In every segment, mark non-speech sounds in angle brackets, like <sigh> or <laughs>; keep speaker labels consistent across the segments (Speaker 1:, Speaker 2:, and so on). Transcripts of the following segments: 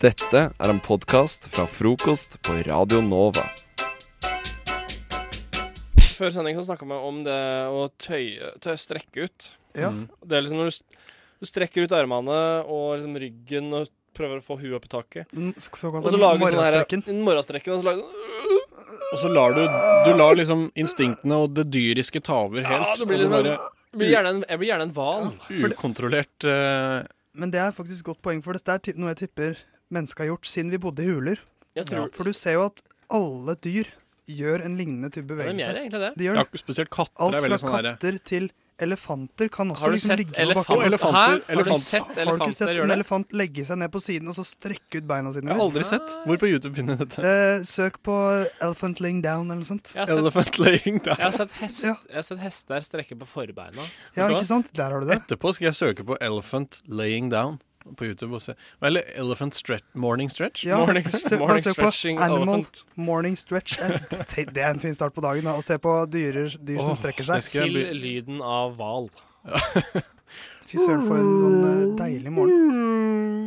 Speaker 1: Dette er en podkast fra frokost på Radio Nova.
Speaker 2: Før sending så snakka vi om det å tøye, tøye strekke ut.
Speaker 3: Ja.
Speaker 2: Det er liksom når du, st- du strekker ut armene og liksom ryggen og prøver å få huet opp i taket.
Speaker 3: Mm, så- Såkalt
Speaker 2: Og så lager du sånn her
Speaker 3: morgenstrekken.
Speaker 2: morgenstrekken. Og så lager du sånn-
Speaker 4: Og så lar du, du lar liksom instinktene og det dyriske ta over helt.
Speaker 2: Ja, det blir
Speaker 4: og
Speaker 2: liksom-
Speaker 4: bare
Speaker 2: jeg blir gjerne en, Jeg blir gjerne en hval.
Speaker 4: ukontrollert eh,
Speaker 3: Men det er faktisk et godt poeng, for dette er ti- noe jeg tipper mennesket har gjort siden vi bodde i huler.
Speaker 2: Jeg tror
Speaker 3: For du ser jo at alle dyr gjør en lignende type
Speaker 2: Ja, de gjør
Speaker 3: bevegelse.
Speaker 2: egentlig det.
Speaker 3: De gjør
Speaker 4: ja,
Speaker 3: det.
Speaker 4: Spesielt katter
Speaker 3: Alt
Speaker 4: er veldig
Speaker 3: fra
Speaker 4: sånn derre
Speaker 3: katter til elefanter kan også
Speaker 2: Har du
Speaker 3: liksom
Speaker 2: sett
Speaker 3: ligge på
Speaker 2: elefanter?
Speaker 3: bakken.
Speaker 4: Og elefanter-
Speaker 2: Hæ? Har du
Speaker 4: elefanter-
Speaker 2: sett
Speaker 3: Har du ikke
Speaker 2: elefanter
Speaker 3: sett en
Speaker 2: gjøre det?
Speaker 3: elefant legge seg ned på siden og så strekke ut beina sine?
Speaker 4: Jeg har
Speaker 3: litt?
Speaker 4: aldri sett. Hvor på YouTube finner jeg dette?
Speaker 3: Eh, søk på eh, 'elephant laying down' eller noe sånt.
Speaker 2: Jeg har sett,
Speaker 4: Elephant laying
Speaker 2: jeg
Speaker 4: down.
Speaker 2: har sett, hest,
Speaker 3: Ja.
Speaker 2: jeg har sett hester strekke på forbeina.
Speaker 3: Ja,
Speaker 4: Vet du hva?
Speaker 3: ikke sant? Der har du det.
Speaker 4: Etterpå skal jeg søke på elephant laying down på YouTube og se. Eller elephant stretch, morning stretch.
Speaker 3: Ja.
Speaker 2: Morning,
Speaker 3: Søk- bare
Speaker 2: morning
Speaker 3: søk på
Speaker 2: stretching
Speaker 3: animal
Speaker 2: elephant.
Speaker 3: morning stretch. Eh, Det det er en fin start på dagen, da. Å se på dyrer, dyr som
Speaker 4: Åh,
Speaker 3: strekker
Speaker 4: det
Speaker 3: seg.
Speaker 4: skal jeg
Speaker 2: Til
Speaker 4: bli-
Speaker 2: lyden av hval.
Speaker 3: <laughs> Fy søren, for en sånn eh, deilig morgen.
Speaker 2: Mm.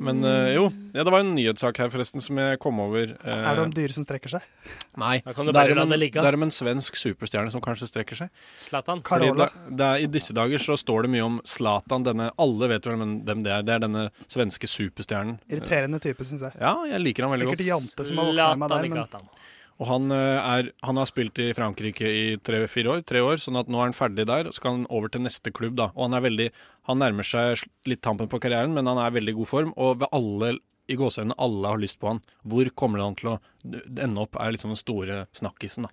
Speaker 4: Men eh, jo, ja, det var en nyhetssak her forresten som jeg kom over. eh,
Speaker 3: Er det om dyr som strekker seg?
Speaker 4: Nei.
Speaker 2: Da kan du
Speaker 4: Det er
Speaker 2: bare la
Speaker 4: om en-
Speaker 2: det ligge.
Speaker 4: det er om en svensk superstjerne som kanskje strekker seg.
Speaker 2: Zlatan.
Speaker 3: Kar-
Speaker 4: Fordi
Speaker 3: Carola.
Speaker 4: da- det er, I disse dager så står det mye om Zlatan, denne Alle vet vel hvem hvem det er. Det er denne svenske superstjernen.
Speaker 3: Irriterende type, syns jeg.
Speaker 4: Ja, jeg liker han veldig
Speaker 3: Sikkert
Speaker 4: godt.
Speaker 3: Jante som har våkna meg der, men
Speaker 2: Zlatan.
Speaker 4: Og han, eh, er, han har spilt i Frankrike i tre-fire år, tre år, sånn at nå er han ferdig der. og Så skal han over til neste klubb, da. Og han er veldig Han nærmer seg sl- litt tampen på karrieren, men han er i veldig god form. Og ved alle i gåseøynene alle har lyst på han. Hvor kommer han til å d- ende opp, er liksom den store snakkisen, da.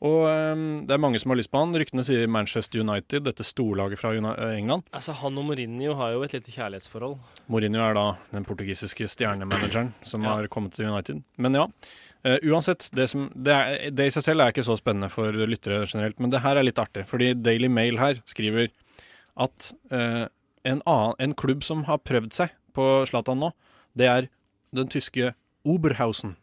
Speaker 4: Og eh, det er mange som har lyst på han. Ryktene sier Manchester United, dette storlaget fra Uni- eh, England.
Speaker 2: Altså, han og Mourinho har jo et lite kjærlighetsforhold.
Speaker 4: Mourinho er da den portugisiske stjernemanageren som
Speaker 2: Ja.
Speaker 4: har kommet til United. Men ja, eh, uansett. Det, som, det, er, det i seg selv er ikke så spennende for lyttere generelt, men det her er litt artig. Fordi Daily Mail her skriver at eh, en, annen, en klubb som har prøvd seg på Zlatan nå, det er den tyske
Speaker 3: <laughs>
Speaker 4: Oberhausen.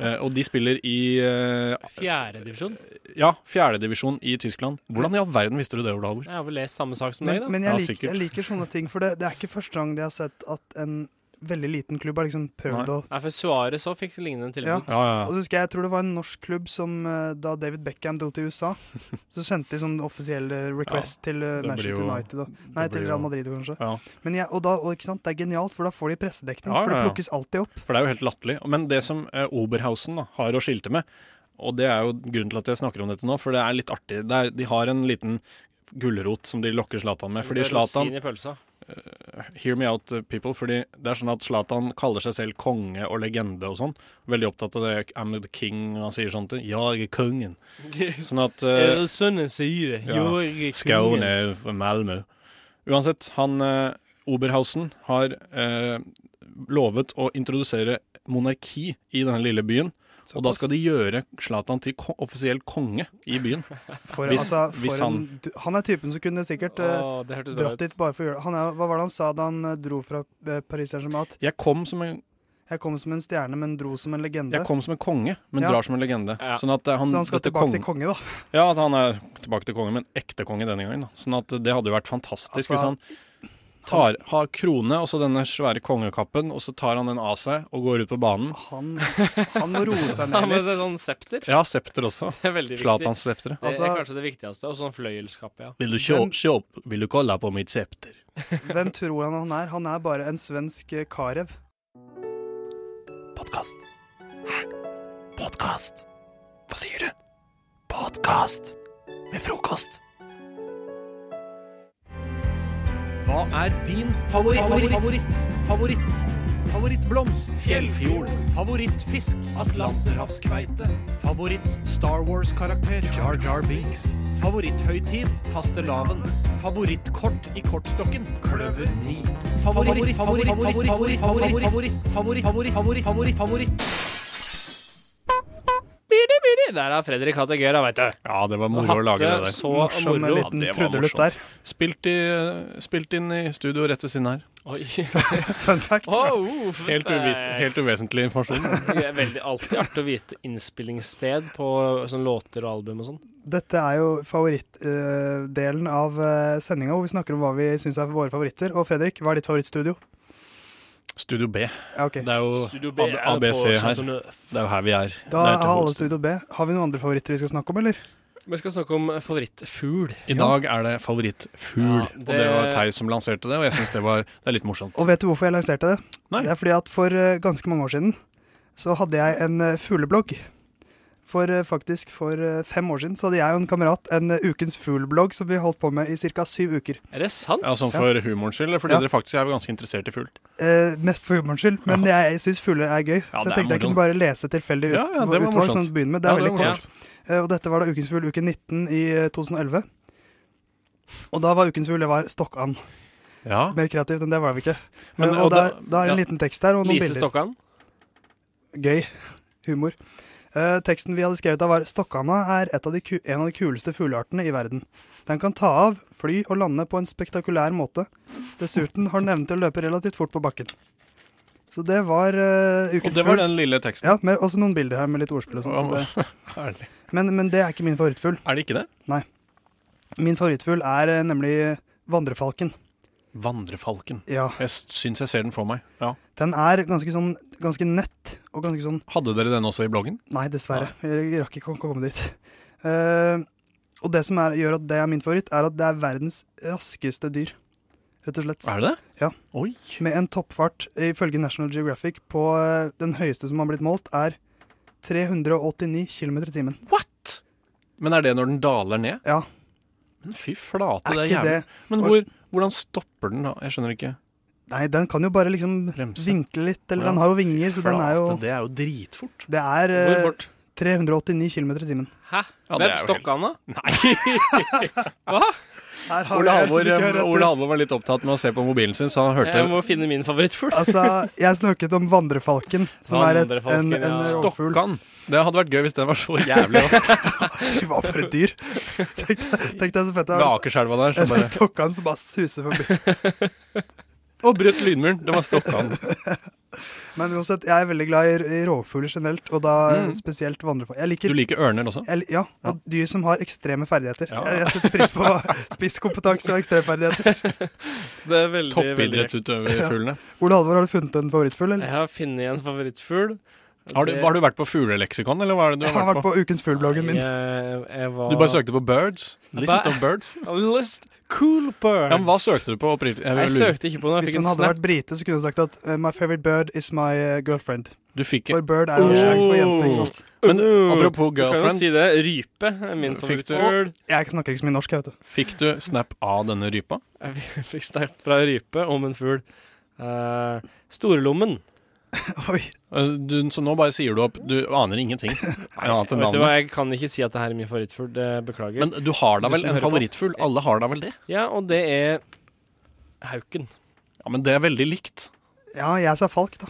Speaker 4: Eh, og de spiller i eh,
Speaker 2: Fjerdedivisjon.
Speaker 4: ja, fjerdedivisjon i Tyskland. Hvordan i all verden visste du det, Ola Halvor?
Speaker 2: Jeg har vel lest samme sak som deg,
Speaker 3: Men,
Speaker 2: da.
Speaker 3: men
Speaker 4: Ja,
Speaker 3: jeg, liker,
Speaker 4: sikkert.
Speaker 3: jeg liker sånne ting, for det, det er ikke første gang de har sett at en veldig liten klubb har liksom prøvd
Speaker 4: Nei.
Speaker 3: å
Speaker 2: Nei, for Suarez òg fikk lignende
Speaker 3: ja.
Speaker 2: tilbud.
Speaker 4: Ja, ja, ja.
Speaker 3: Og så husker jeg, jeg tror det var en norsk klubb som eh, da David Beckham dro til USA, så sendte de sånn offisiell eh, request til eh,
Speaker 4: det blir
Speaker 3: Manchester
Speaker 4: jo-
Speaker 3: United. Og, nei,
Speaker 4: blir
Speaker 3: til
Speaker 4: jo-
Speaker 3: Real Madrid, kanskje.
Speaker 4: Ja.
Speaker 3: Men jeg, og da, og, ikke sant, det er genialt, for da får de pressedekning.
Speaker 4: Ja,
Speaker 3: for det
Speaker 4: ja, ja.
Speaker 3: plukkes alltid opp.
Speaker 4: For det er jo helt latterlig. Men det som eh, Oberhausen da, har å skilte med, og det er jo grunnen til at jeg snakker om dette nå, for det er litt artig. Det er, de har en liten gulrot som de lokker Zlatan med. Fordi
Speaker 2: Det er
Speaker 4: Zlatan
Speaker 2: rosin i pølsa.
Speaker 4: Hear me out, eh, people. Fordi det er sånn at Zlatan kaller seg selv konge og legende og sånn. Veldig opptatt av det. I'm the king, og han sier sånne ting. Ja, jeg er
Speaker 2: <laughs>
Speaker 4: kongen. Sånn at eh,
Speaker 2: Er det sånn en sier det?
Speaker 4: ja.
Speaker 2: Jo, jeg er kongen.
Speaker 4: Skåne, Malmö. Uansett, han eh, Oberhausen har eh, lovet å introdusere monarki i denne lille byen. Og da skal de gjøre Zlatan til ko offisiell konge i byen.
Speaker 3: <laughs> For,
Speaker 4: Hvis-
Speaker 3: altså, for
Speaker 4: hvis
Speaker 3: han,
Speaker 4: han-
Speaker 3: en, du- han er typen som kunne sikkert eh,
Speaker 2: Åh, det hørtes bra
Speaker 3: dratt
Speaker 2: ut.
Speaker 3: dit bare for å gjøre det. Han er, hva var det han sa da han eh, dro fra eh, Paris Saint-Germain? At
Speaker 4: Jeg kom som en,
Speaker 3: 'jeg kom som en stjerne, men dro som en legende'.
Speaker 4: jeg kom som en konge, men
Speaker 3: Ja.
Speaker 4: drar som en legende.
Speaker 2: Ja.
Speaker 4: Sånn at eh, han,
Speaker 3: så han skal
Speaker 4: dette
Speaker 3: tilbake
Speaker 4: kongen-
Speaker 3: til konge, da.
Speaker 4: Ja, at han er tilbake til kongen, men ekte konge denne gangen. Da. Sånn at det hadde jo vært fantastisk
Speaker 3: Altså,
Speaker 4: hvis han tar, har krone og så denne svære kongekappen, og så tar han den av seg og går ut på banen.
Speaker 3: Han, han må roe
Speaker 2: <laughs> Ja,
Speaker 3: seg ned
Speaker 2: men det
Speaker 3: litt.
Speaker 2: er sånn septer.
Speaker 4: Ja, septer også.
Speaker 2: Det er veldig viktig.
Speaker 4: Zlatans septere.
Speaker 2: Det
Speaker 3: Altså-
Speaker 2: er kanskje det viktigste. Og sånn fløyelskappe, ja.
Speaker 4: Vil du
Speaker 3: sjå- Hvem-
Speaker 4: Vil du kolla på mitt septer?
Speaker 3: Hvem tror han han er? Han er bare en svensk eh, Karev.
Speaker 1: Podkast. Hæ? Podkast? Hva sier du? Podkast med frokost.
Speaker 4: Hva er din favoritt, favoritt, favoritt, favoritt, favorittblomst? Fjellfjord. Favorittfisk? Atlanterhavskveite. Favoritt Star Wars-karakter? Jar Jar Binks. Favoritthøytid? Fastelavn. Favorittkort i kortstokken? Kløver 9. Favoritt, favoritt, favoritt, favoritt, favoritt, favoritt, favoritt, favoritt, favoritt, favoritt, favoritt.
Speaker 2: Birdi, birdi. Der er Fredrik hatt det gøy, da, veit du.
Speaker 4: Ja, det var
Speaker 2: Hatte så
Speaker 3: Morsom
Speaker 4: eh,
Speaker 2: moro.
Speaker 3: liten
Speaker 4: det var
Speaker 3: trudelutt
Speaker 4: morsomt.
Speaker 3: der.
Speaker 4: Spilt, i, eh, spilt inn i studio rett ved siden her. <laughs>
Speaker 2: Oi.
Speaker 3: Fun fact.
Speaker 2: Åh, uff,
Speaker 4: Helt, uvis,
Speaker 2: eh,
Speaker 4: helt uvesentlig
Speaker 2: <laughs>
Speaker 4: informasjon.
Speaker 2: Det er veldig alltid artig å vite innspillingssted på sånn låter og album og sånn.
Speaker 3: Dette er jo eh, favorittdelen eh, av uh, sendinga, hvor vi snakker om hva vi syns er våre favoritter. Og Fredrik, hva er ditt favorittstudio?
Speaker 4: Studio B.
Speaker 3: Ja, ok.
Speaker 4: Det er jo
Speaker 2: Studio B er
Speaker 4: ABC
Speaker 2: på
Speaker 4: her.
Speaker 2: Chateau Neuf.
Speaker 4: Det er jo her vi er. Det er til
Speaker 3: Da har alle
Speaker 4: hovedstaden.
Speaker 3: Studio B. Har vi noen andre favoritter vi skal snakke om, eller?
Speaker 2: Vi skal snakke om favorittfugl.
Speaker 4: I dag er det favorittfugl,
Speaker 2: Ja,
Speaker 4: og
Speaker 2: det-
Speaker 4: det var Theis som lanserte det, og jeg syns det var det er litt morsomt.
Speaker 3: Og vet du hvorfor jeg lanserte det?
Speaker 4: Nei.
Speaker 3: Det er fordi at for eh, ganske mange år siden så hadde jeg en eh, fugleblogg. For eh, faktisk for eh, fem år siden så hadde jeg og en kamerat en eh, ukens fuglblogg som vi holdt på med i ca. syv uker.
Speaker 2: Er det sant?
Speaker 4: Ja, Sånn for humorens skyld, eller fordi
Speaker 3: Ja.
Speaker 4: dere faktisk er ganske interessert i fugl.
Speaker 3: Eh, mest for humorens skyld, men jeg syns fugler er gøy.
Speaker 4: Ja,
Speaker 3: så jeg
Speaker 4: det er
Speaker 3: tenkte jeg
Speaker 4: moro.
Speaker 3: kunne bare lese tilfeldig ut,
Speaker 4: Ja, ja, det var
Speaker 3: utvalg
Speaker 4: morsomt.
Speaker 3: sånn å begynne med. Det er
Speaker 4: Ja,
Speaker 3: veldig
Speaker 4: var
Speaker 3: kort. Eh, Og dette var da Ukens fugl uke 19 i eh, 2011. Og da var Ukens fugl det var stokkand.
Speaker 4: Ja.
Speaker 3: Mer kreativt enn det var det ikke. Eh,
Speaker 4: Men,
Speaker 3: og
Speaker 4: og
Speaker 3: da,
Speaker 4: da-
Speaker 3: da er det en
Speaker 4: ja.
Speaker 3: liten tekst her og noen
Speaker 2: Lise
Speaker 3: bilder.
Speaker 2: Stokkan.
Speaker 3: Gøy. Humor. Eh, teksten vi hadde skrevet da var Stokkanda er et av de ku en av de kuleste fugleartene i verden. Den kan ta av, fly og lande på en spektakulær måte. Dessuten har den evnen til å løpe relativt fort på bakken. Så det var eh,
Speaker 4: Og
Speaker 3: ukens
Speaker 4: det var
Speaker 3: fugl.
Speaker 4: den lille teksten.
Speaker 3: Ja, med, også noen bilder her med litt ordspill og sånn. så det-
Speaker 4: <laughs> Herlig.
Speaker 3: Men, men det er ikke min favorittfugl.
Speaker 4: Er det ikke det?
Speaker 3: Min favorittfugl er eh, nemlig vandrefalken.
Speaker 4: Vandrefalken.
Speaker 3: Ja,
Speaker 4: Jeg syns jeg ser den for meg. Ja.
Speaker 3: Den er ganske sånn ganske nett og ganske sånn
Speaker 4: Hadde dere den også i bloggen?
Speaker 3: Nei, dessverre. Jeg rakk ikke å komme dit. Eh, og det som er, gjør at det er min favoritt, er at det er verdens raskeste dyr. Rett og slett.
Speaker 4: Er det det?
Speaker 3: Ja.
Speaker 4: Oi.
Speaker 3: Med en toppfart, ifølge National Geographic, på eh, den høyeste som har blitt målt, er 389 km i timen.
Speaker 4: What?! Men er det når den daler ned?
Speaker 3: Ja.
Speaker 4: Men fy flate,
Speaker 3: Er
Speaker 4: det er
Speaker 3: ikke
Speaker 4: jævlig.
Speaker 3: det
Speaker 4: Men hvor, hvordan stopper den da? Jeg skjønner ikke.
Speaker 3: Nei, den kan jo bare liksom
Speaker 4: Bremse.
Speaker 3: vinkle litt, eller
Speaker 4: Ja.
Speaker 3: den har jo vinger, så den er jo
Speaker 4: det er jo dritfort.
Speaker 3: Det er
Speaker 4: Hvor
Speaker 3: eh,
Speaker 4: fort?
Speaker 3: 389 km i timen.
Speaker 2: Hæ?
Speaker 4: Ja, det
Speaker 2: Hvem?
Speaker 4: er jo helt-
Speaker 2: Stokkan, da?
Speaker 4: <laughs> Nei!
Speaker 3: Her har
Speaker 4: Ole
Speaker 3: jeg en som
Speaker 4: Halvor,
Speaker 3: ikke hører
Speaker 4: eh,
Speaker 3: etter.
Speaker 4: Ole Halvor var litt opptatt med å se på mobilen sin, så han hørte
Speaker 2: Jeg må finne min favorittfugl.
Speaker 3: Altså,
Speaker 2: <laughs>
Speaker 3: jeg snakket om
Speaker 4: <laughs>
Speaker 3: vandrefalken, som er et, en,
Speaker 2: Vandrefalken,
Speaker 3: en
Speaker 2: ja.
Speaker 3: rovfugl.
Speaker 4: Stokkan. Det hadde vært gøy hvis den var så
Speaker 3: <laughs>
Speaker 4: jævlig rask
Speaker 3: Fy, Hva for et dyr! Tenk deg tenk deg så fett
Speaker 4: ved
Speaker 3: det er. altså.
Speaker 4: Akerselva der. Så
Speaker 3: En
Speaker 4: bare
Speaker 3: stokkan som bare suser forbi.
Speaker 4: <laughs> Og brøt lynmuren! Det var Stokkan.
Speaker 3: Men uansett, jeg er veldig glad i, i rovfugler generelt, og da
Speaker 4: Mm.
Speaker 3: spesielt vandrefalk. Jeg
Speaker 4: Du
Speaker 3: liker
Speaker 4: liker ørner også?
Speaker 3: jeg, li- ja, og dyr som har ekstreme ferdigheter.
Speaker 4: Ja.
Speaker 3: Jeg, jeg setter pris
Speaker 4: <laughs>
Speaker 3: på spisskompetanse og ekstremferdigheter.
Speaker 2: Det er veldig, veldig
Speaker 3: <laughs>
Speaker 4: Toppidrettsutøverfuglene.
Speaker 3: Ole Halvor, har du funnet en favorittfugl?
Speaker 2: Jeg
Speaker 3: eller?
Speaker 2: har funnet en favorittfugl.
Speaker 4: <laughs> Har, du-
Speaker 2: Det-
Speaker 4: har du vært på fugleleksikon, eller hva er det du
Speaker 3: Jeg har vært på Ukens fugl-bloggen min.
Speaker 2: Nei, Jeg, jeg var
Speaker 4: Du bare søkte på birds? List of birds?
Speaker 2: A <laughs> List cool birds.
Speaker 4: Ja, men hva søkte du på? opprinnelig? Jeg vil
Speaker 2: Jeg
Speaker 4: lure-
Speaker 2: søkte ikke på den. Jeg
Speaker 3: Hvis
Speaker 2: fikk
Speaker 3: han
Speaker 2: en
Speaker 3: hadde
Speaker 2: snap.
Speaker 3: vært brite, så kunne han sagt at eh, 'My favorite bird is my eh, girlfriend'.
Speaker 4: Du fikk
Speaker 3: For bird er jo slang for jente. ikke sant?
Speaker 4: Men
Speaker 2: Uh,
Speaker 4: apropos
Speaker 2: Du kan jo
Speaker 4: girlfriend,
Speaker 2: si det. Rype er min
Speaker 4: Fikk du-
Speaker 2: favorittfugl.
Speaker 3: Jeg snakker ikke så mye norsk, jeg, vet du.
Speaker 4: fikk du snap av denne rypa?
Speaker 2: <laughs> Jeg fikk snap fra rype om en fugl. Eh, storlommen.
Speaker 3: <laughs> Oi,
Speaker 4: Eh, Du, så nå bare sier du opp. Du
Speaker 2: <laughs>
Speaker 4: aner ingenting annet enn
Speaker 2: Vet du hva,
Speaker 4: navnet.
Speaker 2: Jeg kan ikke si at det her er min favorittfugl. Det beklager.
Speaker 4: Men du har da
Speaker 2: Du
Speaker 4: vel
Speaker 2: som
Speaker 4: en
Speaker 2: hører på.
Speaker 4: favorittfugl? Alle har da vel det?
Speaker 2: ja, og det er hauken.
Speaker 4: Ja, Men det er veldig likt.
Speaker 3: Ja, jeg sa falk, da.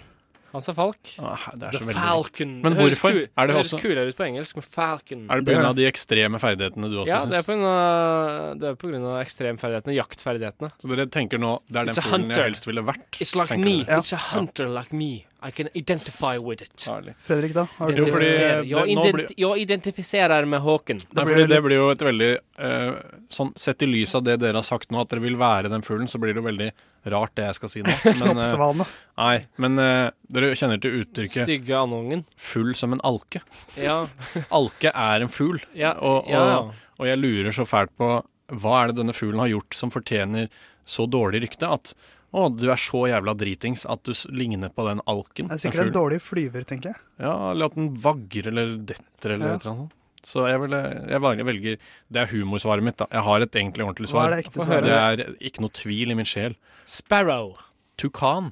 Speaker 2: Han sa falk.
Speaker 4: Ah, Det er
Speaker 2: The
Speaker 4: så veldig likt.
Speaker 2: Falcon.
Speaker 4: Men
Speaker 2: høres
Speaker 4: hvorfor?
Speaker 2: kul-
Speaker 4: Er det
Speaker 2: høres
Speaker 4: også-
Speaker 2: kulere ut på engelsk med Falcon.
Speaker 4: Er det
Speaker 3: Det er
Speaker 4: pga. de ekstreme ferdighetene du også
Speaker 2: ja, det er
Speaker 4: syns?
Speaker 2: på grunn av- det er på grunn av ekstremferdighetene, jaktferdighetene.
Speaker 4: Så dere tenker nå det er den
Speaker 2: It's a
Speaker 4: fuglen
Speaker 2: hunter.
Speaker 4: jeg helst ville vært?
Speaker 2: It's like
Speaker 4: tenker
Speaker 2: me.
Speaker 4: dere?
Speaker 2: It's a hunter like me. I can identify with it.
Speaker 4: Herlig.
Speaker 3: Fredrik, da? Har du
Speaker 4: Jo, fordi
Speaker 2: Identifiserer. Jeg,
Speaker 4: det- nå
Speaker 2: ident-
Speaker 4: blir-
Speaker 2: jeg identifiserer med håken.
Speaker 4: Nei,
Speaker 3: blir
Speaker 4: fordi
Speaker 3: veldig-
Speaker 4: det blir jo et veldig eh, sånn, Sett i lys av det dere har sagt nå, at dere vil være den fuglen, så blir det jo veldig rart det jeg skal si nå.
Speaker 2: <laughs>
Speaker 4: Men, eh,
Speaker 3: knoppsvane?
Speaker 4: nei, men eh, dere kjenner til uttrykket
Speaker 2: Stygge andungen.
Speaker 4: 'full som en alke'.
Speaker 2: Ja,
Speaker 4: <laughs> Alke er en fugl,
Speaker 2: ja,
Speaker 4: og, og,
Speaker 2: ja.
Speaker 4: og jeg lurer så fælt på hva er det denne fuglen har gjort som fortjener så dårlig rykte at å, du er så jævla dritings at du s- ligner på den alken.
Speaker 3: Det er
Speaker 4: den
Speaker 3: sikkert en
Speaker 4: fuglen.
Speaker 3: dårlig flyver, tenker jeg.
Speaker 4: ja, eller at den vagger eller detter eller
Speaker 3: Ja.
Speaker 4: et eller annet. sånt. Så jeg, vil, eh, jeg valg- jeg velger Det er humorsvaret mitt, da. Jeg har et egentlig ordentlig
Speaker 3: Hva
Speaker 4: svar.
Speaker 3: er det ekte
Speaker 2: Få
Speaker 3: svaret?
Speaker 4: Det er ikke noe tvil i min sjel.
Speaker 2: Sparrow.
Speaker 4: Tukan.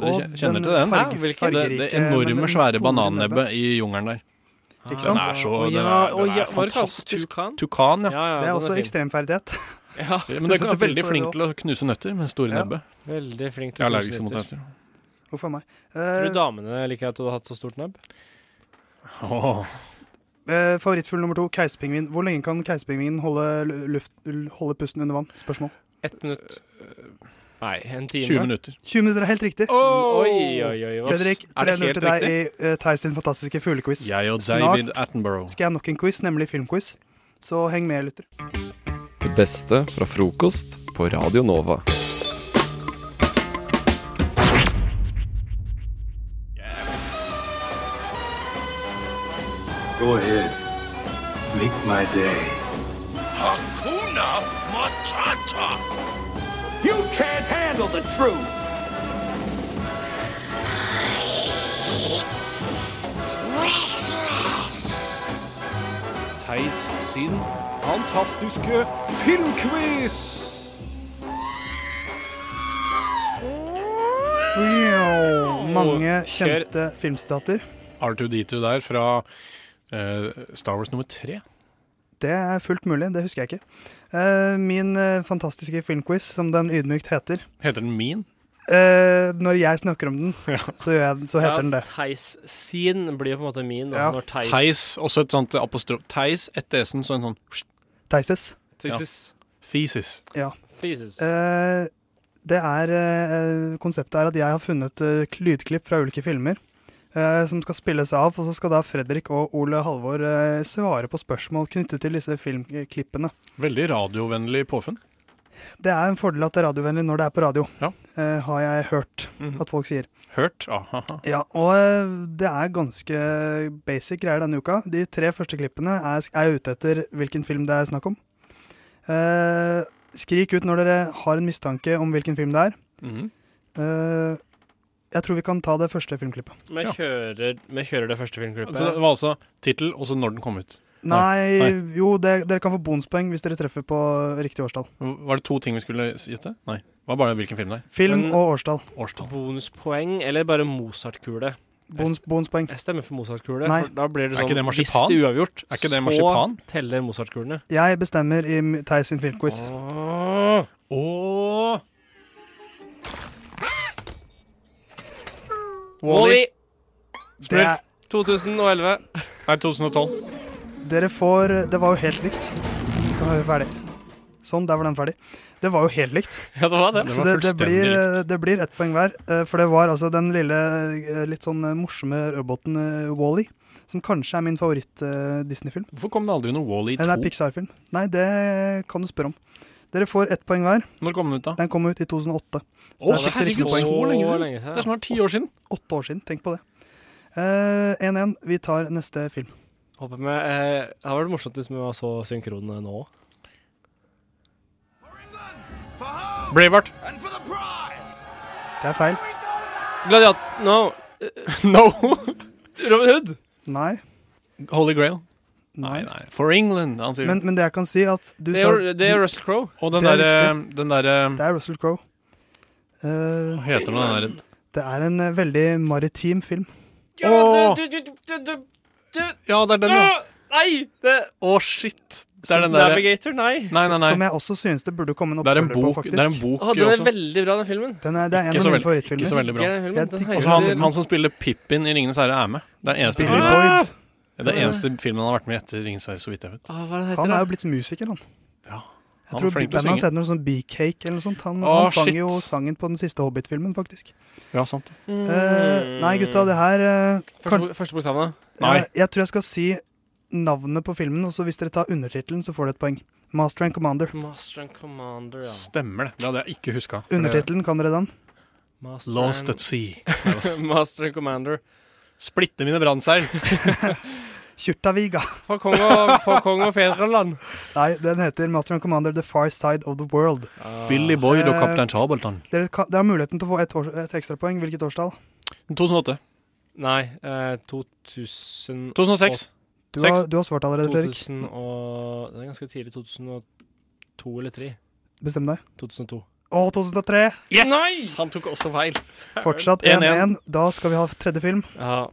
Speaker 4: Dere
Speaker 3: Og
Speaker 4: kje- kjenner
Speaker 3: den
Speaker 4: til den?
Speaker 3: farge-
Speaker 2: Ja, hvilken?
Speaker 4: Det,
Speaker 3: fargerike,
Speaker 4: det
Speaker 3: men
Speaker 4: enorme,
Speaker 3: den
Speaker 4: svære
Speaker 3: store nebbet.
Speaker 4: banannebbet i jungelen der.
Speaker 3: Ikke
Speaker 4: Den
Speaker 3: sant?
Speaker 4: er så
Speaker 2: Å,
Speaker 4: Den
Speaker 2: ja,
Speaker 4: er,
Speaker 2: å,
Speaker 4: den
Speaker 2: ja,
Speaker 4: er
Speaker 2: var det kalt
Speaker 4: fantastisk.
Speaker 2: tukan?
Speaker 4: Tukan, ja.
Speaker 2: Ja, ja,
Speaker 3: Det er
Speaker 2: den
Speaker 3: også
Speaker 2: fin.
Speaker 3: ekstremferdighet.
Speaker 2: Ja,
Speaker 4: Ja, Men det
Speaker 3: setter
Speaker 4: er
Speaker 3: pris på
Speaker 4: veldig
Speaker 3: det
Speaker 4: flink
Speaker 3: også.
Speaker 4: til å knuse nøtter med store
Speaker 3: Ja.
Speaker 4: nebbe.
Speaker 2: veldig flink
Speaker 4: Jeg
Speaker 2: til
Speaker 4: er allergisk mot
Speaker 2: knusenøtter.
Speaker 4: nøtter.
Speaker 3: Hvorfor meg?
Speaker 2: Tror
Speaker 3: Eh,
Speaker 2: du damene liker at du har hatt så stort nebb?
Speaker 4: Åh.
Speaker 3: eh, favorittfugl nummer to, keiserpingvin. Hvor lenge kan keiserpingvinen holde, lu- luft- l- holde pusten under vann? Spørsmål.
Speaker 2: Ett minutt. Nei, en time.
Speaker 4: 20 Eh, minutter.
Speaker 3: 20 minutter er helt riktig.
Speaker 2: Oi, oi, oi. hva-
Speaker 3: Fredrik,
Speaker 4: Er det
Speaker 3: 3-0
Speaker 4: helt
Speaker 3: til deg i uh, Theis sin fantastiske fuglequiz.
Speaker 4: Jeg og
Speaker 3: Snart.
Speaker 4: David Attenborough.
Speaker 3: Skal jeg ha nok en quiz, nemlig filmquiz? Så heng med, lytter.
Speaker 1: Det beste fra frokost på Radio Nova.
Speaker 5: Go ahead. Make my day.
Speaker 6: Hakuna Matata!
Speaker 7: You can't handle the truth.
Speaker 4: Theis sin fantastiske filmquiz!
Speaker 3: Wow. Mange
Speaker 4: Og kjør.
Speaker 3: kjente filmstater.
Speaker 4: R2D2 der fra eh, Star Wars nummer tre.
Speaker 3: Det er fullt mulig, det husker jeg ikke. Eh, min eh, fantastiske filmquiz, som den ydmykt heter.
Speaker 4: Heter den min?
Speaker 3: Eh, når jeg snakker om den,
Speaker 4: <laughs>
Speaker 3: så, gjør jeg, den- så heter den det.
Speaker 8: Theis sin blir jo på en måte min. Da,
Speaker 3: Ja.
Speaker 8: Når Theis
Speaker 4: Theis, også et sånt apostrof. Theis etter S-en, så en sånn
Speaker 3: Thesis.
Speaker 8: Thesis.
Speaker 4: thesis.
Speaker 3: Ja.
Speaker 8: Thesis.
Speaker 3: Eh, det er eh, Konseptet er at jeg har funnet eh, lydklipp fra ulike filmer. eh, som skal spilles av, og så skal da Fredrik og Ole Halvor eh, svare på spørsmål knyttet til disse filmklippene.
Speaker 4: Veldig radiovennlig påfunn.
Speaker 3: Det er en fordel at det er radiovennlig når det er på radio,
Speaker 4: Ja. Mhm.
Speaker 3: eh, har jeg hørt at folk sier.
Speaker 4: Hørt? Aha.
Speaker 3: Ja, og eh, det er ganske basic greier denne uka. De tre første klippene er, er ute etter hvilken film det er snakk om. Eh, skrik ut når dere har en mistanke om hvilken film det er.
Speaker 4: Mhm.
Speaker 3: Eh, jeg tror vi kan ta det første filmklippet.
Speaker 8: Vi
Speaker 4: ja.
Speaker 8: kjører, vi kjører det første filmklippet.
Speaker 4: Så det var altså tittel, og så når den kom ut.
Speaker 3: Nei,
Speaker 4: nei.
Speaker 3: jo, det, dere kan få bonuspoeng hvis dere treffer på riktig årstall.
Speaker 4: Var det to ting vi skulle gjette? Nei. Det var bare hvilken film det er.
Speaker 3: Film
Speaker 8: Men-
Speaker 3: og årstall.
Speaker 4: Årstall.
Speaker 8: Bonuspoeng eller bare Mozart-kule?
Speaker 3: Bonus, bonuspoeng.
Speaker 8: Jeg stemmer for Mozart-kule.
Speaker 3: Nei.
Speaker 8: for Da blir det
Speaker 4: Er
Speaker 8: sånn
Speaker 4: ikke det
Speaker 8: Hvis
Speaker 4: marsipan?
Speaker 8: det er uavgjort,
Speaker 4: Er ikke det
Speaker 8: så
Speaker 4: marsipan?
Speaker 8: teller Mozart-kulene.
Speaker 3: Jeg bestemmer i Theis sin filmquiz.
Speaker 8: Åh.
Speaker 4: Åh!
Speaker 8: Wall-E
Speaker 3: Det er,
Speaker 8: 2011.
Speaker 4: Nei, 2012.
Speaker 3: Dere får Det var jo helt likt. Skal vi være ferdig. Sånn, der var den ferdig. Det var jo helt
Speaker 4: <laughs>
Speaker 3: likt.
Speaker 8: Ja, det var det.
Speaker 4: Det
Speaker 3: Så
Speaker 4: var
Speaker 3: det, det,
Speaker 4: fullstendig
Speaker 3: blir,
Speaker 4: likt.
Speaker 3: det blir ett poeng hver. eh, For det var altså den lille, eh, litt sånn eh, morsomme roboten Wally, som kanskje er min favoritt-Disney-film.
Speaker 4: Hvorfor kom det aldri noe Wall-E 2?
Speaker 3: Eller nei, Pixar-film. Nei, det kan du spørre om. Dere får ett poeng hver.
Speaker 4: Når kom den ut, da?
Speaker 3: Den kom ut i 2008.
Speaker 4: Å,
Speaker 3: det er ikke
Speaker 4: herregud,
Speaker 3: riktig
Speaker 4: så
Speaker 8: poeng.
Speaker 4: lenge
Speaker 8: Så
Speaker 4: siden!
Speaker 8: lenge siden.
Speaker 4: Det er snart ti år siden.
Speaker 3: Åtte år siden, tenk på det. Eh, 1-1. Vi tar neste film.
Speaker 8: Håper vi, eh, det hadde vært morsomt hvis vi var så synkrone nå.
Speaker 6: For home
Speaker 4: Braveheart.
Speaker 6: and for the prize!
Speaker 3: Det er feil.
Speaker 8: Gladiat...
Speaker 3: <laughs>
Speaker 8: No.
Speaker 4: No!
Speaker 8: Robin Hood.
Speaker 3: Nei.
Speaker 4: Holy Grail. Nei,
Speaker 3: nei.
Speaker 4: nei. For England, han sier.
Speaker 3: Men, men det jeg kan si, at du
Speaker 8: Det
Speaker 3: sa
Speaker 8: er, det er Russell Crowe.
Speaker 4: og den
Speaker 3: det er
Speaker 4: derre Den derre
Speaker 3: Det er Russell Crowe. Eh,
Speaker 4: Hva heter den den derre
Speaker 3: det er en eh, veldig maritim film.
Speaker 4: Åh!
Speaker 8: Du- du- du- du- du- du-
Speaker 4: Ja, det er den, ja!
Speaker 8: Åh, Nei! Det,
Speaker 4: Å, shit! Det er den derre
Speaker 8: Navigator, nei.
Speaker 4: Nei, nei,
Speaker 3: Som
Speaker 4: nei.
Speaker 3: jeg også synes det burde komme en
Speaker 4: Det er en
Speaker 3: oppfølger på,
Speaker 4: bok,
Speaker 3: faktisk.
Speaker 4: det er en bok
Speaker 8: Åh, den er
Speaker 4: også.
Speaker 8: veldig bra, den filmen.
Speaker 3: Den er, det er en
Speaker 4: Ikke
Speaker 3: av
Speaker 4: så
Speaker 3: mine
Speaker 4: veldig- Ikke så
Speaker 3: favorittfilmer.
Speaker 4: veldig bra.
Speaker 8: Den filmen,
Speaker 3: Jeg
Speaker 8: den
Speaker 3: digger
Speaker 8: har jeg
Speaker 4: Altså, han,
Speaker 8: aldri-
Speaker 4: han som spiller Pippin i 'Ringenes herre', er med. Det er den eneste
Speaker 3: Billy
Speaker 4: filmen,
Speaker 3: Ah! Boyd.
Speaker 4: det er eneste filmen han har vært med i etter 'Ringenes herre', så vidt jeg vet.
Speaker 8: Åh, Ah, hva er det heter
Speaker 3: Han er
Speaker 8: da?
Speaker 3: jo blitt musiker, han.
Speaker 4: Ja,
Speaker 3: Jeg
Speaker 4: han
Speaker 3: tror
Speaker 4: er flink til å
Speaker 3: bandet hans
Speaker 4: synge.
Speaker 3: heter noe sånn Beecake eller noe sånt. Han,
Speaker 4: Å,
Speaker 3: han sang
Speaker 4: shit.
Speaker 3: jo sangen på den siste Hobbit-filmen, faktisk.
Speaker 4: Ja, sant.
Speaker 3: Eh, nei, gutta, det her eh, kan,
Speaker 8: Mm. Første, første bokstaven, da?
Speaker 4: Nei.
Speaker 3: jeg, jeg tror jeg skal si navnet på filmen, og så hvis dere tar undertittelen, så får dere et poeng. Master and Commander.
Speaker 8: Master and Commander, ja.
Speaker 4: Stemmer det. Det hadde jeg ikke huska.
Speaker 3: Undertittelen, kan dere den?
Speaker 8: Master
Speaker 4: Lost
Speaker 8: and,
Speaker 4: at Sea.
Speaker 8: <laughs> Master and Commander.
Speaker 4: Splitte mine
Speaker 3: <laughs>
Speaker 4: brannseil.
Speaker 3: Kjurtaviga.
Speaker 8: For kong og, for kong og fedreland.
Speaker 3: <laughs> Nei, den heter Master and Commander The Far Side of the World.
Speaker 4: Billy Boyd og
Speaker 3: Eh,
Speaker 4: Kaptein Sabeltann.
Speaker 3: Dere, kan, dere har muligheten til å få et, år, et ekstrapoeng. Hvilket årstall?
Speaker 4: 2008.
Speaker 8: Nei, eh, 2000
Speaker 4: 2006.
Speaker 3: Du
Speaker 4: Seks.
Speaker 3: har, du har svart allerede, Fredrik.
Speaker 8: 2000 og Det er ganske tidlig. 2002 eller 3?
Speaker 3: Bestem deg.
Speaker 8: 2002.
Speaker 3: Å, 2003!
Speaker 4: Yes!
Speaker 8: Nei!
Speaker 4: Han tok også feil.
Speaker 3: Fortsatt 1-1. Da skal vi ha tredje film.
Speaker 8: Ja.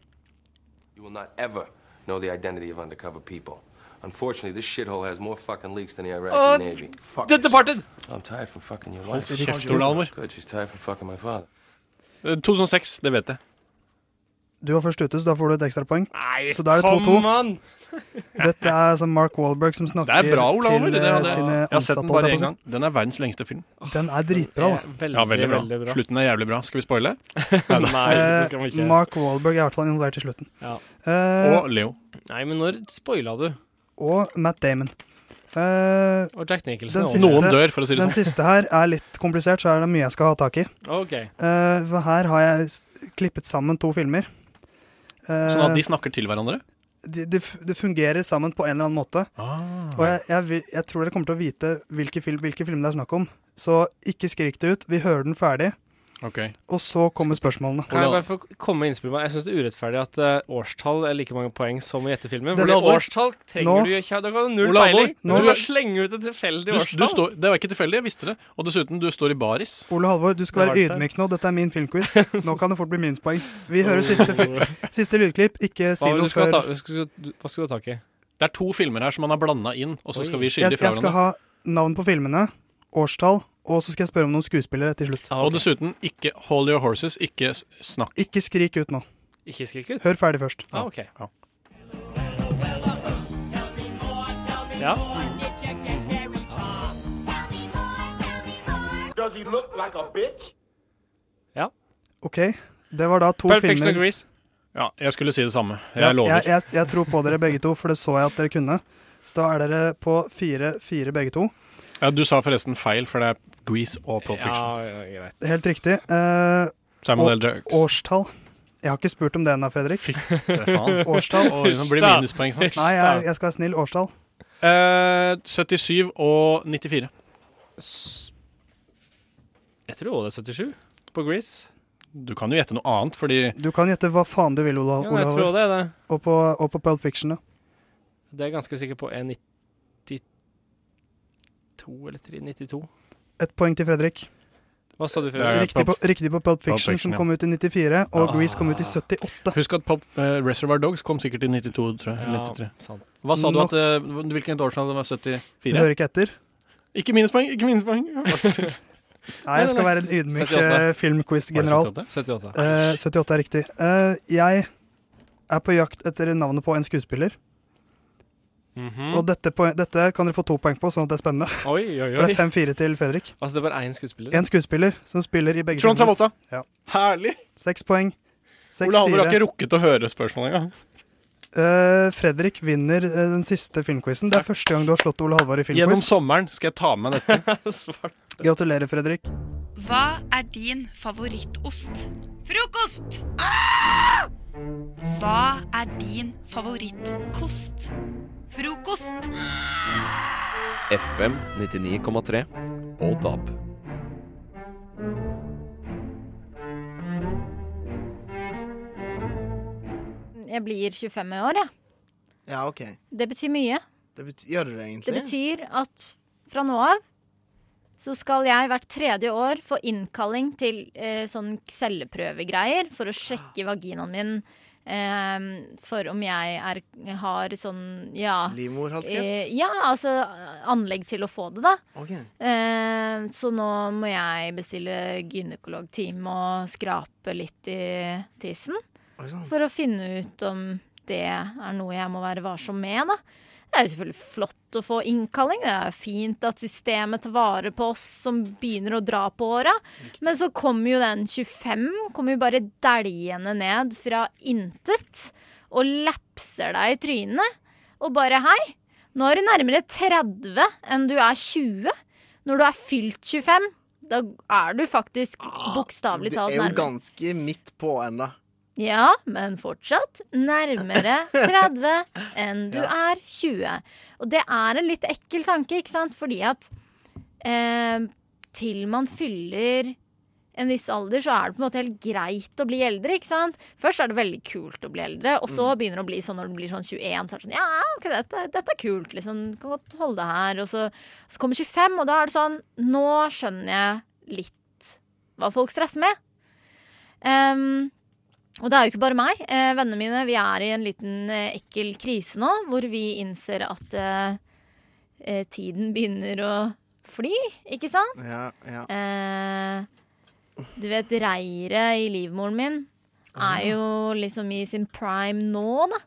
Speaker 9: You will not ever know the identity of undercover people. Unfortunately, this shithole has more fucking leaks than the Iraqi Navy. Fuck.
Speaker 8: The Departed!
Speaker 9: I'm tired from fucking your wife.
Speaker 4: Kjeft, Ole Almor.
Speaker 9: Good, she's tired from fucking my father.
Speaker 4: Eh, 2006, det vet jeg.
Speaker 3: Du var først ute, så da får du et ekstrapoeng.
Speaker 8: Nei,
Speaker 3: Så da er det
Speaker 8: kom
Speaker 3: 2-2.
Speaker 8: an!
Speaker 3: Dette er som Mark Wahlberg som
Speaker 4: Det
Speaker 3: snakker
Speaker 4: er bra, Ole Almor.
Speaker 3: til
Speaker 4: Det
Speaker 3: eh,
Speaker 4: hadde-
Speaker 3: sine
Speaker 4: Jeg har sett den
Speaker 3: ansatte. holdt
Speaker 4: bare
Speaker 3: jeg
Speaker 4: én
Speaker 3: på å
Speaker 4: gang. Den er verdens lengste film.
Speaker 3: si. Den er dritbra, da.
Speaker 8: Veldig,
Speaker 4: Ja, veldig bra.
Speaker 8: veldig bra.
Speaker 4: Slutten er jævlig bra. Skal vi
Speaker 2: <laughs>
Speaker 4: spoile?
Speaker 8: Nei, det skal man
Speaker 3: Eh,
Speaker 8: ikke.
Speaker 3: Mark Wahlberg er i hvert fall involvert i slutten.
Speaker 8: Ja.
Speaker 3: Eh,
Speaker 4: Og Leo.
Speaker 8: Nei, men når spoila du?
Speaker 3: og Matt Damon. Eh,
Speaker 8: Og Jack
Speaker 3: Den
Speaker 8: Nicholson også.
Speaker 3: siste-
Speaker 4: Noen dør, for å si det
Speaker 3: den
Speaker 4: sånn.
Speaker 3: siste her er litt komplisert, så er det mye jeg skal ha tak i.
Speaker 8: OK.
Speaker 3: Eh, for her har jeg s- klippet sammen to filmer. Eh,
Speaker 4: Sånn at de Sånn snakker til hverandre?
Speaker 3: de, de, f- de fungerer sammen på en eller annen måte.
Speaker 4: Ah.
Speaker 3: Og jeg, jeg, vil- jeg tror dere kommer til å vite hvilke, film, hvilke film det er snakk om. Så ikke skrik det ut. Vi hører den ferdig,
Speaker 4: Ok.
Speaker 3: og så kommer spørsmålene.
Speaker 2: Kan jeg bare få komme med innspill? med- Jeg syns det er urettferdig at eh, årstall er like mange poeng som i gjettefilmen. Fordi
Speaker 3: Olav, hvor-
Speaker 2: årstall trenger
Speaker 3: Nå-
Speaker 2: du ikke ha- Da kan du ha null
Speaker 4: Olav,
Speaker 2: peiling.
Speaker 3: nå-
Speaker 2: Du kan slenge ut et tilfeldig
Speaker 4: Du, du
Speaker 2: årstall.
Speaker 4: står, det var ikke tilfeldig, jeg visste det. Og dessuten, du står i baris.
Speaker 3: Ole Halvor, du skal
Speaker 2: Det
Speaker 3: være
Speaker 2: var det.
Speaker 3: ydmyk nå. Dette er min filmquiz. Nå kan det fort bli minuspoeng. Vi hører siste, fi- siste lydklipp. Ikke si
Speaker 2: Hva, var det
Speaker 3: noe
Speaker 2: du skulle
Speaker 3: eh, før
Speaker 2: ha ta, du skulle, du, hva skulle du ha tak i?
Speaker 4: Det er to filmer her som han har blanda inn, og så skal vi skille
Speaker 3: jeg,
Speaker 4: de fra
Speaker 3: jeg skal
Speaker 4: hverandre.
Speaker 3: ha navn på filmene, årstall, og så skal jeg spørre om noen skuespillere til slutt.
Speaker 2: Ah,
Speaker 4: Og
Speaker 2: ok.
Speaker 4: dessuten, ikke hold your horses, ikke s- snakk.
Speaker 3: Ikke skrik ut nå.
Speaker 2: Ikke skrik ut.
Speaker 3: Hør ferdig først.
Speaker 2: Ah, ok.
Speaker 4: Ja.
Speaker 2: Ja.
Speaker 10: Does he look like a bitch?
Speaker 3: OK, det var da to
Speaker 2: Perfection
Speaker 3: filmer
Speaker 2: agrees.
Speaker 4: Ja, jeg skulle si det samme. Jeg
Speaker 3: Ja,
Speaker 4: lover.
Speaker 3: Jeg, jeg, jeg tror på dere begge to, for det så jeg at dere kunne. Så da er dere på fire, fire begge to.
Speaker 4: Ja, du sa forresten feil, for det er Grease og Pulp Fiction.
Speaker 2: Ja, ja, greit.
Speaker 3: Helt riktig. Eh,
Speaker 4: Samuel
Speaker 3: og-
Speaker 4: L. Jackson.
Speaker 3: årstall. Jeg har ikke spurt om det ennå, Fredrik.
Speaker 4: Fitte faen.
Speaker 3: <laughs> Årstall.
Speaker 4: Oi, nå blir det minuspoeng snart.
Speaker 3: Nei, jeg, jeg skal være snill. Årstall.
Speaker 4: Eh, 77 og 94.
Speaker 2: S- Jeg tror også det er 77 på Grease.
Speaker 4: Du kan jo gjette noe annet, fordi
Speaker 3: Du kan gjette hva faen du vil, Ola.
Speaker 2: Ja, jeg
Speaker 3: Ola
Speaker 2: tror det er det.
Speaker 3: og, på, og på Pulp Fiction. da.
Speaker 2: Det er jeg ganske sikker på. Er 92 eller 3? 92?
Speaker 3: Et poeng til Fredrik.
Speaker 2: Hva sa du,
Speaker 4: Ja,
Speaker 2: Fredrik?
Speaker 3: Riktig på,
Speaker 4: Pulp-
Speaker 3: riktig på Pulp Fiction,
Speaker 4: Fiction,
Speaker 3: som
Speaker 4: ja. Ah.
Speaker 3: kom ut i 94, og Grease kom ut i 78.
Speaker 4: Husk at Pulp, eh, Reservoir Dogs kom sikkert i 92, tror jeg. eller 93.
Speaker 2: sant.
Speaker 4: Hva sa du
Speaker 3: Nok-
Speaker 4: at eh, Hvilket årstall det var?
Speaker 3: Du
Speaker 4: 74?
Speaker 3: hører ikke etter?
Speaker 4: Ikke minuspoeng! Ikke minuspoeng!
Speaker 3: <laughs>
Speaker 4: <laughs>
Speaker 3: Nei, jeg skal være en ydmyk
Speaker 2: 78.
Speaker 3: eh, filmquiz-general.
Speaker 2: 78.
Speaker 3: Eh, 78 er riktig. Eh, jeg er på jakt etter navnet på en skuespiller.
Speaker 4: Mm.
Speaker 3: Og dette, poen- dette kan dere få to poeng på, sånn at det er spennende.
Speaker 2: Mhm. Oi, oi,
Speaker 3: For
Speaker 2: oi.
Speaker 3: det er 5-4 til Fredrik.
Speaker 2: Altså, det er bare én skuespiller.
Speaker 3: En skuespiller som spiller i begge
Speaker 4: Trond
Speaker 3: filmene.
Speaker 4: Travolta.
Speaker 3: Ja.
Speaker 4: Herlig!
Speaker 3: Seks poeng.
Speaker 4: Ole Halvor har
Speaker 3: 6-4.
Speaker 4: ikke rukket å høre spørsmålet engang.
Speaker 3: Eh, Fredrik vinner eh, den siste filmquizen. Det er første gang du har slått Ole Halvor i
Speaker 4: Gjennom
Speaker 3: filmquiz.
Speaker 4: sommeren skal jeg ta med dette. <laughs>
Speaker 3: Gratulerer, Fredrik.
Speaker 11: Hva er din favorittost? Frokost! Hva er din favorittkost? Frokost.
Speaker 1: FM 99,3 og DAB.
Speaker 12: Jeg blir 25 i år, jeg.
Speaker 13: Ja, OK.
Speaker 12: Det betyr mye.
Speaker 13: Det bet gjør det det,
Speaker 12: Det
Speaker 13: egentlig?
Speaker 12: betyr at fra nå av så skal jeg hvert tredje år få innkalling til eh, sånn celleprøvegreier for å sjekke vaginaen min eh, for om jeg er, har sånn ja, eh,
Speaker 13: Livmorhalskreft?
Speaker 12: ja, altså anlegg til å få det, da.
Speaker 13: OK.
Speaker 12: Eh, så nå må jeg bestille gynekologtime og skrape litt i tissen.
Speaker 13: Oi sann.
Speaker 3: sånn.
Speaker 12: For å finne ut om det er noe jeg må være varsom med, da. Det er jo selvfølgelig flott å få innkalling. Det er fint at systemet tar vare på oss som begynner å dra på åra. Men så kommer jo den 25, kommer jo bare dæljende ned fra intet. Og lapser deg i trynet. Og bare hei, nå er du nærmere 30 enn du er 20. Når du er fylt 25, da er du faktisk bokstavelig
Speaker 13: Du
Speaker 12: talt
Speaker 13: Ah, er jo
Speaker 12: nærmere.
Speaker 13: ganske midt på ennå.
Speaker 12: Ja, men fortsatt nærmere 30 enn du er 20. Og det er en litt ekkel tanke, ikke sant? Fordi at eh, til man fyller en viss alder, så er det på en måte helt greit å bli eldre, ikke sant? Først er det veldig kult å bli eldre, og så begynner det å bli sånn når du blir sånn 21, så er det sånn ja, ok, dette, dette er kult, liksom, du kan godt holde det her. Og så, så kommer 25, og da er det sånn, nå skjønner jeg litt hva folk stresser med. Ehm, og det er jo ikke bare meg. Eh, vennene mine, vi er i en liten eh, ekkel krise nå, hvor vi innser at eh, eh, tiden begynner å fly, ikke sant?
Speaker 13: Ja, ja.
Speaker 12: Eh, du vet, reiret i livmoren min
Speaker 13: Ah.
Speaker 12: er jo liksom i sin prime nå, da.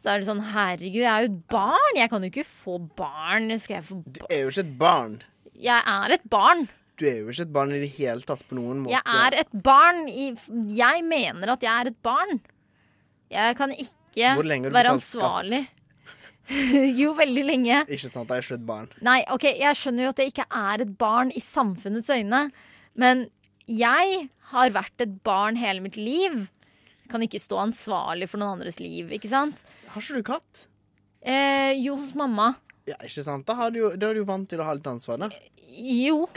Speaker 12: Så er det sånn, herregud, jeg er jo et barn. Jeg kan jo ikke få barn. Skal jeg få
Speaker 13: Du
Speaker 12: barn?
Speaker 13: er jo ikke et barn.
Speaker 12: Jeg er et barn.
Speaker 13: Du er jo ikke et barn i det hele tatt på noen måte.
Speaker 12: Jeg er et barn. i- Jeg mener at jeg er et barn. Jeg kan ikke
Speaker 13: Hvor lenge har du
Speaker 12: være
Speaker 13: betalt skatt?
Speaker 12: ansvarlig. <laughs> jo, veldig lenge.
Speaker 13: Ikke sant, jeg er ikke et barn.
Speaker 12: Nei, ok, jeg skjønner jo at jeg ikke er et barn i samfunnets øyne, men jeg har vært et barn hele mitt liv. kan ikke stå ansvarlig for noen andres liv, ikke sant?
Speaker 13: Har ikke du katt?
Speaker 12: Eh, jo, hos mamma.
Speaker 13: Ja, ikke sant? Da, har du, jo- da er du jo vant til å ha litt ansvar, da. <laughs>
Speaker 12: Jo.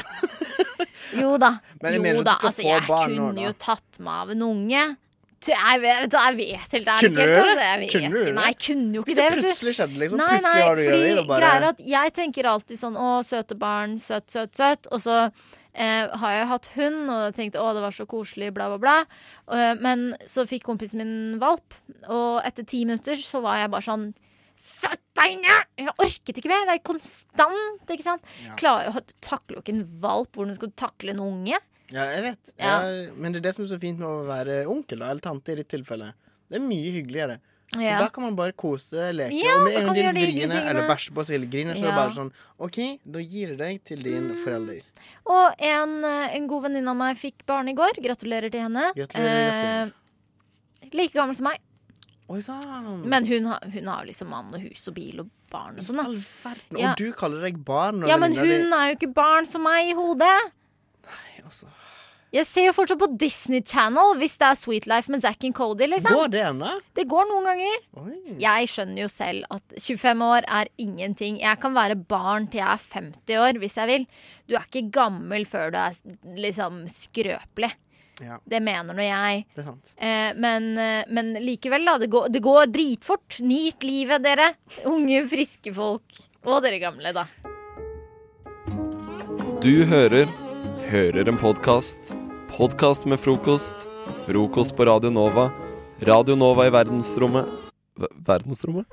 Speaker 12: Jo da.
Speaker 13: Men jeg
Speaker 12: jo
Speaker 13: mener du
Speaker 12: da.
Speaker 13: skal
Speaker 12: Altså,
Speaker 13: få
Speaker 12: jeg
Speaker 13: barn nå,
Speaker 12: kunne
Speaker 13: da.
Speaker 12: jo tatt meg av en unge. Ty- Jeg vet, jeg vet helt ærlig
Speaker 13: Kunne
Speaker 12: ikke.
Speaker 13: du det?
Speaker 12: helt, Altså, jeg vet
Speaker 13: Kunne du
Speaker 12: ikke.
Speaker 13: det?
Speaker 12: Nei, jeg kunne jo ikke
Speaker 13: Hvis det
Speaker 12: vet du.
Speaker 13: plutselig skjedde, liksom.
Speaker 12: Nei,
Speaker 13: Plutselig har du
Speaker 12: nei, fordi
Speaker 13: gjort det, og bare-
Speaker 12: greia er at jeg tenker alltid sånn Å, søte barn, søt, søt, søt. Og så eh, har jeg hatt hund og tenkt å, det var så koselig, bla, bla, bla. Eh, men så fikk kompisen min valp, og etter ti minutter så var jeg bare sånn Sett deg ned! Jeg orket ikke mer. Det er konstant, ikke sant.
Speaker 13: Ja.
Speaker 12: Klarer, takler jo ikke en valp. Hvordan skal du takle en unge?
Speaker 13: Ja, jeg vet.
Speaker 12: Ja.
Speaker 13: Jeg, men det er det som er så fint med å være onkel da, eller tante i ditt tilfelle. Det er mye hyggeligere. For
Speaker 12: Ja.
Speaker 13: da kan man bare kose, leke.
Speaker 12: Ja,
Speaker 13: og med
Speaker 12: da
Speaker 13: en
Speaker 12: kan
Speaker 13: gang
Speaker 12: du
Speaker 13: de
Speaker 12: gjøre de
Speaker 13: litt
Speaker 12: hyggelige
Speaker 13: vriene eller
Speaker 12: tingene.
Speaker 13: bæsjer på sildegriner, så er det
Speaker 12: Ja. Mm.
Speaker 13: bare sånn OK, da gir jeg deg til din forelder.
Speaker 12: Og en, eh, en god venninne av meg fikk barn i går. Gratulerer til henne.
Speaker 13: Gratulerer,
Speaker 12: Eh, like gammel som meg.
Speaker 13: Oi sann.
Speaker 12: Men hun, har- hun har liksom mann og hus og bil og barn og sånn. da. Ja.
Speaker 13: Og du kaller deg barn. og
Speaker 12: ja, men
Speaker 13: venninna
Speaker 12: hun er jo ikke barn som meg i hodet.
Speaker 13: di- altså,
Speaker 12: Jeg ser jo fortsatt på Disney Channel hvis det er Sweet Life med Zack and Cody. liksom
Speaker 13: Går det ennå?
Speaker 12: Det går noen ganger.
Speaker 13: Oi.
Speaker 12: Jeg skjønner jo selv at 25 år er ingenting. Jeg kan være barn til jeg er 50 år hvis jeg vil. Du er ikke gammel før du er liksom skrøpelig.
Speaker 13: Ja,
Speaker 12: Det mener nå jeg.
Speaker 13: det er sant.
Speaker 12: Eh, men, eh, men likevel, da. Det går, det går dritfort. Nyt livet, dere. Unge, friske folk. Og dere gamle, da.
Speaker 1: Du hører Hører en podkast. Podkast med frokost. Frokost på Radio Nova. Radio Nova i verdensrommet Ver- Verdensrommet?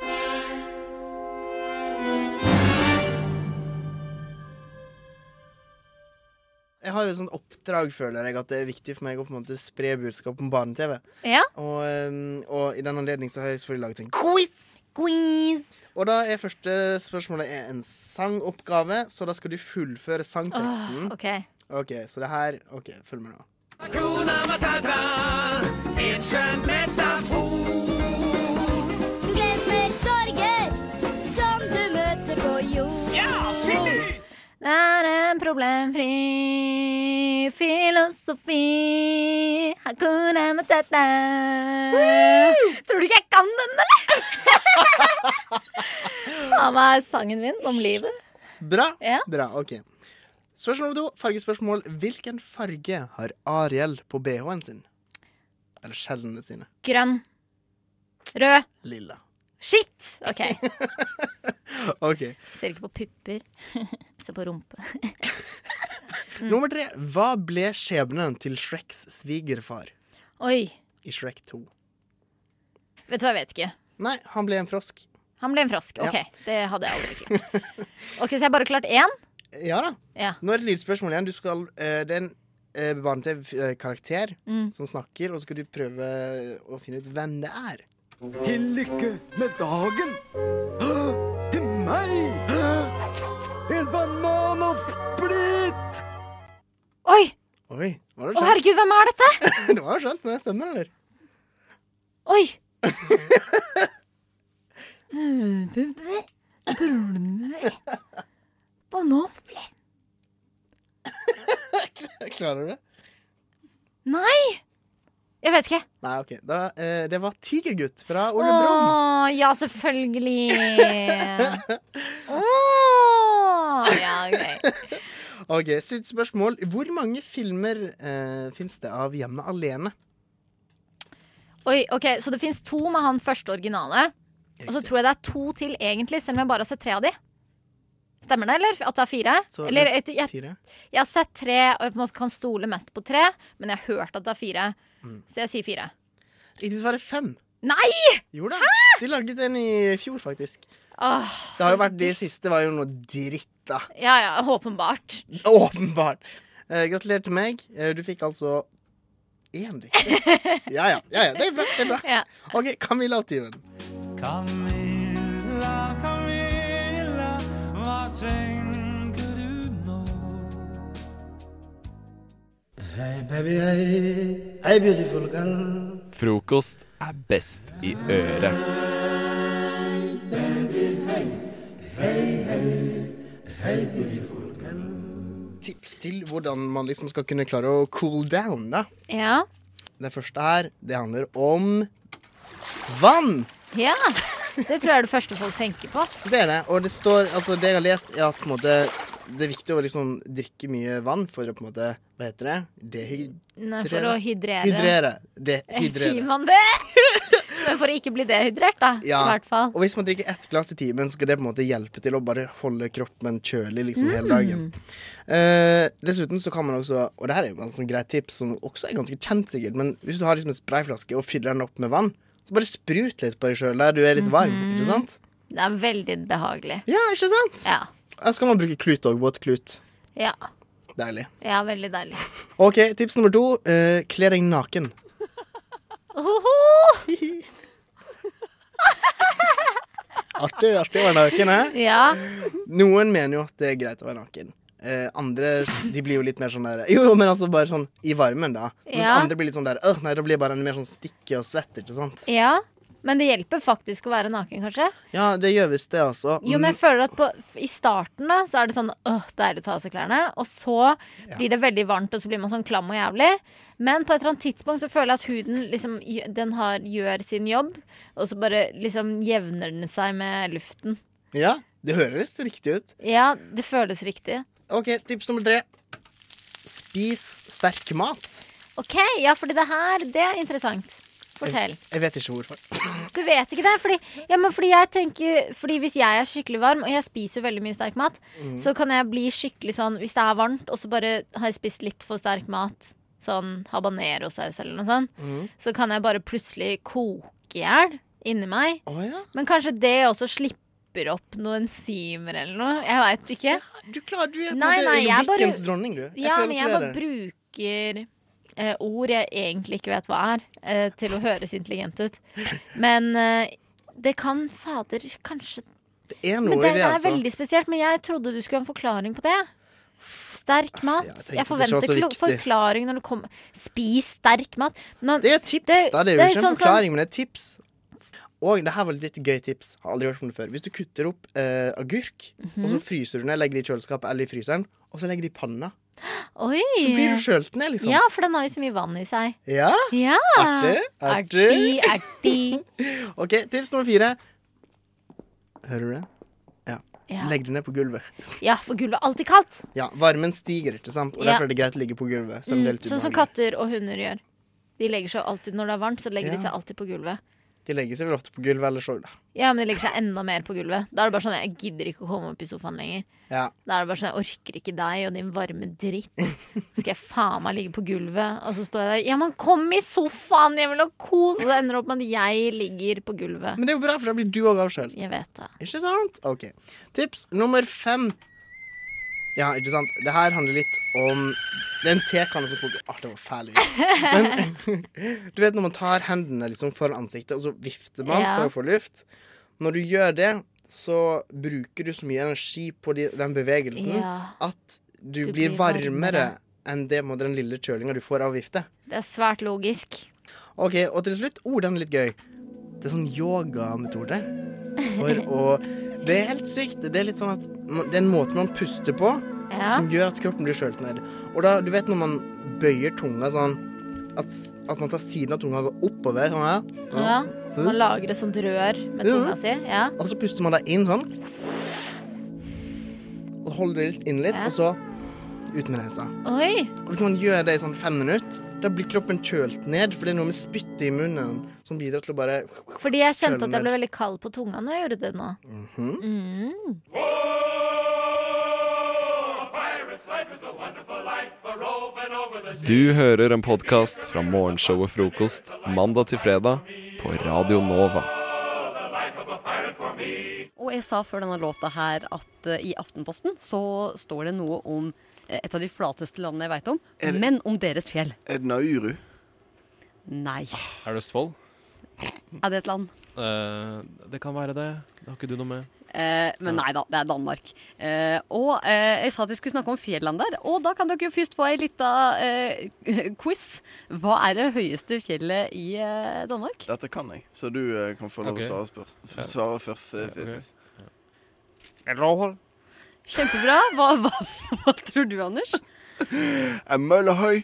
Speaker 13: Jeg har jo et sånt oppdrag, føler jeg, at det er viktig for meg å på en måte spre budskap om barne-TV.
Speaker 12: Ja.
Speaker 13: Og, øhm, og i den anledning så har jeg selvfølgelig laget en quiz. Og da er første spørsmålet er en sangoppgave, så da skal du fullføre sangteksten.
Speaker 12: Åh, ok.
Speaker 13: OK, så det her OK, følg med nå.
Speaker 14: Du glemmer sorger som du møter på jord.
Speaker 12: Det er en problemfri filosofi. Hakuna matata. Tror du ikke jeg kan den, eller?
Speaker 13: <laughs>
Speaker 12: Faen meg sangen min om livet.
Speaker 13: Bra.
Speaker 12: Ja.
Speaker 13: Bra, OK. Spørsmål nummer to. Fargespørsmål. Hvilken farge har Ariel på BH-en sin? Eller skjellene sine?
Speaker 12: Grønn. Rød.
Speaker 13: Lilla.
Speaker 12: Shit! OK.
Speaker 13: <laughs> OK.
Speaker 12: Ser ikke på pupper. <laughs> Ser på rumpe. Mm.
Speaker 13: Nummer tre. Hva ble skjebnen til Shreks svigerfar
Speaker 12: Oi.
Speaker 13: i Shrek 2?
Speaker 12: Vet du hva, jeg vet ikke.
Speaker 13: Nei, han ble en frosk.
Speaker 12: Han ble en frosk. OK,
Speaker 13: Ja.
Speaker 12: det hadde jeg aldri klart. OK, Så jeg har bare klart én?
Speaker 13: Ja da.
Speaker 12: Ja.
Speaker 13: Nå er det lydspørsmål igjen. Du skal, eh, det er en eh, barne-TV-karakter
Speaker 12: Mm.
Speaker 13: som snakker, og så skal du prøve eh, å finne ut hvem det er.
Speaker 15: Til lykke med dagen. Til meg. En banan og splitt.
Speaker 12: Oi!
Speaker 13: Oi, var
Speaker 12: Å,
Speaker 13: det skjønt?
Speaker 12: herregud, hvem er dette?
Speaker 13: det var jo skjønt, men det stemmer, eller?
Speaker 12: Oi! Banan?
Speaker 13: <laughs> Klarer du det?
Speaker 12: Nei! Jeg vet ikke.
Speaker 13: Nei, OK. Da, eh, det var Tigergutt fra Ole
Speaker 12: Åh,
Speaker 13: Brumm.
Speaker 12: ja, selvfølgelig. Åh, ja, ok.
Speaker 13: <laughs> OK, sitt spørsmål. Hvor mange filmer eh, fins det av Hjemme alene?
Speaker 12: Oi, ok, Så det fins to med han første originale. Og så tror jeg det er to til, egentlig, selv om jeg bare har sett tre av de. Stemmer det, eller? At det er fire?
Speaker 13: Så-
Speaker 12: eller, et, jeg,
Speaker 13: Fire?
Speaker 12: jeg har sett tre, og jeg på en måte kan stole mest på tre, men jeg har hørt at det er fire.
Speaker 13: Mm.
Speaker 12: Så jeg sier fire.
Speaker 13: Riktig svar er fem.
Speaker 12: Nei!
Speaker 13: Jo da. De laget en i fjor, faktisk.
Speaker 12: Åh,
Speaker 13: Det har jo vært De siste var jo noe dritt, da. <laughs>
Speaker 12: ja, ja, åpenbart.
Speaker 13: Åpenbart. Eh, gratulerer til meg. Eh, du fikk altså én riktig. Ja, ja, ja, ja. Det er bra. det er bra
Speaker 12: Ja.
Speaker 13: OK, Camilla og Tyven.
Speaker 15: Camilla, Camilla, hva tenker du nå?
Speaker 16: Hey baby, hey, hey beautiful girl.
Speaker 1: Frokost er best i øret.
Speaker 13: Tips til hvordan man liksom skal kunne klare å cool down, da.
Speaker 12: Ja.
Speaker 13: Den første her, det handler om vann.
Speaker 12: Ja. Det tror jeg er det første folk tenker på.
Speaker 13: Det er det. Og det står Altså, det jeg har lest, er at på en måte det er viktig å liksom drikke mye vann for å på en måte Hva heter det?
Speaker 12: Nei,
Speaker 13: Dehydrere.
Speaker 12: for å hydrere.
Speaker 13: Hydrere.
Speaker 12: <laughs> Eh, Sier
Speaker 13: Dehydrere.
Speaker 12: man det? Men for å ikke bli dehydrert, da.
Speaker 13: Ja.
Speaker 12: I hvert fall.
Speaker 13: Og hvis man drikker ett glass i timen, skal det på en måte hjelpe til å bare holde kroppen kjølig liksom
Speaker 12: Mm.
Speaker 13: hele dagen. Eh, dessuten så kan man også, og det her er jo et sånn greit tips som også er ganske kjent sikkert, men hvis du har liksom en sprayflaske og fyller den opp med vann, så bare sprut litt på deg sjøl der du er litt
Speaker 12: Mhm.
Speaker 13: varm, ikke sant?
Speaker 12: Mm. Det er veldig behagelig.
Speaker 13: Ja, ikke sant?
Speaker 12: Ja.
Speaker 13: Og så kan man bruke klut òg, våt klut.
Speaker 12: Ja.
Speaker 13: Deilig.
Speaker 12: ja veldig deilig.
Speaker 13: OK, tips nummer to. eh, Kle deg naken.
Speaker 12: Ohoho!
Speaker 13: Artig, artig å være naken, hæ?
Speaker 12: Ja.
Speaker 13: Noen mener jo at det er greit å være naken. Eh, andre de blir jo litt mer sånn der Jo, jo, men altså bare sånn i varmen, da. Mens
Speaker 12: Ja.
Speaker 13: andre blir litt sånn der «Åh, Nei, da blir jeg bare mer sånn stikke og svett, ikke sant?
Speaker 12: ja. Men det hjelper faktisk å være naken, kanskje.
Speaker 13: Ja, det gjør visst det, altså.
Speaker 12: Jo, men jeg føler at på, i starten da, så er det sånn åh, deilig å ta av seg klærne. Og så blir det veldig varmt, og så blir man sånn klam og jævlig. Men på et eller annet tidspunkt så føler jeg at huden liksom, gj- den har, gjør sin jobb, og så bare liksom jevner den seg med luften.
Speaker 13: Ja, det høres riktig ut.
Speaker 12: Ja, det føles riktig.
Speaker 13: OK, tips nummer tre. Spis sterk mat.
Speaker 12: OK, ja, fordi det her, det er interessant. Fortell.
Speaker 13: Jeg, jeg vet ikke hvorfor.
Speaker 12: Du vet ikke det? Fordi, ja, men fordi jeg tenker Fordi hvis jeg er skikkelig varm, og jeg spiser jo veldig mye sterk mat,
Speaker 13: Mhm.
Speaker 12: så kan jeg bli skikkelig sånn hvis det er varmt, og så bare har jeg spist litt for sterk mat, sånn habanerosaus eller noe sånt, så kan jeg bare plutselig koke i hjel inni meg. Men kanskje det også slipper opp noen enzymer eller noe. Jeg veit ikke.
Speaker 13: Du klarer, du er på en
Speaker 12: Nei,
Speaker 13: måte
Speaker 12: nei, jeg bare-
Speaker 13: logikkens dronning, du. Jeg
Speaker 12: Ja,
Speaker 13: føler
Speaker 12: men
Speaker 13: at
Speaker 12: jeg
Speaker 13: du er
Speaker 12: bare
Speaker 13: det.
Speaker 12: bruker eh, ord jeg egentlig ikke vet hva er, eh, til å høres intelligent ut. Men eh, det kan fader kanskje
Speaker 13: Det er noe
Speaker 12: Men
Speaker 13: i
Speaker 12: det,
Speaker 13: det,
Speaker 12: det er
Speaker 13: altså.
Speaker 12: veldig spesielt. Men jeg trodde du skulle ha en forklaring på det. Sterk mat.
Speaker 13: tenkte
Speaker 12: Jeg,
Speaker 13: det ikke var
Speaker 12: forventer
Speaker 13: så
Speaker 12: ikke noe
Speaker 13: viktig.
Speaker 12: forklaring når det kommer Spis sterk mat. Men,
Speaker 13: det er tips, Da, det er jo ikke en
Speaker 12: sånn som-
Speaker 13: forklaring, men det er tips. Og det her var et litt gøy tips. Har aldri hørt om det før. Hvis du kutter opp eh, agurk,
Speaker 12: Mhm.
Speaker 13: og så fryser du ned, legger det i kjøleskapet eller i fryseren, og så legger det i panna.
Speaker 12: Oi.
Speaker 13: Så blir du kjølt ned, liksom.
Speaker 12: Ja, for den har jo så mye vann i seg.
Speaker 13: Ja?
Speaker 12: Ja.
Speaker 13: Artig? Artig?
Speaker 12: Artig, artig.
Speaker 13: <laughs> OK, tips nummer fire. Hører du det? Ja.
Speaker 12: Ja.
Speaker 13: Legg det ned på gulvet.
Speaker 12: Ja, for gulvet er alltid kaldt.
Speaker 13: Ja, Varmen stiger, ikke sant? og
Speaker 12: Ja.
Speaker 13: derfor er det greit å ligge på gulvet. Selv om
Speaker 12: Mm,
Speaker 13: det er litt
Speaker 12: sånn som
Speaker 13: ubehagelig.
Speaker 12: katter og hunder gjør. De legger seg alltid når det er varmt, så legger de
Speaker 13: Ja.
Speaker 12: seg alltid på gulvet.
Speaker 13: De legger seg vel ofte på gulvet eller så, da.
Speaker 12: Ja, men de legger seg enda mer på gulvet. Da er det bare sånn Jeg gidder ikke å komme opp i sofaen lenger.
Speaker 13: Ja.
Speaker 12: Da er det bare sånn, jeg orker ikke deg og din varme dritt. Skal jeg faen meg ligge på gulvet? Og så står jeg der, ja, men kom i sofaen, jeg vil ha kos! Og det ender det opp med at jeg ligger på gulvet.
Speaker 13: Men det er jo bra, for da blir du òg avskjølt.
Speaker 12: Jeg vet det.
Speaker 13: Ikke sant? OK. Tips nummer fem. Ja, ikke sant. Det her handler litt om Det er en tekanne som koker Ah, det var
Speaker 12: <laughs>
Speaker 13: fæl lyd. Men <laughs> du vet når man tar hendene liksom foran ansiktet, og så vifter man
Speaker 15: Ja.
Speaker 13: for å få luft. Når du gjør det, så bruker du så mye energi på de, den bevegelsen
Speaker 12: Ja.
Speaker 13: at du,
Speaker 12: Du
Speaker 13: blir
Speaker 12: blir
Speaker 13: varmere,
Speaker 12: varmere.
Speaker 13: enn det med den lille kjølinga du får av å vifte.
Speaker 12: Det er svært logisk.
Speaker 13: OK, og til slutt Oh, den er litt gøy. Det er sånn
Speaker 12: <laughs>
Speaker 13: yogametode. For å Det er helt sykt. Det er litt sånn at man- Det er en måte man puster på
Speaker 15: Ja.
Speaker 13: som gjør at kroppen blir kjølt ned. Og da, du vet når man bøyer tunga sånn at, at man tar siden av tunga og går oppover sånn her.
Speaker 12: Ja.
Speaker 13: Så-
Speaker 12: Man lager et sånt rør med
Speaker 13: Ja.
Speaker 12: tunga si. Ja.
Speaker 13: Og så puster man deg inn sånn. Og holder det litt inn litt,
Speaker 12: Ja.
Speaker 13: og så ut med nesa.
Speaker 12: Oi!
Speaker 13: Og hvis man gjør det i sånn fem minutter, da blir kroppen kjølt ned, for det er noe med spyttet i munnen som bidrar til å bare
Speaker 12: Fordi jeg
Speaker 13: Kjøler
Speaker 12: kjente at jeg ble
Speaker 13: ned.
Speaker 12: veldig kald på tunga når jeg gjorde det nå.
Speaker 13: Mhm.
Speaker 12: Mm.
Speaker 1: Du hører en podkast fra morgenshowet Frokost mandag til fredag på Radio Nova.
Speaker 17: Og jeg sa før denne låta her at eh, i Aftenposten så står det noe om eh, et av de flateste landene jeg veit om,
Speaker 18: Er det-
Speaker 17: men om deres fjell.
Speaker 18: Er det Nauru?
Speaker 17: Nei.
Speaker 18: Ah.
Speaker 2: Er det Østfold?
Speaker 17: Er det et land?
Speaker 19: Eh,
Speaker 2: det kan være det. Det har ikke du
Speaker 4: <laughs>
Speaker 2: noe med.
Speaker 17: Eh, men nei da, det er Danmark. Eh, og eh, jeg sa at jeg skulle snakke om Fjelland der, og da kan dere jo først få ei lita eh, <laughs> quiz. Hva er det høyeste fjellet i eh, Danmark?
Speaker 18: Dette kan jeg, så du eh, kan få lov
Speaker 2: Ok.
Speaker 18: å svare, spørs- f- svare først. eh, Fridtjof.
Speaker 17: <laughs> Kjempebra. Hva, hva, hva tror du, Anders?
Speaker 18: En møllehøy.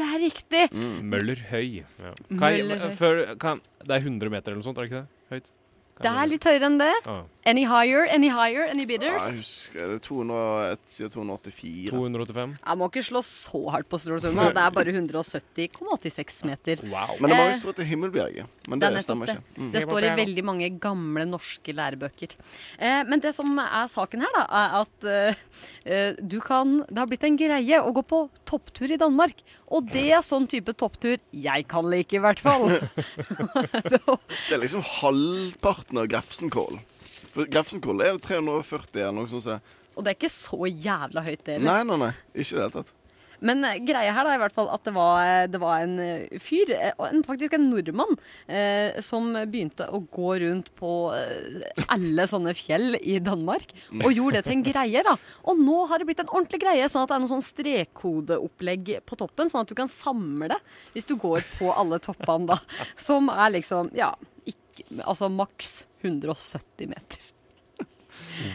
Speaker 17: Det er riktig!
Speaker 19: Møllerhøy. Mm. Ja. Kan jeg, eh,
Speaker 17: Møllerhøy.
Speaker 19: før, kan, det er 100 meter eller noe sånt, er det ikke det? Høyt? Kan
Speaker 17: Det
Speaker 19: jeg-
Speaker 17: er litt høyere enn det.
Speaker 19: Ah.
Speaker 17: Any higher, any higher, any
Speaker 18: Ja, jeg
Speaker 17: bidders?
Speaker 18: husker det. 200, et- siden 284.
Speaker 19: 285.
Speaker 17: Jeg må ikke slå så hardt på Storosumma. Det er bare 170,86 meter.
Speaker 18: Men det var
Speaker 17: Eh,
Speaker 18: jo stort til Himmelbjerget. Men
Speaker 17: Det
Speaker 18: det,
Speaker 17: er nettopp
Speaker 18: stemmer
Speaker 17: det.
Speaker 18: ikke. Mm.
Speaker 17: Det står i veldig mange gamle norske lærebøker. Eh, men det som er saken her, da, er at eh, eh, du kan Det har blitt en greie å gå på topptur i Danmark. Og det er sånn type topptur jeg kan like, i hvert
Speaker 18: <laughs>
Speaker 17: fall.
Speaker 18: Det er liksom halvparten av Grefsenkål. For Grefsenkål er det 340 eller noe sånt. som det.
Speaker 17: Og det er ikke så jævla høyt, det
Speaker 18: Nei,
Speaker 17: heller.
Speaker 18: nei, nei. Ikke i det hele tatt.
Speaker 17: Men eh, greia her da, i hvert fall at det var, det var en eh, fyr, eh, og en, faktisk en nordmann, eh, som begynte å gå rundt på eh, alle sånne fjell i Danmark, og gjorde det til en greie da. Og nå har det blitt en ordentlig greie, sånn at det er noen sånn strekkodeopplegg på toppen, sånn at du kan samle det hvis du går på alle toppene da, som er liksom, ja, ikke, altså maks 170 meter.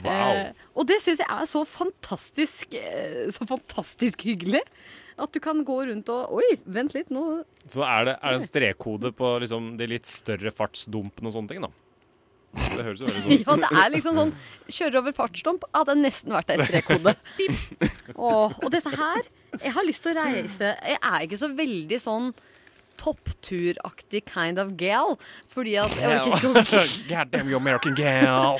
Speaker 17: Eh, og det syns jeg er så fantastisk, eh, så fantastisk hyggelig. At du kan gå rundt og Oi, vent litt, nå <laughs>
Speaker 19: Så er det, er det en strekkode på liksom, de litt større fartsdumpene og sånne ting, da. Det høres jo
Speaker 17: <laughs>
Speaker 19: veldig sånn ut.
Speaker 17: Ja, det er liksom
Speaker 19: <laughs>
Speaker 17: sånn Kjører over fartsdump. Ja, det har nesten vært ei strekkode. Pip. Åh, og dette her Jeg har lyst til å reise. Jeg er ikke så veldig sånn toppturaktig kind of gal, fordi at jeg orker
Speaker 19: <laughs>
Speaker 17: ikke å
Speaker 19: God damn you American
Speaker 17: <laughs>
Speaker 19: gal!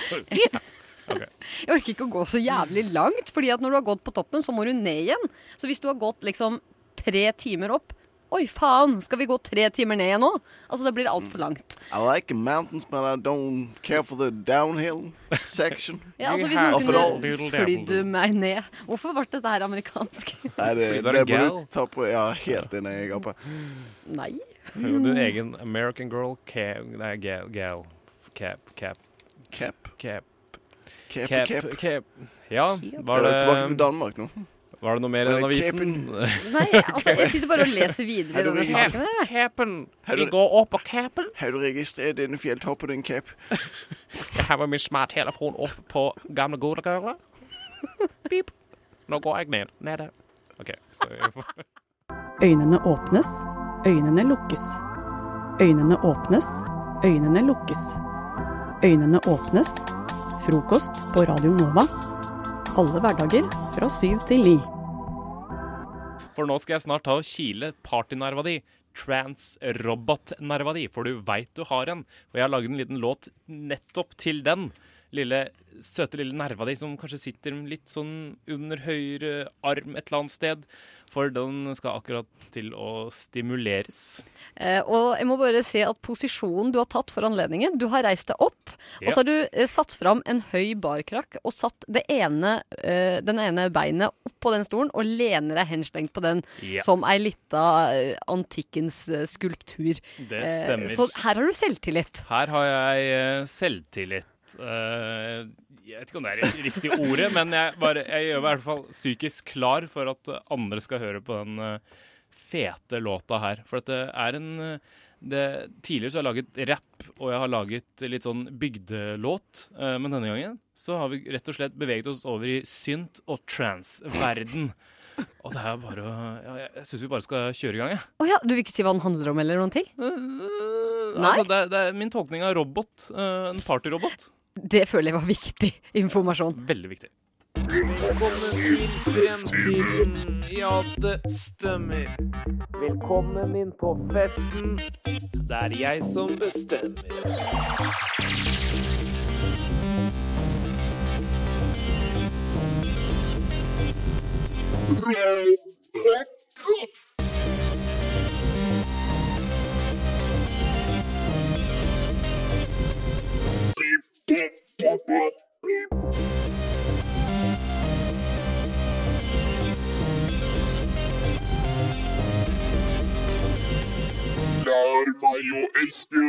Speaker 17: Jeg orker ikke å gå så jævlig langt, fordi at når du har gått på toppen, så må du ned igjen. Så hvis du har gått liksom tre timer opp Oi, faen! Skal vi gå tre timer ned igjen nå? Altså, det blir altfor langt.
Speaker 18: I like the mountains, but I don't care for the downhill section.
Speaker 17: Ja, altså Hvis
Speaker 18: Of it all.
Speaker 17: noen kunne flydd meg ned Hvorfor ble dette her amerikansk? <laughs>
Speaker 18: Nei, det,
Speaker 19: Fordi du er en
Speaker 18: det må
Speaker 19: gal.
Speaker 18: du eh, ta på Ja, helt enig, jeg, Gape.
Speaker 17: Nei.
Speaker 19: Jo,
Speaker 18: Mm.
Speaker 19: Din egen American girl ca Nei, gal, gal. Cap, cap.
Speaker 18: Cap.
Speaker 19: Cap.
Speaker 18: Cap,
Speaker 19: Cap,
Speaker 18: cap.
Speaker 19: cap. Ja, var
Speaker 18: Ja,
Speaker 19: det
Speaker 18: tilbake til Danmark nå.
Speaker 19: Var det noe mer i den
Speaker 18: Var det
Speaker 19: avisen? <laughs>
Speaker 17: Nei, altså, jeg sitter bare og leser videre i denne
Speaker 18: Heroin.
Speaker 17: saken. her.
Speaker 18: Vi
Speaker 19: går opp på capen.
Speaker 18: Har du registrert denne fjelltoppen, din cap?
Speaker 19: Jeg har min smarttelefon opp på gamle gode gøra. Pip. Nå går jeg ned. Nede. OK.
Speaker 20: Øynene åpnes, øynene lukkes. Øynene åpnes, øynene lukkes. Øynene åpnes. Frokost på Radio Nova. Alle hverdager fra syv til ni.
Speaker 19: For nå skal jeg snart ta og kile partynerva di. Trans-robot-nerva di, for du veit du har en. Og jeg har laget en liten låt nettopp til den. Lille, søte lille nerva di som kanskje sitter litt sånn under høyre arm et eller annet sted. For den skal akkurat til å stimuleres.
Speaker 17: Eh, og jeg må bare se at posisjonen du har tatt for anledningen Du har reist deg opp, og så har du eh, satt fram en høy barkrakk og satt det ene, eh, den ene beinet oppå den stolen og lener deg henslengt på den
Speaker 19: Ja.
Speaker 17: som ei lita eh, antikkens eh, skulptur.
Speaker 19: Det
Speaker 17: Eh,
Speaker 19: stemmer.
Speaker 17: så her har du selvtillit.
Speaker 19: Her har jeg eh, selvtillit. Eh, jeg vet ikke om det er det riktige ordet, men jeg, bare, jeg gjør meg i hvert fall psykisk klar for at eh, andre skal høre på den eh, fete låta her. For at det er en eh, det, Tidligere så har jeg laget rap, og jeg har laget litt sånn bygdelåt. eh, men denne gangen så har vi rett og slett beveget oss over i synt- og trans-verden. Og det er bare å ja, Jeg, jeg syns vi bare skal kjøre i gang, jeg.
Speaker 17: Å ja, du vil ikke si hva den handler om eller noen ting? Nei?
Speaker 19: Altså, det, er- det er min tolkning av robot. eh, en partyrobot.
Speaker 17: Det føler jeg var viktig informasjon.
Speaker 19: Veldig viktig.
Speaker 15: Velkommen til fremtiden. Ja, det stemmer. Velkommen inn på festen. Det er jeg som
Speaker 16: Mm-hmm.
Speaker 15: bestemmer.
Speaker 10: Lær meg å elske.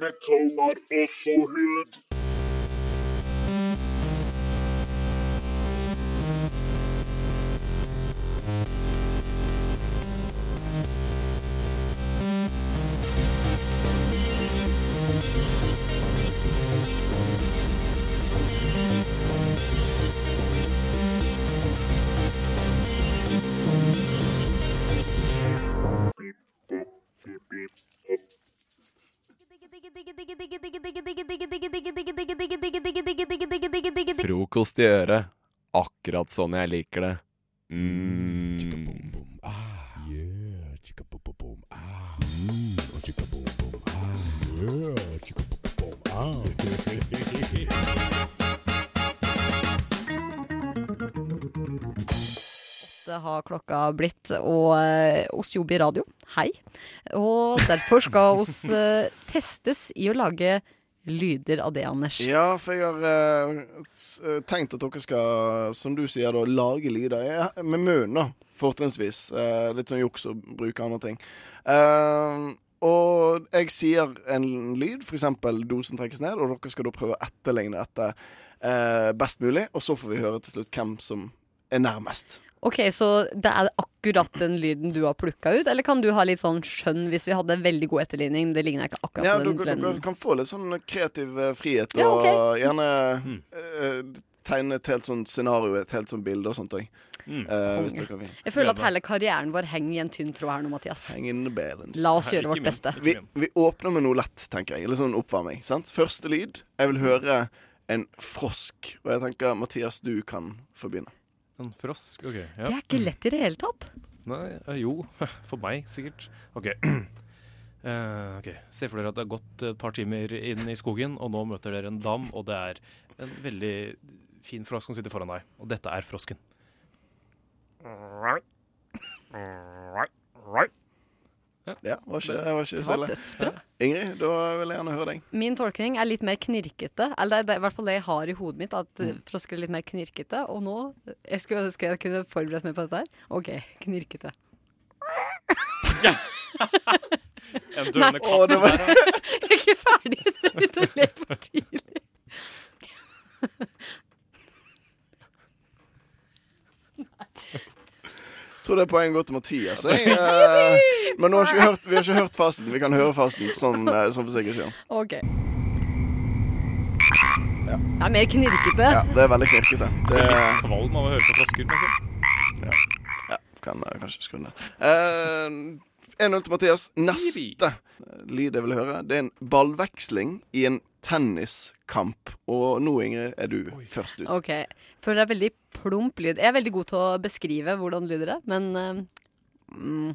Speaker 10: Metall har også hud.
Speaker 1: Frokost i øret. Akkurat sånn jeg liker det. Mm.
Speaker 17: åtte har klokka blitt, og eh, oss jobber i radio. Hei. Og derfor skal
Speaker 18: <laughs>
Speaker 17: oss eh, testes i å lage lyder av det, Anders.
Speaker 18: Ja, for jeg har eh, s- eh, tenkt at dere skal, som du sier, da, lage lyder Jeg- med munnen, da, fortrinnsvis. Eh, litt sånn juks og bruke andre ting. Eh, og jeg sier en lyd, f.eks. dosen trekkes ned, og dere skal da prøve å etterligne dette eh, best mulig. Og så får vi høre til slutt hvem som er nærmest.
Speaker 17: Ok, Så det er akkurat den lyden du har plukka ut, eller kan du ha litt sånn skjønn hvis vi hadde veldig god etterligning? men Det ligner ikke akkurat
Speaker 18: Ja,
Speaker 17: på den.
Speaker 18: dere, dere
Speaker 17: den.
Speaker 18: kan få litt sånn kreativ eh, frihet,
Speaker 17: Ja, ok.
Speaker 18: og gjerne eh, tegne et helt sånn scenario, et helt sånn bilde og sånt òg. Eh, hvis dere vil.
Speaker 17: Jeg føler at hele karrieren vår henger i en tynn tråd her nå, Mathias.
Speaker 18: Hang in the balance.
Speaker 17: La oss gjøre vårt beste.
Speaker 18: Vi, vi åpner med noe lett, tenker jeg. Litt sånn oppvarming. sant? Første lyd. Jeg vil høre en frosk. Og jeg tenker, Mathias, du kan få begynne.
Speaker 19: En Sånn frosk, ok. Ja.
Speaker 17: Det er ikke lett i det hele tatt.
Speaker 19: Nei, eh, jo. <laughs> For meg, sikkert. OK. <clears throat> Eh, ok. Se for dere at det har gått et par timer inn i skogen, og nå møter dere en dam, og det er en veldig fin frosk som sitter foran deg. Og dette er frosken.
Speaker 18: Ja, var ikke, var ikke
Speaker 17: Det
Speaker 18: så
Speaker 17: var
Speaker 18: ille.
Speaker 17: dødsbra.
Speaker 18: Ingrid, da vil jeg gjerne høre deg.
Speaker 17: Min tolkning er litt mer knirkete. Eller det er i hvert fall det jeg har i hodet mitt, at eh, frosker er litt mer knirkete. Og nå Jeg skulle ønske jeg kunne forberedt meg på dette her. OK, knirkete.
Speaker 19: <laughs>
Speaker 17: <laughs>
Speaker 19: En døende katt.
Speaker 17: Å, det var- <laughs> Jeg er ikke ferdig, så jeg begynte å le for tidlig.
Speaker 18: Tror det er poeng går til
Speaker 17: <laughs>
Speaker 18: Mathias. Jeg. Eh, men nå har ikke vi, hørt, vi har ikke hørt fasten. Vi kan høre fasten, sånn, eh, sånn for sikkerhets skyld.
Speaker 17: OK. Det er mer knirkete.
Speaker 18: Ja, det er veldig knirkete. Det
Speaker 19: Litt kvalm av å høre på frosker, kanskje.
Speaker 18: Ja. ja kan eh, kanskje skru ned. Eh, 1-0 til Mathias. Neste lyd jeg vil høre, det er en ballveksling i en tenniskamp. Og nå, Ingrid, er du først ut.
Speaker 17: OK. Føler det er veldig plump lyd. Jeg er veldig god til å beskrive hvordan lyder det, men eh, mm.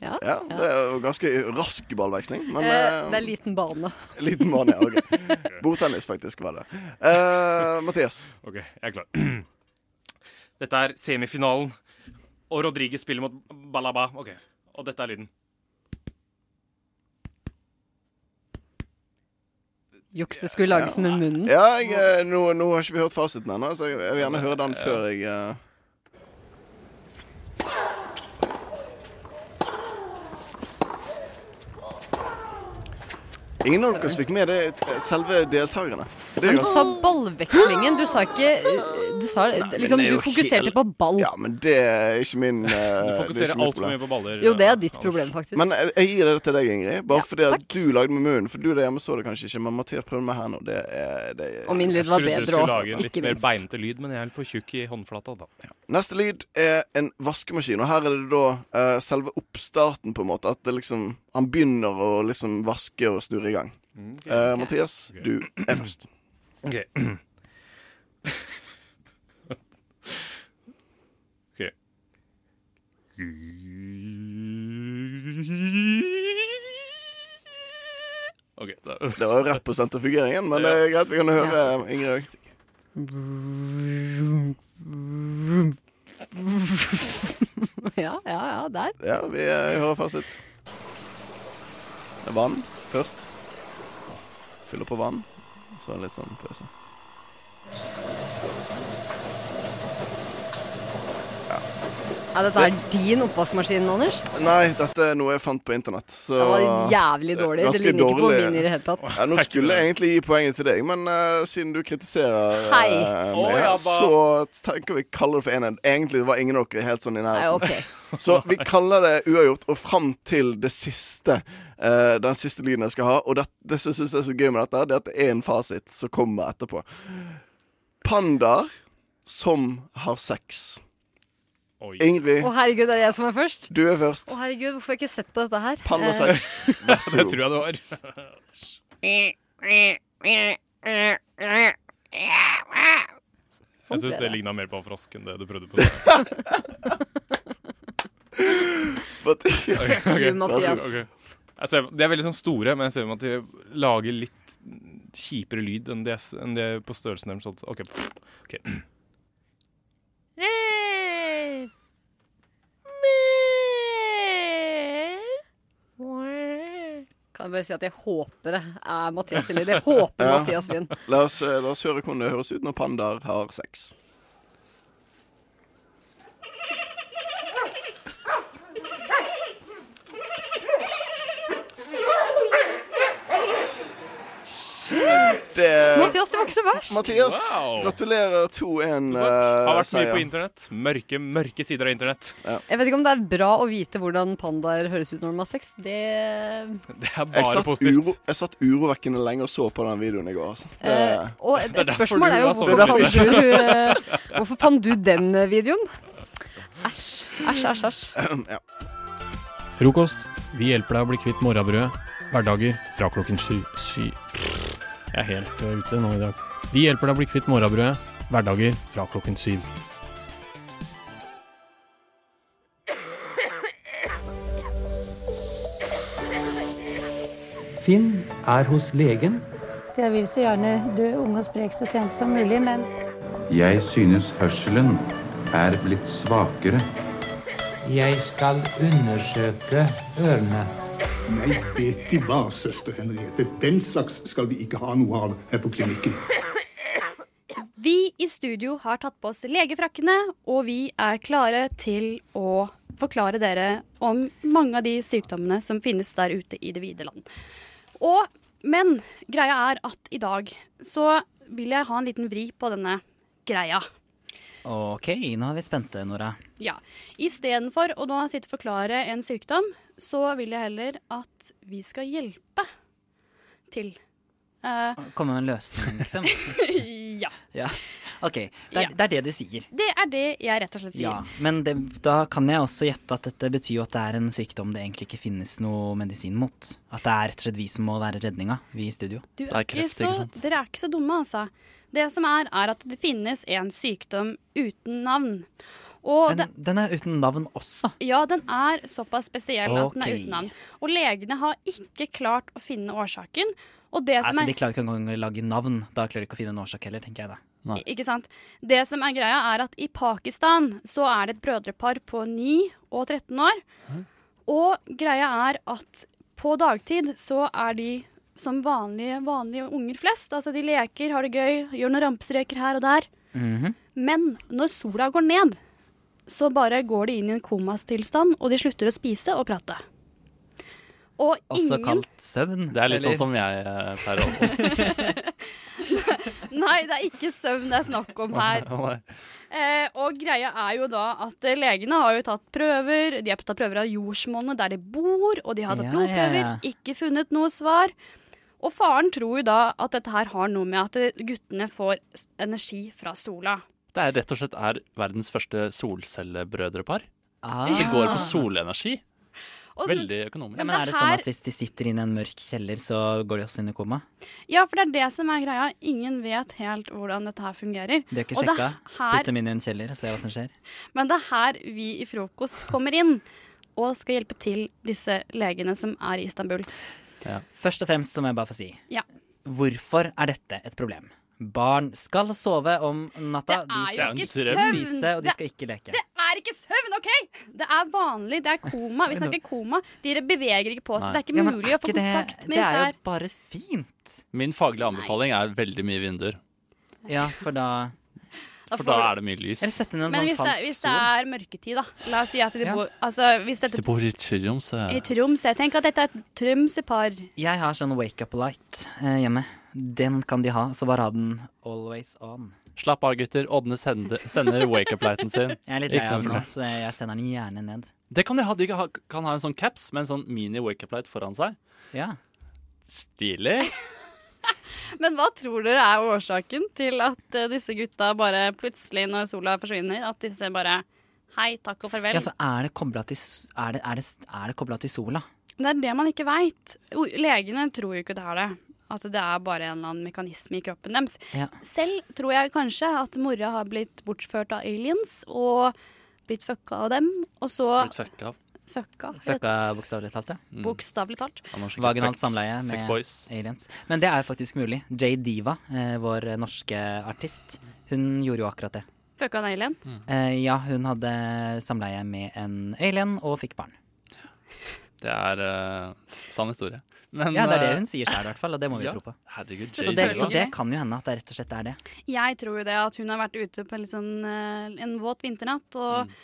Speaker 17: Ja.
Speaker 18: Ja, det er jo ganske rask ballveksling, men
Speaker 17: Eh,
Speaker 18: eh,
Speaker 17: Det er liten bane.
Speaker 18: liten bane.
Speaker 19: <laughs>
Speaker 18: ja, OK. Bordtennis, faktisk, var det. Eh, Mathias.
Speaker 19: OK, jeg
Speaker 17: <clears throat>
Speaker 19: er klar. Dette er semifinalen, og Rodriguez spiller mot Balaba. OK, og dette er lyden.
Speaker 17: Juks det skulle lages med munnen.
Speaker 18: Ja, jeg, eh, nå, nå har ikke vi hørt fasiten ennå, så jeg, jeg vil gjerne høre den før jeg eh, Ingen av dere fikk med det eh, selve deltakerne. Det er
Speaker 17: Men du
Speaker 18: ganske-
Speaker 17: sa ballvekslingen. Du sa ikke Du, sa,
Speaker 18: men
Speaker 17: liksom,
Speaker 18: det er
Speaker 17: du
Speaker 18: jo
Speaker 17: fokuserte
Speaker 18: helt-
Speaker 17: på ball.
Speaker 18: Ja, men det er ikke min
Speaker 19: Du
Speaker 18: eh, det er
Speaker 19: fokuserer
Speaker 18: ikke mitt
Speaker 19: altfor mye
Speaker 18: problem.
Speaker 19: på baller.
Speaker 17: Jo, det er ditt problem, faktisk.
Speaker 18: Men eh, jeg jeg gir det til deg, Ingrid. Bare fordi at du lagde med munnen. For du der hjemme så det kanskje ikke, men Mathias prøvde meg her nå. Det er, det er
Speaker 17: Og min lyd
Speaker 19: Jeg
Speaker 17: var
Speaker 19: trodde du
Speaker 17: bedre
Speaker 19: skulle
Speaker 17: også,
Speaker 19: lage en litt
Speaker 17: ikke
Speaker 19: mer
Speaker 17: minst.
Speaker 19: beinete lyd, men jeg er litt for tjukk i håndflata, da.
Speaker 18: Neste lyd er en vaskemaskin, og her er det da eh, selve oppstarten, på en måte. At det liksom Han begynner å liksom vaske og snurre i gang.
Speaker 19: Mm,
Speaker 18: Eh, Mathias, du er først.
Speaker 19: OK. <clears throat> OK. Ok, da.
Speaker 18: Det var jo rett på sentrifugeringen, men det er greit. Vi kan høre eh, Ingrid òg.
Speaker 17: <laughs> ja, ja, ja, der.
Speaker 18: Ja, vi eh, hører fasit. Det er vann først. Fyller på vann. Så litt sånn pøse.
Speaker 17: Ja, dette er din oppvaskmaskin, Anders.
Speaker 18: Nei, dette er noe jeg fant på internett. Så
Speaker 17: Det var jævlig dårlig. Det
Speaker 18: Ganske
Speaker 17: ligner ikke på
Speaker 18: dårlig.
Speaker 17: min i det hele tatt.
Speaker 18: Ja, nå skulle jeg egentlig gi poenget til deg, men eh, siden du kritiserer eh,
Speaker 17: Hei.
Speaker 18: meg,
Speaker 17: Å, ja,
Speaker 18: så tenker vi kaller det for enhet. Egentlig var ingen av dere helt sånn i
Speaker 17: Nei,
Speaker 18: nærheten.
Speaker 17: ok.
Speaker 18: <laughs> Så vi kaller det uavgjort, og fram til det siste, eh, den siste lyden jeg skal ha. Og det, det som jeg synes er så gøy med dette, det er at det er en fasit som kommer etterpå. Pandaer som har sex. Ingrid,
Speaker 17: Å, herregud, er det jeg som er først?
Speaker 18: du er først.
Speaker 17: Å, herregud, hvorfor har jeg ikke sett på dette her? Eh,
Speaker 18: Pann og saks.
Speaker 17: <laughs>
Speaker 18: <laughs> Vær så god.
Speaker 19: Det tror jeg det var.
Speaker 17: Sånn
Speaker 15: Sånn
Speaker 19: jeg syns
Speaker 17: ble
Speaker 19: det
Speaker 17: det.
Speaker 19: ligna mer på en frosk enn det du prøvde på.
Speaker 18: Mathias.
Speaker 19: <laughs> Ok, ok.
Speaker 18: Du, Mathias.
Speaker 19: Ok. Jeg ser, de er veldig sånn store, men jeg ser for meg at de lager litt kjipere lyd enn de, er- enn de er på størrelsen deres. Sånn. Ok. ok.
Speaker 17: Kan jeg bare si at jeg håper det er Mathias sin lyd. Jeg håper
Speaker 18: Ja.
Speaker 17: Mathias vinn.
Speaker 18: La oss, eh, la oss høre hvordan det høres ut når pandaer har sex.
Speaker 17: Shit!
Speaker 18: Det-
Speaker 17: Mathias, det var ikke så verst.
Speaker 18: Mathias,
Speaker 19: Wow.
Speaker 18: gratulerer
Speaker 19: Tusen
Speaker 18: 2-1.
Speaker 19: takk. Har vært mye
Speaker 18: seier.
Speaker 19: på internett. Mørke, mørke sider av internett.
Speaker 17: Jeg vet ikke om det er bra å vite hvordan pandaer høres ut når de har sex. Det
Speaker 19: Det er
Speaker 18: Jeg
Speaker 19: bare
Speaker 18: satt,
Speaker 19: positivt.
Speaker 18: uro, jeg satt urovekkende lenge og så på den videoen i går. Altså.
Speaker 17: Eh, og et,
Speaker 19: Det er
Speaker 17: et
Speaker 19: derfor
Speaker 17: spørsmål
Speaker 19: du
Speaker 17: er jo
Speaker 19: har
Speaker 17: hvorfor
Speaker 19: sovet
Speaker 17: fant,
Speaker 19: lite.
Speaker 17: du, eh, hvorfor fant du den eh, videoen? Æsj, <laughs> æsj, æsj. æsj.
Speaker 4: Frokost. Vi hjelper deg å bli kvitt morrabrødet. Hverdager fra klokken sy... sy. Jeg er helt eh, ute nå i dag. Vi hjelper deg å bli kvitt morrabrødet. Hverdager fra klokken syv.
Speaker 21: Finn er hos legen.
Speaker 22: Jeg vil så gjerne dø ung og sprek så sent som mulig, men
Speaker 23: Jeg synes hørselen er blitt svakere.
Speaker 21: Jeg skal undersøke ørene.
Speaker 10: Nei, vet De hva, søster Henriette. Den slags skal vi ikke ha noe av her på klinikken.
Speaker 24: Vi i studio har tatt på oss legefrakkene, og vi er klare til å forklare dere om mange av de sykdommene som finnes der ute i det vide land. Og, men greia er at i dag så vil jeg ha en liten vri på denne greia.
Speaker 25: Ok, nå er vi spente, Nora.
Speaker 24: Ja. Istedenfor å da sitte og forklare en sykdom, så vil jeg heller at vi skal hjelpe til. Eh,
Speaker 25: Komme med en løsning, liksom.
Speaker 24: <laughs> ja.
Speaker 25: ja. Ok, det er, det er det du sier.
Speaker 24: Det er det jeg rett og slett sier.
Speaker 25: Ja, Men det, da kan jeg også gjette at dette betyr jo at det er en sykdom det egentlig ikke finnes noe medisin mot. At det er rett og slett vi som må være redninga, vi i studio.
Speaker 24: Du er ikke så, dere er ikke så dumme, altså. Det som er, er at det finnes en sykdom uten navn. Og det,
Speaker 25: Den er uten navn også.
Speaker 24: ja, den er såpass spesiell at den er
Speaker 25: Ok.
Speaker 24: uten navn. Og legene har ikke klart å finne årsaken. Og det som
Speaker 25: Altså,
Speaker 24: er,
Speaker 25: De klarer ikke engang å lage navn. Da klarer de ikke å finne en årsak heller, tenker jeg da.
Speaker 24: ikke sant? det som er greia, er at i Pakistan så er det et brødrepar på 9 og 13 år. Og greia er at på dagtid så er de som vanlige, vanlige unger flest. Altså de leker, har det gøy, gjør noen rampestreker her og der. Men når sola går ned, så bare går de inn i en komastilstand, og de slutter å spise og prate. Og
Speaker 25: Også
Speaker 24: ingen
Speaker 25: kalt søvn.
Speaker 26: Det er litt
Speaker 25: eller?
Speaker 26: sånn som jeg eh,
Speaker 24: <laughs>
Speaker 26: pleier å holde
Speaker 24: Nei, det er ikke søvn det er snakk om
Speaker 25: <laughs>
Speaker 24: her. Eh, og greia er jo da at eh, legene har jo tatt prøver. De har tatt prøver av jordsmonnet der de bor, og de har tatt
Speaker 25: Ja,
Speaker 24: blodprøver.
Speaker 25: ja, ja.
Speaker 24: Ikke funnet noe svar. Og faren tror jo da at dette her har noe med at eh, guttene får s- energi fra sola.
Speaker 26: Det er rett og slett er verdens første solcellebrødrepar. De går på solenergi.
Speaker 24: Og så-
Speaker 26: Veldig økonomisk.
Speaker 25: Ja, men
Speaker 24: Men
Speaker 25: er det
Speaker 24: det
Speaker 25: sånn
Speaker 24: her-
Speaker 25: at hvis de sitter inne i en mørk kjeller, så går de også inn i koma?
Speaker 24: Ja, for det er det som er greia. Ingen vet helt hvordan dette her fungerer.
Speaker 25: De har ikke
Speaker 24: Og det
Speaker 25: sjekka?
Speaker 24: her-
Speaker 25: Putt dem inn i en kjeller og se hva som skjer?
Speaker 24: Men det er her vi i Frokost kommer inn og skal hjelpe til disse legene som er i Istanbul.
Speaker 25: Først og fremst så må jeg bare få si
Speaker 24: Ja.
Speaker 25: hvorfor er dette et problem? Barn skal sove om natta.
Speaker 24: Det er jo
Speaker 25: de
Speaker 24: ikke
Speaker 25: skal
Speaker 24: søvn.
Speaker 25: spise, og
Speaker 24: Det-
Speaker 25: de skal ikke leke.
Speaker 24: Det er ikke søvn, OK?! Det er vanlig, det er koma. Vi snakker koma. De beveger ikke på seg. Det er ikke
Speaker 25: Ja, men
Speaker 24: mulig
Speaker 25: er
Speaker 24: å få
Speaker 25: ikke det-
Speaker 24: kontakt med
Speaker 25: Det er
Speaker 24: disse
Speaker 25: jo
Speaker 24: her.
Speaker 25: bare fint.
Speaker 26: Min faglige anbefaling er veldig mye vinduer.
Speaker 25: Ja, for da
Speaker 24: Da
Speaker 26: For
Speaker 24: får
Speaker 26: da
Speaker 24: du-
Speaker 26: er det mye lys.
Speaker 25: Eller sette inn en
Speaker 24: Men
Speaker 25: sånn
Speaker 24: hvis det,
Speaker 25: falsk
Speaker 24: hvis det
Speaker 25: stol.
Speaker 24: er mørketid, da. La oss si at de
Speaker 25: Ja.
Speaker 24: bor Altså, hvis
Speaker 26: Hvis
Speaker 24: dette
Speaker 26: de bor i Tyrium, så
Speaker 24: I Troms. Jeg tenker at dette er et Trømsø-par.
Speaker 25: Jeg har sånn wake-up-light eh, hjemme. Den kan de ha. Så bare ha den always on.
Speaker 26: Slapp av, gutter. Ådne sender, sender wake-up-lighten sin.
Speaker 25: Jeg er litt
Speaker 26: Ikke
Speaker 25: lei
Speaker 26: noe
Speaker 25: av den altså. nå,
Speaker 26: problem.
Speaker 25: så jeg sender den gjerne ned.
Speaker 26: Det kan de ha. De kan ha, kan ha en sånn caps med en sånn mini wake-up-light foran seg.
Speaker 25: Ja.
Speaker 26: Stilig.
Speaker 24: Men hva tror dere er årsaken til at eh, disse gutta bare plutselig, når sola forsvinner, at disse bare Hei, takk og farvel.
Speaker 25: Ja, for er det kobla til, s- er det, er det, er det koblet til sola?
Speaker 24: Det er det man ikke veit. Legene tror jo ikke det er det. At det er bare en eller annen mekanisme i kroppen deres.
Speaker 25: Ja.
Speaker 24: Selv tror jeg kanskje at mora har blitt bortført av aliens og blitt fucka av dem. Og så
Speaker 25: Blitt fucka av?
Speaker 24: Fucka. rett-
Speaker 25: Fucka bokstavelig talt, ja.
Speaker 24: Mm. Bokstavelig talt. Han har sikkert
Speaker 25: Vaginalt
Speaker 24: fuck-
Speaker 25: samleie med
Speaker 26: fuck boys.
Speaker 25: aliens. Men det er jo faktisk mulig. Jay Diva, eh, vår norske artist, hun gjorde jo akkurat det.
Speaker 24: Fucka en alien.
Speaker 26: Mm.
Speaker 25: Eh, ja, hun hadde samleie med en alien og fikk barn.
Speaker 26: Det er eh, sann historie. Men,
Speaker 25: ja, det er det
Speaker 26: eh,
Speaker 25: hun sier selv i hvert fall, og det må vi
Speaker 26: <laughs> ja,
Speaker 25: jo tro på.
Speaker 26: Herregud,
Speaker 25: så,
Speaker 26: Jay
Speaker 25: det,
Speaker 26: Diva.
Speaker 25: så det kan jo hende at det rett og slett er det.
Speaker 24: Jeg tror jo det at hun har vært ute på en, litt sånn, eh, en våt vinternatt
Speaker 25: Mm.
Speaker 24: og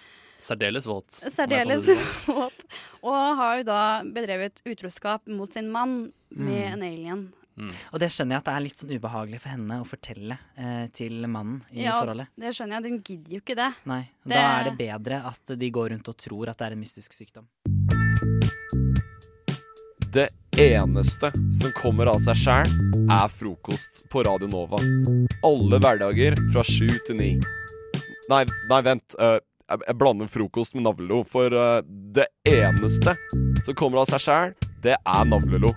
Speaker 26: Særdeles våt. om jeg får
Speaker 24: særdeles
Speaker 26: si det sånn.
Speaker 24: våt. Og har jo da bedrevet utroskap mot sin mann med
Speaker 25: Mm.
Speaker 24: en alien.
Speaker 25: Og det skjønner jeg at det er litt sånn ubehagelig for henne å fortelle eh, til mannen i
Speaker 24: Ja,
Speaker 25: forholdet.
Speaker 24: det skjønner jeg. Hun gidder jo ikke det.
Speaker 25: Nei,
Speaker 24: Det-
Speaker 25: Da er det bedre at de går rundt og tror at det er en mystisk sykdom.
Speaker 1: Det eneste som kommer av seg sjæl, er frokost på Radio Nova. Alle hverdager fra sju til ni. Nei, nei, vent. eh, jeg, jeg blander frokost med navlelo, for eh, det eneste som kommer av seg sjæl, det er navlelo.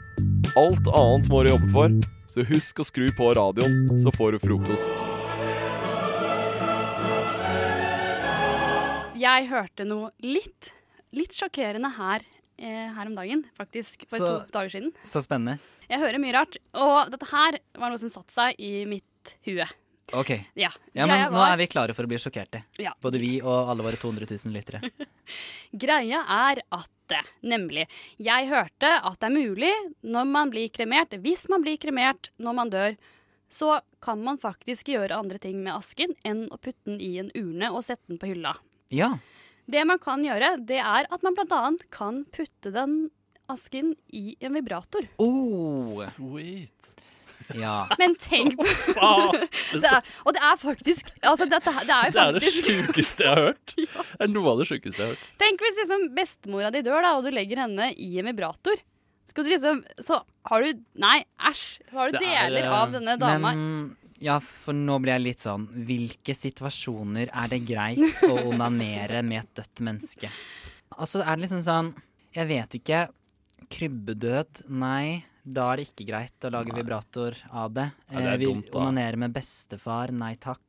Speaker 1: Alt annet må du jobbe for, så husk å skru på radioen, så får du frokost.
Speaker 24: Jeg hørte noe litt, litt sjokkerende her, eh, her om dagen, faktisk. For
Speaker 25: Så-
Speaker 24: to dager siden.
Speaker 25: Så spennende.
Speaker 24: Jeg hører mye rart. Og dette her var noe som satte seg i mitt hue.
Speaker 25: OK.
Speaker 24: Ja.
Speaker 25: Ja,
Speaker 24: Greia
Speaker 25: men nå
Speaker 24: var-
Speaker 25: er vi klare for å bli sjokkerte.
Speaker 24: Ja.
Speaker 25: Både vi og alle våre 200 000
Speaker 24: <laughs>
Speaker 25: lyttere.
Speaker 24: Greia er at eh, Nemlig. Jeg hørte at det er mulig når man blir kremert, hvis man blir kremert når man dør, så kan man faktisk gjøre andre ting med asken enn å putte den i en urne og sette den på hylla.
Speaker 25: Ja.
Speaker 24: Det man kan gjøre, det er at man bl.a. kan putte den asken i en vibrator.
Speaker 25: Oh. Ja.
Speaker 24: Men tenk på <laughs> det er, Og det er faktisk altså dette, her- det er jo
Speaker 26: <laughs> Det er det
Speaker 24: faktisk
Speaker 26: sjukeste jeg har
Speaker 25: <laughs>
Speaker 26: hørt. Det er noe av det sjukeste jeg har hørt.
Speaker 24: Tenk hvis liksom bestemora di dør, da, og du legger henne i en vibrator. Skal du liksom Så har du Nei, æsj. Så har du
Speaker 25: Det er,
Speaker 24: deler
Speaker 25: eh,
Speaker 24: av denne dama.
Speaker 25: Men ja, for nå blir jeg litt sånn Hvilke situasjoner er det
Speaker 24: <laughs>
Speaker 25: greit å onanere med et dødt menneske? Og så er det liksom sånn Jeg vet ikke. Krybbedød? Nei. Da er det ikke greit å lage vibrator av det.
Speaker 26: Ja, det er
Speaker 25: Eh, vi
Speaker 26: dumt, da.
Speaker 25: onanerer med bestefar. Nei takk.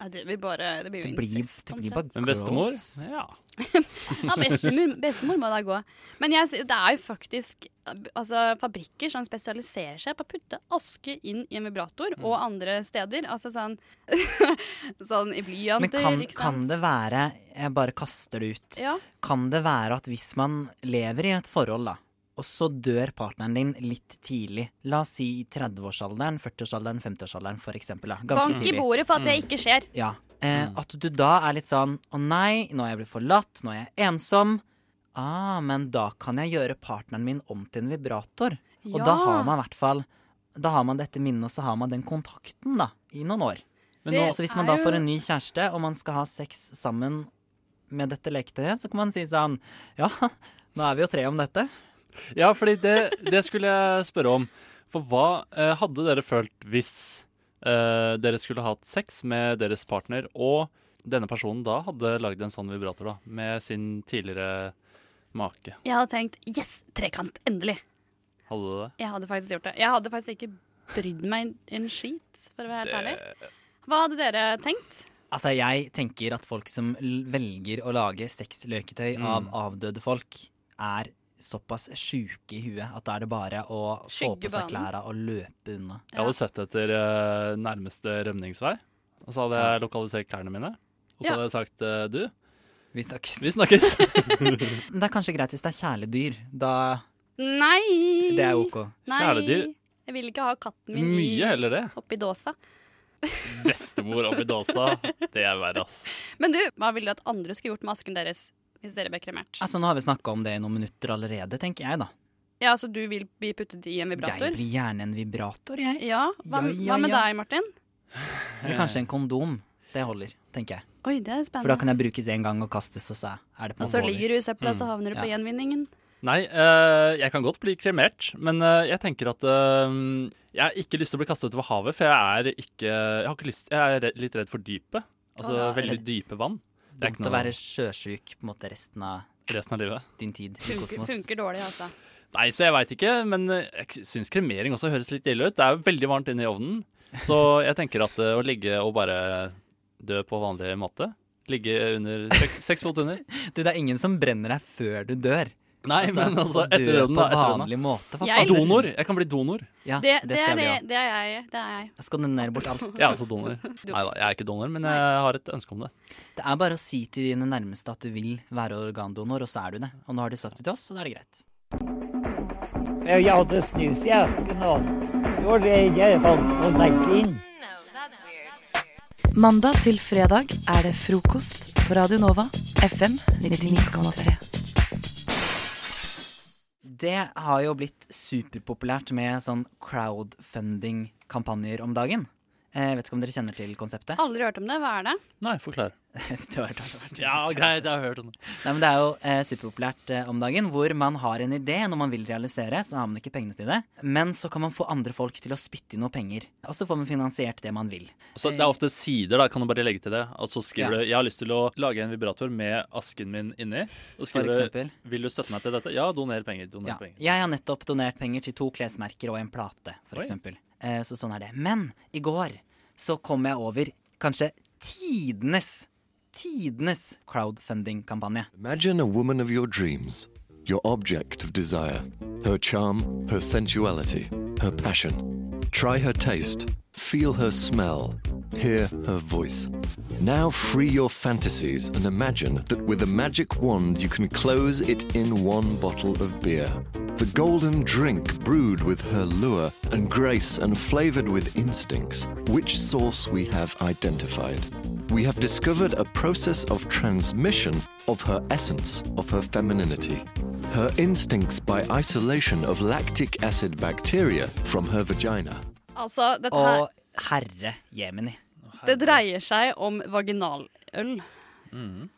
Speaker 24: Nei, det blir bare Det blir jo
Speaker 25: Det blir,
Speaker 24: incest.
Speaker 25: det blir
Speaker 24: omtrent.
Speaker 25: bare
Speaker 26: Men bestemor?
Speaker 25: gross.
Speaker 26: Ja.
Speaker 24: <laughs> Ja, bestemor, bestemor må da gå. Men jeg, sy- det er jo faktisk altså, fabrikker som spesialiserer seg på å putte aske inn i en vibrator,
Speaker 25: Mm.
Speaker 24: og andre steder. Altså sånn <laughs> Sånn i
Speaker 25: Men
Speaker 24: blyanter,
Speaker 25: kan,
Speaker 24: ikke
Speaker 25: kan
Speaker 24: sant.
Speaker 25: det være Jeg bare kaster det ut.
Speaker 24: Ja.
Speaker 25: Kan det være at hvis man lever i et forhold, da, og så dør partneren din litt tidlig, la oss si i 30-årsalderen, 40-årsalderen, 50-årsalderen for eksempel, da, ganske
Speaker 24: Bank i
Speaker 25: tidlig
Speaker 24: bordet for at det ikke skjer.
Speaker 25: Ja. Eh, at du da er litt sånn Å nei, nå er jeg blitt forlatt, nå er jeg ensom. Ah, men da kan jeg gjøre partneren min om til en vibrator. Og da
Speaker 24: Ja.
Speaker 25: har man i hvert fall Da har man dette minnet, og så har man den kontakten, da, i noen år.
Speaker 24: Men nå-
Speaker 25: så hvis man da
Speaker 24: Det er jo-
Speaker 25: får en ny kjæreste, og man skal ha sex sammen med dette leketøyet, så kan man si sånn Ja, <laughs> nå er vi jo tre om dette.
Speaker 26: Ja, fordi det, det skulle jeg spørre om. For hva eh, hadde dere følt hvis eh, dere skulle hatt sex med deres partner, og denne personen da hadde lagd en sånn vibrator da, med sin tidligere make?
Speaker 24: Jeg hadde tenkt yes, trekant, endelig.
Speaker 26: Hadde du det?
Speaker 24: Jeg hadde faktisk gjort det. Jeg hadde faktisk ikke brydd meg en, en skit, for å være helt ærlig. Hva hadde dere tenkt?
Speaker 25: Altså, jeg tenker at folk som l- velger å lage sexløketøy av
Speaker 26: Mm.
Speaker 25: avdøde folk, er såpass sjuke i huet at da er det bare å få på seg
Speaker 26: Skyggebanen.
Speaker 25: klærne og løpe unna.
Speaker 26: Jeg hadde sett etter eh, nærmeste rømningsvei, og så hadde jeg lokalisert klærne mine. Og så
Speaker 25: Ja.
Speaker 26: hadde jeg sagt eh, du.
Speaker 25: Vi snakkes.
Speaker 26: Vi snakkes.
Speaker 25: <laughs> Men det er kanskje greit hvis det er kjæledyr. Da
Speaker 24: Nei!
Speaker 25: Det er ok.
Speaker 24: Nei.
Speaker 26: Kjæledyr.
Speaker 24: Jeg vil ikke ha katten min i-
Speaker 26: Mye heller det.
Speaker 24: oppi dåsa.
Speaker 26: Bestemor oppi dåsa. Det er verre, ass.
Speaker 24: Men du, hva ville du at andre skulle gjort med asken deres hvis dere ble kremert?
Speaker 25: Altså, nå har vi snakka om det i noen minutter allerede, tenker jeg, da.
Speaker 24: Ja, så du vil bli puttet i en
Speaker 25: Jeg
Speaker 24: vibrator?
Speaker 25: blir gjerne en vibrator, jeg.
Speaker 24: Ja, hva,
Speaker 25: Ja, ja,
Speaker 24: hva med
Speaker 25: ja.
Speaker 24: deg, Martin?
Speaker 25: Eller kanskje en kondom. Det holder, tenker jeg.
Speaker 24: Oi, det er
Speaker 25: For da kan
Speaker 24: spennende.
Speaker 25: jeg brukes én gang og kastes, og så er det på
Speaker 24: Og så ligger du i søpla,
Speaker 26: Mm,
Speaker 24: så havner du på
Speaker 25: ja.
Speaker 24: gjenvinningen.
Speaker 26: Nei, eh, jeg kan godt bli kremert, men eh, jeg tenker at eh, Jeg har ikke lyst til å bli kastet utover havet, for jeg er ikke Jeg, har ikke lyst, jeg er redd, litt redd for dypet. Altså
Speaker 25: Å, ja,
Speaker 26: veldig
Speaker 25: redd.
Speaker 26: dype vann. Det er
Speaker 25: dumt
Speaker 26: ikke
Speaker 25: å
Speaker 26: noe-
Speaker 25: være sjøsjuk på en måte resten av, din tid i
Speaker 24: Funker,
Speaker 25: kosmos.
Speaker 24: funker dårlig, altså.
Speaker 26: Nei, så jeg veit ikke, men eh, jeg syns kremering også høres litt ille ut. Det er jo veldig varmt inne i ovnen, så
Speaker 25: <laughs>
Speaker 26: jeg tenker at eh, å ligge og bare dø på vanlig måte Ligge under seks, seks fot under.
Speaker 25: Du, det er ingen som brenner deg før du dør.
Speaker 26: Nei, men altså,
Speaker 25: å
Speaker 26: etter
Speaker 25: dø
Speaker 26: døden,
Speaker 25: På
Speaker 26: da, etter
Speaker 25: vanlig
Speaker 26: døden, da.
Speaker 25: måte. hva
Speaker 24: Jeg-
Speaker 25: faen?
Speaker 26: Donor. Jeg kan bli donor.
Speaker 25: Ja,
Speaker 24: Det,
Speaker 25: det
Speaker 24: det,
Speaker 25: skal
Speaker 24: er
Speaker 25: jeg bli
Speaker 24: det,
Speaker 25: òg.
Speaker 24: det er jeg. Det er jeg.
Speaker 25: Jeg skal donere bort alt.
Speaker 26: Jeg er også
Speaker 24: <laughs>
Speaker 26: donor. Nei da, jeg er ikke donor, men jeg har et ønske om det.
Speaker 25: Det er bare å si til dine nærmeste at du vil være organdonor, og så er du det. Og nå har du sagt det til oss, så da er det greit.
Speaker 3: Eh, Jeg hadde snus i esken, og det var det jeg fant å legge inn.
Speaker 27: Mandag til fredag er det frokost på Radio Nova, FM 99,3.
Speaker 25: Det har jo blitt superpopulært med sånn crowdfunding-kampanjer om dagen. Eh, vet ikke om dere kjenner til konseptet?
Speaker 24: Aldri hørt om det. Hva er det?
Speaker 26: Nei, forklar.
Speaker 25: <laughs> du har hørt om det? har du hørt om det.
Speaker 26: Ja, greit, jeg har hørt om det.
Speaker 25: Nei, men Det er jo eh, superpopulært eh, om dagen hvor man har en idé når man vil realisere, så har man ikke pengene til det. Men så kan man få andre folk til å spytte inn noe penger, og så får man finansiert det man vil.
Speaker 26: Så det er ofte sider, da, kan du bare legge til det. Og så skriver
Speaker 25: Ja.
Speaker 26: du 'Jeg har lyst til å lage en vibrator med asken min inni'. Og
Speaker 25: For
Speaker 26: skriver du
Speaker 25: eksempel.
Speaker 26: 'Vil du støtte meg til dette?' Ja, doner penger. Doner
Speaker 25: Ja.
Speaker 26: penger.
Speaker 25: Jeg har nettopp donert penger til to klesmerker og en plate,
Speaker 26: Oi.
Speaker 25: f.eks. Eh, så sånn er det. Men i går så kom jeg over kanskje tidenes, tidenes crowdfunding-kampanje.
Speaker 7: Imagine a woman of your dreams, your object of desire, her charm, her sensuality, her passion. Try her taste, feel her smell, hear her voice. Now free your fantasies and imagine that with a magic wand you can close it in one bottle of beer. The golden drink brewed with her lure and grace and flavored with instincts, which source we have identified we have discovered a process of transmission of her essence, of her femininity. Her instincts by isolation of lactic acid bacteria from her vagina.
Speaker 24: Altså, dette her
Speaker 25: Og herre jemini.
Speaker 24: Det dreier seg om vaginaløl.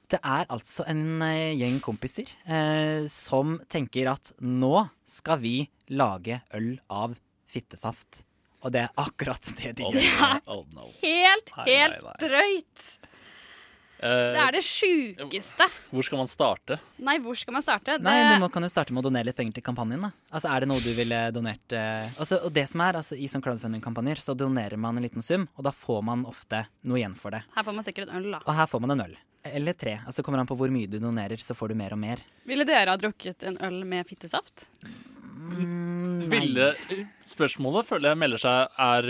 Speaker 25: Det er altså en eh, gjeng kompiser eh, som tenker at nå skal vi lage øl av fittesaft. Og det er akkurat det de
Speaker 24: Det er
Speaker 25: Oh,
Speaker 24: helt,
Speaker 25: Nei, nei,
Speaker 24: helt
Speaker 25: nei.
Speaker 24: drøyt! Det er det sjukeste.
Speaker 25: Eh, Hvor skal man starte?
Speaker 24: Nei, hvor skal man starte? Det,
Speaker 25: Nei, Du må, kan jo starte med å donere litt penger til kampanjen. da Altså, Er det noe du ville donert eh, altså, Og det som er, altså I sånne crowdfunding-kampanjer så donerer man en liten sum, og da får man ofte noe igjen for det.
Speaker 24: Her får man sikkert en øl, da.
Speaker 25: Og her får man en øl. Eller tre. Altså Kommer an på hvor mye du donerer, så får du mer og mer.
Speaker 24: Ville dere ha drukket en øl med fittesaft?
Speaker 25: Mm,
Speaker 26: Ville Spørsmålet føler jeg melder seg er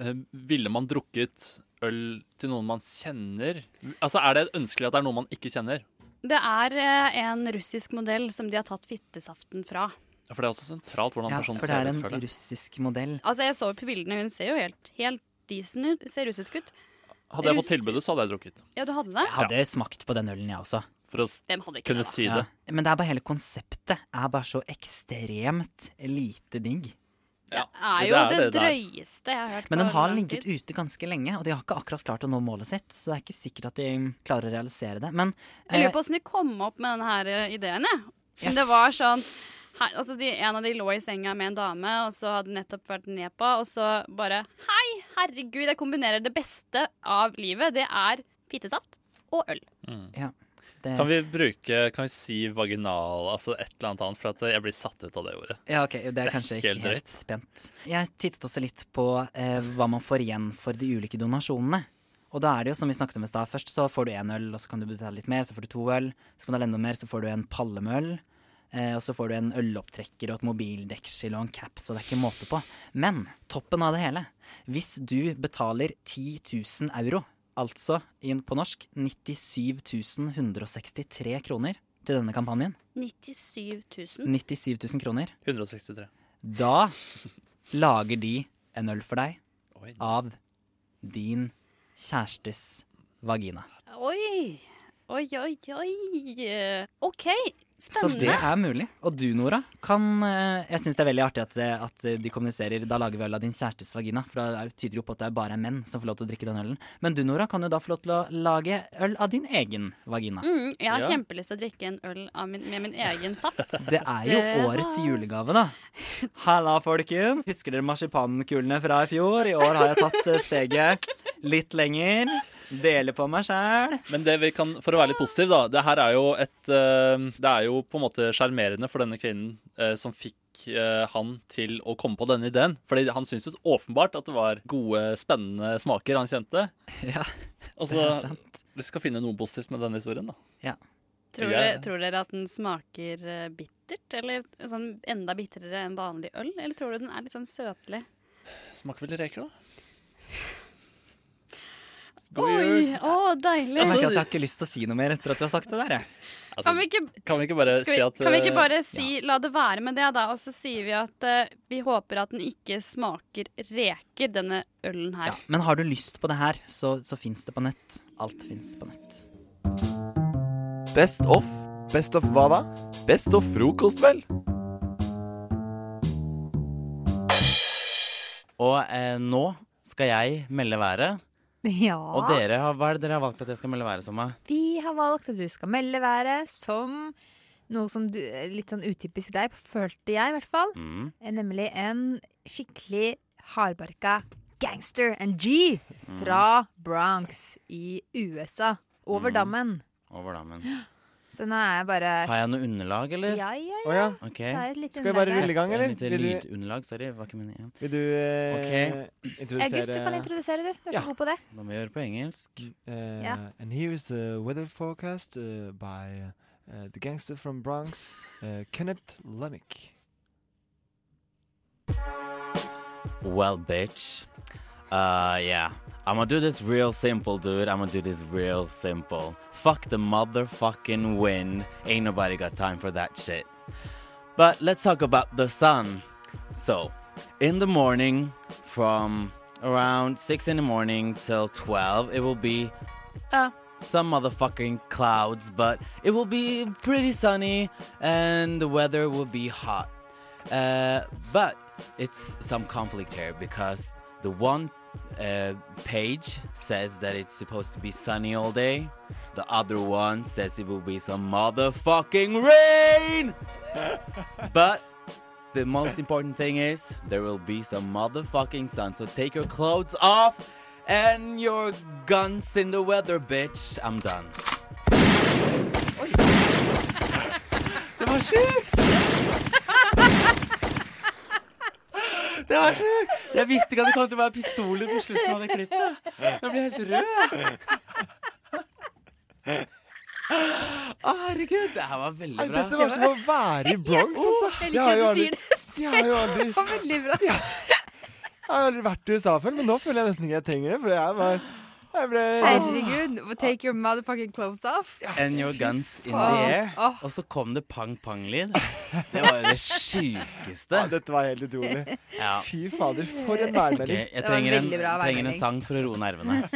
Speaker 26: eh, Ville man drukket øl til noen man kjenner? Altså Er det ønskelig at det er noen man ikke kjenner?
Speaker 24: Det er eh, en russisk modell som de har tatt fittesaften fra.
Speaker 26: Ja, For det er også sentralt hvordan
Speaker 25: Ja,
Speaker 26: personen
Speaker 25: for det er
Speaker 26: ser ut.
Speaker 25: en
Speaker 26: føler jeg.
Speaker 25: russisk modell.
Speaker 24: Altså, jeg så jo på bildene, hun ser jo helt, helt decent ut. Ser russisk ut.
Speaker 25: Hadde jeg fått
Speaker 24: Russ-
Speaker 25: tilbudet, så hadde jeg drukket.
Speaker 24: Ja, du hadde det?
Speaker 25: Jeg hadde smakt på den ølen, jeg også.
Speaker 26: For å
Speaker 24: Hvem hadde ikke kunne det, da? si det.
Speaker 25: Men det er bare hele konseptet er bare så ekstremt lite digg.
Speaker 24: Det er jo det, drøyeste jeg har hørt.
Speaker 25: Men
Speaker 24: på
Speaker 25: den har
Speaker 24: lang
Speaker 25: ligget
Speaker 24: tid.
Speaker 25: ute ganske lenge, og de har ikke akkurat klart å nå målet sitt, så det er ikke sikkert at de klarer å realisere det. Men
Speaker 24: Jeg lurer
Speaker 25: eh,
Speaker 24: på åssen de kom opp med denne her eh, ideen. jeg. Men Det var sånn her, altså de, En av de lå i senga med en dame, og så hadde nettopp vært nepa, og så bare Hei, herregud, jeg kombinerer det beste av livet. Det er fittesaft og øl.
Speaker 26: Mm.
Speaker 25: ja, det,
Speaker 26: Kan vi bruke Kan vi si vaginal, altså et eller annet annet, for at jeg blir satt ut av det ordet.
Speaker 25: ja, ok, det er kanskje ikke helt,
Speaker 26: drøyt.
Speaker 25: pent. Jeg tittet også litt på eh, hva man får igjen for de ulike donasjonene. Og da er det jo som vi snakket om i stad, først så får du én øl, og så kan du betale litt mer, så får du to øl. Så kan du ha enda mer, så får du en palle med øl. Eh, og så får du en ølopptrekker og et mobildeksel og en caps, og det er ikke måte på. Men toppen av det hele, hvis du betaler 10 000 euro, altså inn på norsk 97 163 kroner til denne kampanjen,
Speaker 24: 97 000.
Speaker 25: 97 000 kroner,
Speaker 26: 163.
Speaker 25: da lager de en øl for deg av din kjærestes vagina.
Speaker 24: Oi. Oi, oi, oi. OK,
Speaker 25: Så
Speaker 24: spennende.
Speaker 25: det er mulig. Og du, Nora, kan eh, Jeg syns det er veldig artig at, eh, at de kommuniserer 'da lager vi øl av din kjærestes vagina', for da er- tyder det jo på at det er bare menn som får lov til å drikke den ølen. Men du, Nora, kan jo da få lov til å lage øl av din egen vagina.
Speaker 24: Mm, jeg har kjempelyst til å drikke en øl av min, med min egen saft.
Speaker 25: <laughs> Det er jo
Speaker 24: Eh,
Speaker 25: årets julegave, da. Halla, folkens. Husker dere marsipankulene fra i fjor? I år har jeg tatt eh, steget litt lenger. Dele på meg sjæl.
Speaker 26: Men det vi kan, for å være litt positiv, da. Det her er jo et eh, Det er jo på en måte sjarmerende for denne kvinnen eh, som fikk eh, han til å komme på denne ideen. Fordi han syntes åpenbart at det var gode, spennende smaker han kjente.
Speaker 25: <laughs> Ja, det
Speaker 26: Og så
Speaker 25: er sant.
Speaker 26: Vi skal finne noe positivt med denne historien, da.
Speaker 25: Ja.
Speaker 24: Tror,
Speaker 26: Jeg-
Speaker 24: dere, tror dere at den smaker eh, bittert, eller sånn enda bitterere enn vanlig øl? Eller tror du den er litt sånn søtlig?
Speaker 26: Smaker vel reker, da?
Speaker 24: Oi, å, deilig! Altså,
Speaker 25: Jeg merker at jeg har ikke lyst til å si noe mer etter at du har sagt det der. Jeg.
Speaker 24: kan vi ikke
Speaker 26: Kan vi ikke bare
Speaker 24: Skal
Speaker 25: Altså, si
Speaker 24: vi,
Speaker 25: at,
Speaker 24: kan vi ikke
Speaker 25: eh,
Speaker 24: bare si la det være med det, da? Og så sier vi at eh, vi håper at den ikke smaker reker, denne ølen her.
Speaker 25: Men har du lyst på det her, så, så fins det på nett. Alt fins på nett.
Speaker 28: Best off.
Speaker 1: Best of hva da?
Speaker 28: Best of frokost, vel?
Speaker 11: Og eh, nå skal jeg melde
Speaker 2: <laughs>
Speaker 11: været.
Speaker 2: Ja.
Speaker 11: Og dere, har- hva er det dere har valgt at jeg skal melde været som? da?
Speaker 2: Vi har valgt at du skal melde været som noe som du, litt sånn utypisk deg, følte jeg i hvert fall.
Speaker 11: Mm.
Speaker 2: Eh, Nemlig en skikkelig hardbarka gangster, en G, fra Bronx i USA. Over
Speaker 11: Mm.
Speaker 2: dammen.
Speaker 11: Over dammen.
Speaker 2: Så nå er jeg bare
Speaker 11: Har jeg noe underlag, eller?
Speaker 2: Ja, ja, ja.
Speaker 11: Ok.
Speaker 2: Det er et lite
Speaker 11: Skal vi
Speaker 2: underlag
Speaker 11: bare
Speaker 2: her.
Speaker 11: rulle i gang, eller?
Speaker 2: Et lite
Speaker 11: Vil du-
Speaker 2: lydunderlag,
Speaker 11: sorry. Var ikke meningen. Vil du eh,
Speaker 2: August, du kan introdusere, du. Du er så god på det.
Speaker 11: Da må vi gjøre på engelsk.
Speaker 2: Ja.
Speaker 16: Mm, eh, And here is the weather forecast uh, by uh, the gangster from Bronx, uh, Kenneth Lemick.
Speaker 11: Well, bitch. Uh, yeah. I'm gonna do this real simple, dude. I'm gonna do this real simple. Fuck the motherfucking wind. Ain't nobody got time for that shit. But let's talk about the sun. So, in the morning, from around 6 in the morning till 12, it will be uh, some motherfucking clouds, but it will be pretty sunny and the weather will be hot. Uh, but it's some conflict here because the one uh, page says that it's supposed to be sunny all day, the other one says it will be some motherfucking rain! but the most important thing is there will be some motherfucking sun, so take your clothes off and your guns in the weather, bitch. I'm done.
Speaker 10: Det var sjukt!
Speaker 11: Det var sjukt! Jeg visste ikke at det kom til å være pistoler på slutten av det klippet. Nå blir jeg helt rød. Å, herregud. Det her var veldig
Speaker 16: Nei,
Speaker 11: bra.
Speaker 16: dette var som å være i
Speaker 2: oh,
Speaker 16: Bronx, altså.
Speaker 11: Jeg liker
Speaker 16: har jo
Speaker 11: at du
Speaker 16: aldri- Jeg har jo aldri
Speaker 11: Det var veldig bra.
Speaker 16: Ja. Jeg har aldri vært i USA før, men nå føler jeg nesten ikke jeg trenger det. For jeg var jeg ble
Speaker 2: Herregud. Take your motherfucking clothes off.
Speaker 11: And your guns in the
Speaker 2: Faen.
Speaker 11: air.
Speaker 2: Åh.
Speaker 11: Og så kom det pang-pang-lyd. Det var jo det sjukeste. Ja, dette var helt utrolig.
Speaker 16: Fy fader, for en værmelding.
Speaker 11: jeg trenger en, trenger en sang for å roe nervene.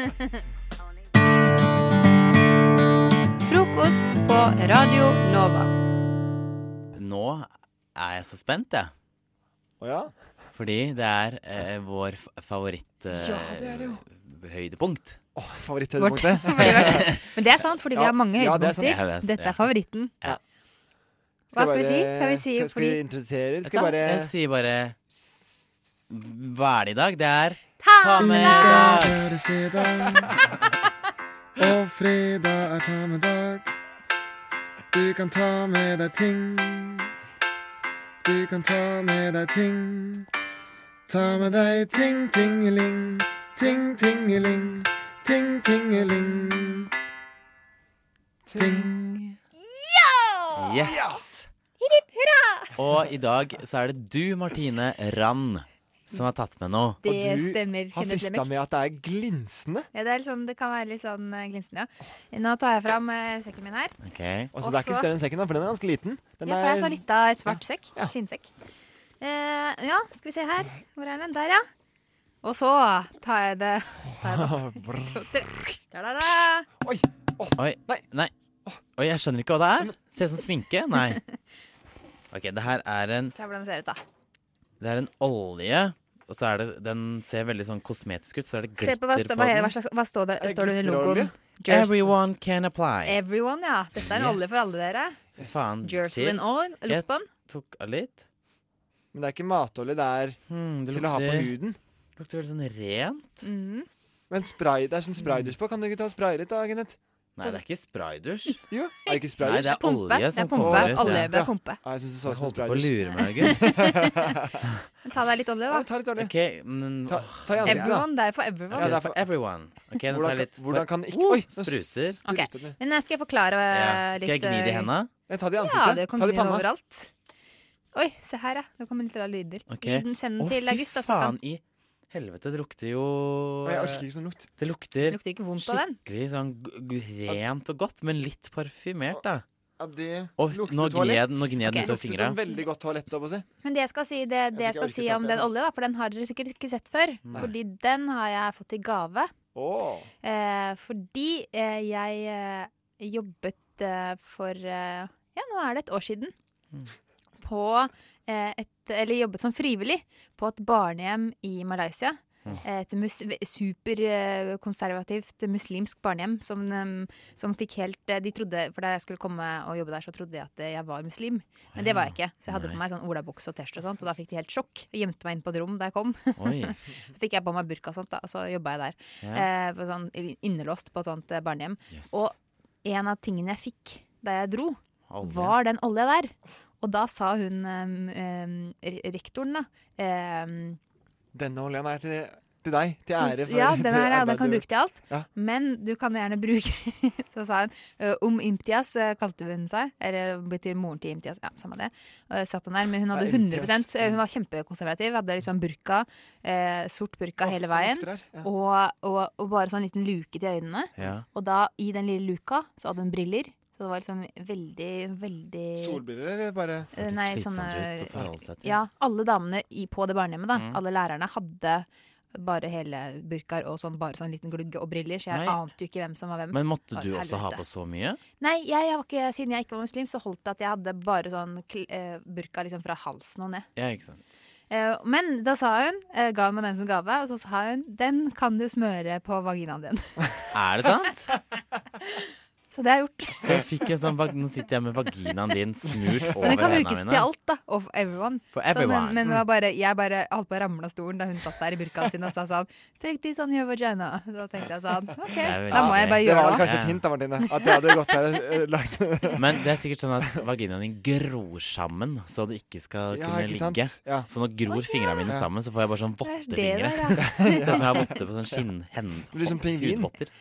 Speaker 2: Frokost på Radio Nova.
Speaker 11: Nå er jeg så spent, jeg. Å ja? Fordi det er eh, vår f- favoritt eh,
Speaker 16: Ja, det er det jo.
Speaker 11: høydepunkt.
Speaker 16: Åh,
Speaker 11: <laughs>
Speaker 16: Favoritthøydepunktet.
Speaker 2: Men det er sant, fordi vi
Speaker 16: Ja,
Speaker 2: har mange
Speaker 16: ja, det er sant. Jeg
Speaker 2: høydepunkter.
Speaker 16: vet,
Speaker 2: Dette
Speaker 16: ja.
Speaker 2: er favoritten.
Speaker 11: Ja.
Speaker 2: Hva skal vi
Speaker 16: bare-
Speaker 2: si? Skal vi si
Speaker 16: skal, skal vi
Speaker 2: fordi
Speaker 16: introdusere, eller
Speaker 11: Vet
Speaker 16: skal vi
Speaker 11: du hva?
Speaker 16: bare
Speaker 11: Jeg sier bare Hva er det i dag? Det er
Speaker 2: Ta
Speaker 11: med
Speaker 16: Er det fredag? Og fredag er ta med dag. Du kan ta med deg ting. Du kan ta med deg ting. Ta med deg ting, tingeling. Ting, tingeling. Ting, tingeling. Ting.
Speaker 11: Yes! Og i dag så er det du, Martine Rand, som har tatt med noe.
Speaker 2: Det Og du stemmer, har Kenneth festa Lemick. med
Speaker 11: at det er glinsende.
Speaker 2: ja, det, er litt sånn, det kan være litt sånn eh, glinsende, ja. Nå tar jeg fram eh, sekken min her.
Speaker 16: Og så det er ikke
Speaker 2: Også-
Speaker 16: større enn sekken, da, for den er ganske liten. Den
Speaker 2: ja, for jeg
Speaker 16: er-
Speaker 2: er så litt av et svart sekk. Skinnsekk. Eh, ja, skal vi se her. Hvor er den? Der, ja. Og så tar jeg det <laughs> tar jeg det opp. To, tre. Da, da, da.
Speaker 11: Oi. Nei. Oi, jeg skjønner ikke hva det er. Ser ut som sminke. Nei. OK, det her er en
Speaker 2: Ta hvordan det ser ut, da.
Speaker 11: Det er en olje, og så er det Den ser veldig sånn kosmetisk ut, så er det
Speaker 2: Se
Speaker 11: glitter
Speaker 2: på hva, st- hva, hva, slags, hva står det, står det under logoen? Jersey-
Speaker 11: Everyone can apply.
Speaker 2: Everyone, ja. Dette er en
Speaker 11: Yes.
Speaker 2: olje for alle dere.
Speaker 11: Faen.
Speaker 2: Jerselyn
Speaker 11: shit.
Speaker 2: Oil. Lukt på den.
Speaker 11: Tok av litt. Hmm,
Speaker 16: Men det er ikke matolje, det er
Speaker 11: det
Speaker 16: til å ha på
Speaker 11: lukter-
Speaker 16: huden.
Speaker 11: Lukter veldig sånn ren.
Speaker 16: Men
Speaker 14: Men spray, det er sånn spraydusj på. Kan du ikke ta og spraye litt, da, Kenneth?
Speaker 11: Nei, det er ikke spraydusj.
Speaker 14: Jo, er det ikke spraydusj?
Speaker 11: Nei, det er Pumpe. olje som Det er pumpe. kommer ut, Olje ja. bør pumpe.
Speaker 14: Ja, jeg synes det så ut som
Speaker 11: Jeg holdt på å
Speaker 14: spraydusj.
Speaker 11: lure meg, August.
Speaker 14: <laughs>
Speaker 2: Ta deg litt olje, da.
Speaker 14: ta litt
Speaker 11: <laughs>
Speaker 14: olje.
Speaker 11: Ok, men
Speaker 14: Ta, ta i ansiktet, da.
Speaker 2: Everyone, det er for everyone.
Speaker 11: Ja, det er for everyone. Ok, nå tar
Speaker 14: Hvordan,
Speaker 11: jeg litt
Speaker 14: kan- hvordan kan ikke Oi! nå
Speaker 11: spruter.
Speaker 2: Ok, Men jeg skal forklare
Speaker 11: Ja.
Speaker 2: eh,
Speaker 11: Skal jeg
Speaker 2: litt
Speaker 11: gni det
Speaker 2: eh,
Speaker 11: i hendene?
Speaker 14: Jeg tar det i
Speaker 2: Ja,
Speaker 14: ansiktet.
Speaker 2: det
Speaker 14: Ta
Speaker 2: kommer
Speaker 14: det i
Speaker 2: jo
Speaker 14: panna.
Speaker 2: overalt. Oi, se her, ja. Nå kommer litt rare lyder.
Speaker 11: Ok.
Speaker 2: Gi den kjenn
Speaker 11: Å,
Speaker 2: til
Speaker 11: fy
Speaker 2: August, da, så
Speaker 11: faen
Speaker 2: kan
Speaker 11: i helvete, det lukter jo
Speaker 14: Å, jeg orker ikke sånn lukt.
Speaker 11: Det lukter,
Speaker 2: Lukter ikke vondt av den.
Speaker 11: skikkelig sånn g- g- rent og godt, men litt parfymert, da.
Speaker 14: Ja, det
Speaker 11: Og
Speaker 14: <laughs> lukter
Speaker 11: nå gned
Speaker 14: toalett.
Speaker 11: den- nå gned den
Speaker 14: Ok.
Speaker 11: utover
Speaker 14: Lukter
Speaker 11: fingra.
Speaker 14: sånn veldig godt toalett, da, på å si.
Speaker 2: Men det jeg skal si, det, det jeg
Speaker 14: tror ikke
Speaker 2: skal
Speaker 14: jeg
Speaker 2: si
Speaker 14: orker
Speaker 2: om
Speaker 14: å
Speaker 2: den
Speaker 14: prate.
Speaker 2: olja, da, for den har dere sikkert ikke sett før.
Speaker 14: Nei.
Speaker 2: Fordi den har jeg fått i gave.
Speaker 14: Åh.
Speaker 2: Eh, fordi eh, jeg eh, jobbet eh, for eh, Ja, nå er det et år siden. På eh, et Eller jobbet som frivillig på et barnehjem i Malaysia. Eh,
Speaker 16: Åh.
Speaker 2: Et mus superkonservativt muslimsk barnehjem som, eh, som fikk helt eh, De trodde, for da jeg skulle komme og jobbe der, så trodde de at eh, jeg var muslim. Men det var jeg ikke. Så jeg hadde på meg sånn olabukse og T-skjorte og sånt, og da fikk de helt sjokk. Jeg gjemte meg inn på et rom da jeg kom.
Speaker 11: Oi.
Speaker 2: Så fikk jeg på meg burka og sånt, da, og så jobba jeg der.
Speaker 11: Ja.
Speaker 2: Eh, på sånn innelåst på et sånt eh, barnehjem. Og en av tingene jeg fikk da jeg dro,
Speaker 11: Olje.
Speaker 2: var den olja der. Og da sa hun em, em, re- rektoren, da ehm, em,
Speaker 14: Denne oljen er til, til deg. Til ære for
Speaker 2: ja,
Speaker 16: <laughs>
Speaker 14: <laughs>
Speaker 2: den, er, det, og den kan du bruke til alt.
Speaker 14: Ja.
Speaker 2: Men du kan gjerne bruke <laughs> Så sa hun eh, Om Imtias, eh, kalte hun seg. Eller betyr moren til Imtias. Ja, samme det. Og jeg satt hun der, men hun hadde
Speaker 16: Ja, Imtias.
Speaker 2: 100 eh, Hun var kjempekonservativ. Hadde liksom burka, eh, sort burka hele veien.
Speaker 16: lukter her, ja.
Speaker 2: Og, og, og bare sånn liten luke til øynene.
Speaker 16: Ja.
Speaker 2: Og da, i den lille luka, så hadde hun briller. Så det var liksom veldig, veldig
Speaker 14: Solbriller, eller bare
Speaker 2: Eh, Nei, sånne
Speaker 11: ut å forholde seg til.
Speaker 2: Ja, alle damene i, på det barnehjemmet, da.
Speaker 11: Mm.
Speaker 2: Alle lærerne hadde bare hele burkaer og sånn, bare sånn liten glugg og briller, så jeg
Speaker 11: Nei.
Speaker 2: ante jo ikke hvem som var hvem.
Speaker 11: Men måtte
Speaker 2: Å,
Speaker 11: du også ha
Speaker 2: helvete.
Speaker 11: på så mye?
Speaker 2: Nei, jeg, var ikke, siden jeg ikke var muslim, så holdt det at jeg hadde bare sånn kl- eh, burka liksom fra halsen og ned.
Speaker 11: Ja, ikke sant.
Speaker 2: Eh, men da sa hun, eh, ga hun meg den som gave, og så sa hun 'den kan du smøre på vaginaen din'.
Speaker 11: Er det sant?
Speaker 2: <laughs> Så det har jeg gjort.
Speaker 11: Så jeg fikk en sånn vag- Nå sitter jeg med vaginaen din smurt over
Speaker 2: Men den kan
Speaker 11: hendene
Speaker 2: brukes
Speaker 11: mine.
Speaker 2: til alt, da. Og for everyone.
Speaker 11: For
Speaker 2: Så,
Speaker 11: everyone.
Speaker 2: men men det var bare, jeg bare holdt på å ramle av stolen da hun satt der i burkaen sin og sa sånn Take this on your vagina. Da tenkte jeg sånn OK,
Speaker 11: er veldig
Speaker 2: da må jeg bare
Speaker 11: gøy.
Speaker 2: gjøre
Speaker 14: Det var
Speaker 2: det.
Speaker 14: vel kanskje et hint da, Martine. At jeg hadde gått der og eh,
Speaker 2: <laughs>
Speaker 14: lagt
Speaker 11: Men det er sikkert sånn at vaginaen din gror sammen, så det ikke skal
Speaker 14: Ja,
Speaker 11: kunne
Speaker 14: ikke sant?
Speaker 11: ligge.
Speaker 14: Ja.
Speaker 11: Så nå gror fingrene mine
Speaker 14: Ja.
Speaker 11: sammen, så får jeg bare
Speaker 2: er
Speaker 11: sånn
Speaker 2: det
Speaker 11: vottefingre.
Speaker 2: der, ja.
Speaker 11: <laughs> Sånn som jeg har votter på sånn skinnhen...
Speaker 14: Det blir som pingvin.
Speaker 11: hudvotter.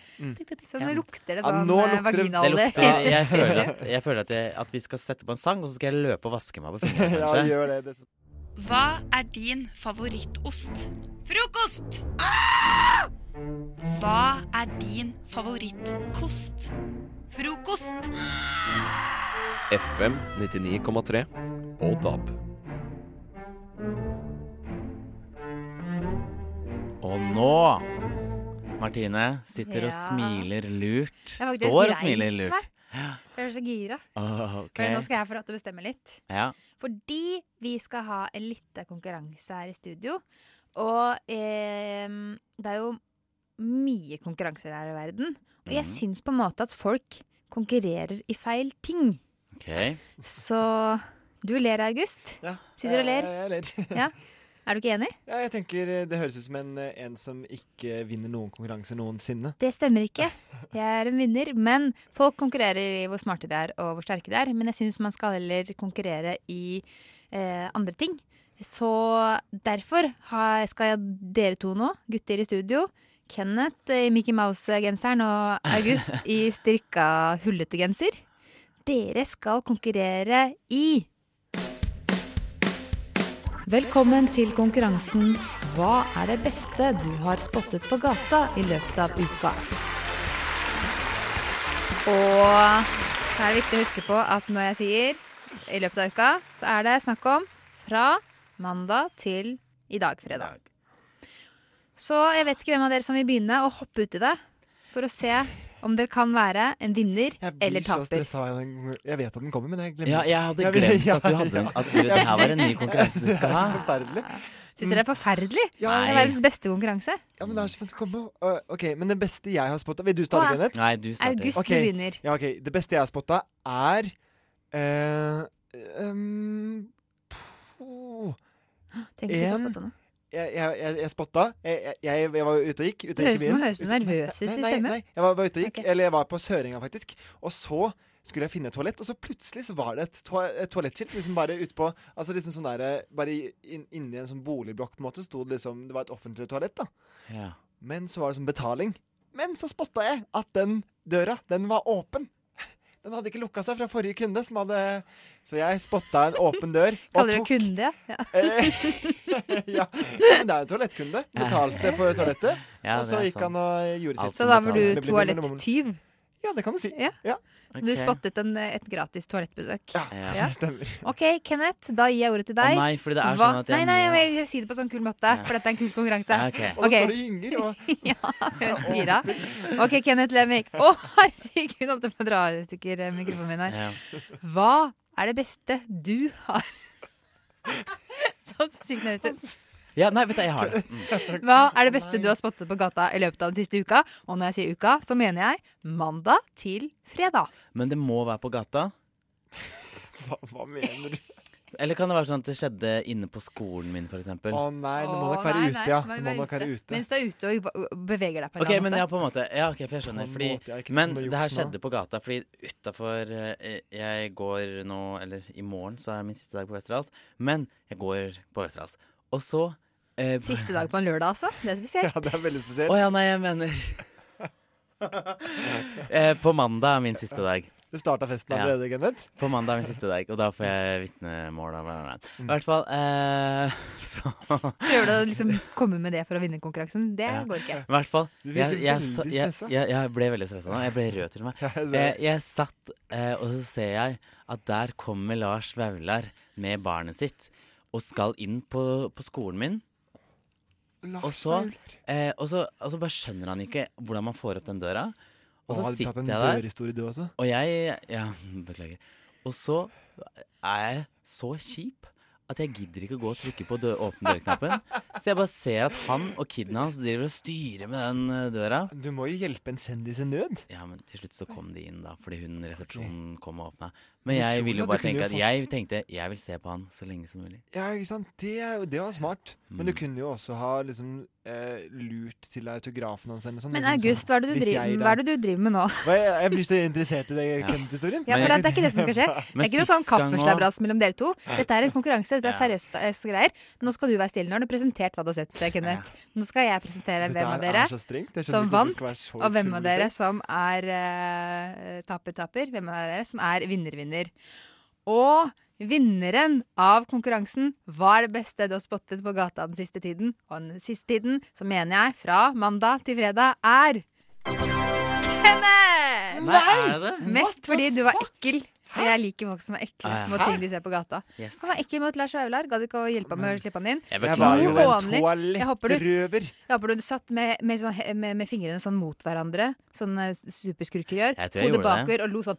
Speaker 2: Så nå lukter det
Speaker 14: <laughs> Ja,
Speaker 2: sånn eh,
Speaker 14: nå lukter det-
Speaker 11: Det
Speaker 2: vaginaolje.
Speaker 11: lukter
Speaker 2: <laughs>
Speaker 11: Jeg føler, at, jeg føler at, jeg, at vi skal sette på en sang, og så skal jeg løpe og vaske meg på fingrene,
Speaker 14: <laughs> Ja,
Speaker 11: kanskje.
Speaker 14: gjør det. det.
Speaker 27: Hva er din favorittost? Frokost! Hva er din favorittkost? Frokost!
Speaker 1: FM 99,3 og DAB.
Speaker 11: Og nå, Martine, sitter og
Speaker 2: Ja.
Speaker 11: smiler lurt.
Speaker 2: Jeg har faktisk
Speaker 11: Står og
Speaker 2: reist
Speaker 11: smiler lurt.
Speaker 2: meg. Jeg er så gira.
Speaker 11: Åh, ok.
Speaker 2: For nå skal jeg få lov til å bestemme litt.
Speaker 11: Ja.
Speaker 2: Fordi vi skal ha en liten konkurranse her i studio. Og eh, det er jo mye konkurranser her i verden. Og jeg
Speaker 11: Mhm.
Speaker 2: syns på en måte at folk konkurrerer i feil ting.
Speaker 11: Ok.
Speaker 2: Så du ler, August. Sitter og ler.
Speaker 14: Jeg, jeg ler.
Speaker 2: Ja. Er du ikke enig?
Speaker 14: Ja, jeg tenker eh, Det høres ut som en, eh, en som ikke vinner noen konkurranse noensinne.
Speaker 2: Det stemmer ikke. Jeg er en vinner. Men folk konkurrerer i hvor smarte de er og hvor sterke de er. Men jeg syns man skal heller konkurrere i eh, andre ting. Så derfor har, skal jeg dere to nå, gutter i studio, Kenneth i Mickey Mouse-genseren og August i strikka hullete genser. Dere skal konkurrere i Velkommen til konkurransen Hva er det beste du har spottet på gata i løpet av uka? Og så er det viktig å huske på at når jeg sier i løpet av uka, så er det snakk om fra mandag til i dag, fredag. Så jeg vet ikke hvem av dere som vil begynne å hoppe uti det for å se om dere kan være en vinner eller
Speaker 14: Så
Speaker 2: taper.
Speaker 14: stressa jeg den- Jeg vet at den kommer, men jeg glemmer
Speaker 11: Ja, jeg hadde
Speaker 14: vil-
Speaker 11: glemt
Speaker 14: <laughs> ja,
Speaker 11: at du hadde en,
Speaker 14: ja.
Speaker 11: at du, det her var en ny konkurranse du skal ha.
Speaker 14: <laughs> Forferdelig.
Speaker 2: Syns dere det er forferdelig?
Speaker 14: Ja,
Speaker 2: det er
Speaker 14: Nei.
Speaker 2: verdens beste konkurranse.
Speaker 14: Ja, men det er så vanskelig å komme på. Øh, Ok, men det beste jeg har spotta Vil du starte,
Speaker 2: Åh,
Speaker 14: Kenneth?
Speaker 11: Nei, du starter.
Speaker 2: August, du
Speaker 14: Ok,
Speaker 2: begynner.
Speaker 14: Ja, ok, Det beste jeg har spotta, er eh, em, puh,
Speaker 16: mm,
Speaker 2: Tenk hvis du ikke har
Speaker 14: en-
Speaker 2: spottet noe.
Speaker 16: jeg, jeg, jeg, jeg spotta. Jeg, jeg- jeg, jeg var ute og gikk. Ute og gikk i
Speaker 2: Høres- nå
Speaker 16: bilen.
Speaker 2: høres du
Speaker 16: Ute-
Speaker 2: nervøs ut
Speaker 16: nei,
Speaker 2: i
Speaker 16: nei,
Speaker 2: stemmen.
Speaker 16: Nei, jeg var, var ute og gikk. Eller jeg var på Sørenga, faktisk. Og så skulle jeg finne et toalett, og så plutselig så var det et, toa- et toalettskilt liksom bare utpå Altså liksom sånn der, Bare i- inn- inni en sånn boligblokk, på en måte, sto det liksom Det var et offentlig toalett, da.
Speaker 11: Ja.
Speaker 16: Men så var det sånn betaling. Men så spotta jeg at den døra, den var åpen. Den hadde ikke lukka seg fra forrige kunde, som hadde Så jeg spotta en åpen dør. og
Speaker 2: Kaller
Speaker 16: tok-
Speaker 2: det kunde? Ja.
Speaker 16: <laughs> ja. Men det er jo toalettkunde. Betalte for toalettet.
Speaker 11: Ja,
Speaker 16: og så
Speaker 11: det er
Speaker 16: gikk han og gjorde sitt.
Speaker 2: Så da var
Speaker 16: Betaling.
Speaker 2: du
Speaker 16: Det blir mellom rommene.
Speaker 2: toalettyv?
Speaker 16: Ja, det kan du si.
Speaker 2: Så du
Speaker 11: Ok.
Speaker 2: spottet en, et gratis toalettbesøk?
Speaker 11: Ja.
Speaker 16: <laughs> stemmer.
Speaker 2: OK, Kenneth, da gir jeg ordet til deg.
Speaker 11: Å nei, fordi det er sånn at jeg
Speaker 2: Nei,
Speaker 11: må-
Speaker 2: nei, jeg vil si det på sånn kul måte, for dette er en kul konkurranse.
Speaker 11: Ja, ok.
Speaker 16: Og da står det gynger, og
Speaker 2: <laughs> ja, gira. OK, Kenneth Lemvik. Å, herregud, holdt jeg på å dra i stykker eh, mikrofonen min
Speaker 11: Ja.
Speaker 2: her. Hva er det beste du har? <laughs> Sånn Så sykt nervøs ut.
Speaker 11: Ja, nei, vet du, jeg har det. Mm.
Speaker 2: <laughs> Hva er det beste du har spottet på gata i løpet av den siste uka? Og når jeg sier uka, så mener jeg mandag til fredag.
Speaker 11: Men det må være på gata.
Speaker 16: Hva, hva mener du?
Speaker 11: Eller kan det være sånn at det skjedde inne på skolen min, f.eks.?
Speaker 16: Å nei, det må
Speaker 2: Å,
Speaker 16: nok være
Speaker 2: nei,
Speaker 16: ute,
Speaker 2: nei,
Speaker 16: ja.
Speaker 2: må
Speaker 16: Det må
Speaker 2: være
Speaker 16: nok være ute.
Speaker 2: Mens du er ute og og beveger deg på en
Speaker 11: Ok,
Speaker 2: eller
Speaker 11: men
Speaker 2: annen
Speaker 11: ja,
Speaker 2: måte.
Speaker 11: på en måte. Ja, ok, for jeg skjønner.
Speaker 2: På en
Speaker 11: Fordi,
Speaker 2: måte, jeg har ikke
Speaker 11: men
Speaker 2: noe
Speaker 11: det
Speaker 2: juks
Speaker 11: her
Speaker 2: nå.
Speaker 11: skjedde på gata. Fordi utafor eh, Jeg går nå Eller i morgen så er min siste dag på Westerdals. Men jeg går på Westerdals. Og så eh,
Speaker 2: Siste dag på en lørdag, altså. Det er spesielt.
Speaker 16: det er veldig
Speaker 11: Å
Speaker 16: spesielt.
Speaker 11: ja, nei, jeg mener eh, På mandag er min siste dag.
Speaker 16: Du starta festen allerede, Kenneth?
Speaker 11: På mandag er min siste dag, og da får jeg vitnemål av hverandre.
Speaker 16: Mm.
Speaker 11: I hvert fall eh, <laughs> så
Speaker 2: Prøver du å liksom komme med det for å vinne konkurransen? Det går ikke.
Speaker 11: I hvert fall.
Speaker 2: Du
Speaker 11: Jeg,
Speaker 2: virker
Speaker 11: jeg, sa-
Speaker 2: veldig
Speaker 11: jeg,
Speaker 2: stressa.
Speaker 11: jeg, jeg ble veldig stressa nå. Jeg ble rød
Speaker 16: <laughs>
Speaker 11: til og med.
Speaker 16: jeg ser
Speaker 11: jeg,
Speaker 16: det.
Speaker 11: jeg satt, eh, og så ser jeg at der kommer Lars Vaular med barnet sitt og skal inn på, på skolen min. Og så, eh, og, så, og så bare skjønner han ikke hvordan man får opp den døra.
Speaker 16: Å,
Speaker 11: Og så
Speaker 16: har du tatt
Speaker 11: sitter
Speaker 16: en
Speaker 11: jeg der.
Speaker 16: dørhistorie, du også?
Speaker 11: Og jeg Ja, <laughs> beklager. Og så er jeg så kjip at jeg gidder ikke å gå og trykke på dø åpne dør-knappen. Så jeg bare ser at han og kiden hans driver og styrer med den eh, døra.
Speaker 16: Du må jo hjelpe en kjendis i nød.
Speaker 11: Ja, men til slutt så kom de inn, da, fordi hun resepsjonen kom og åpna.
Speaker 16: Men
Speaker 11: Men jeg
Speaker 16: tror
Speaker 11: ville
Speaker 16: du
Speaker 11: jo
Speaker 16: at
Speaker 11: bare
Speaker 16: du kunne
Speaker 11: tenke at
Speaker 16: jo
Speaker 11: jeg
Speaker 16: fått-
Speaker 11: tenkte jeg vil se på han så lenge som mulig.
Speaker 16: Ja, ikke sant? Det, er jo- det var smart. Men du kunne jo også ha liksom, eh, lurt til autografen hans. Eller noe sånt,
Speaker 2: Men
Speaker 16: liksom
Speaker 2: August, hva er det du
Speaker 16: hvis
Speaker 2: driver,
Speaker 16: jeg da-
Speaker 2: hva er det du driver med nå?
Speaker 16: Hva, jeg, jeg blir så interessert i det Kenneth-historien.
Speaker 2: Ja, for det, det er ikke det som
Speaker 16: <laughs>
Speaker 11: <laughs>
Speaker 2: skal skje. Det er ikke noe sånn kaffeslabras mellom dere to. Dette er en konkurranse. Dette er seriøst eh, greier. Nå skal du være stille. Nå har du presentert hva du har sett, eh, Kenneth. Nå skal jeg presentere
Speaker 16: Dette
Speaker 2: hvem av
Speaker 16: her
Speaker 2: dere
Speaker 16: er så strengt. Jeg skjønner
Speaker 2: som
Speaker 16: ikke hvorfor det
Speaker 2: vant,
Speaker 16: skal være så
Speaker 2: og hvem av
Speaker 16: utrolig
Speaker 2: dere
Speaker 16: strengt.
Speaker 2: som er eh, taper-taper. Hvem av dere som er vinner-vinner. Og vinneren av konkurransen var det beste du har spottet på gata den siste tiden. Og den siste tiden, så mener jeg, fra mandag til fredag, er Kenneth!
Speaker 11: Nei, er det?
Speaker 2: Mest fordi du var ekkel. Og jeg liker folk som er ekle
Speaker 11: Ah, ja.
Speaker 2: mot ting de ser på gata.
Speaker 11: Yes.
Speaker 2: Han var ekkel mot Lars Vaular. Gadd ikke å hjelpe ham med å slippe han inn.
Speaker 11: Jeg beklager. Jeg var jo en
Speaker 2: Hånlig. Jeg håper du-
Speaker 16: toalettrøver.
Speaker 2: Jeg håper du satt med, med, sånn, he- med, med fingrene sånn mot hverandre, sånn eh, superskurker gjør.
Speaker 11: Jeg tror jeg
Speaker 2: Hodet
Speaker 11: gjorde det.
Speaker 2: bakover og lo sånn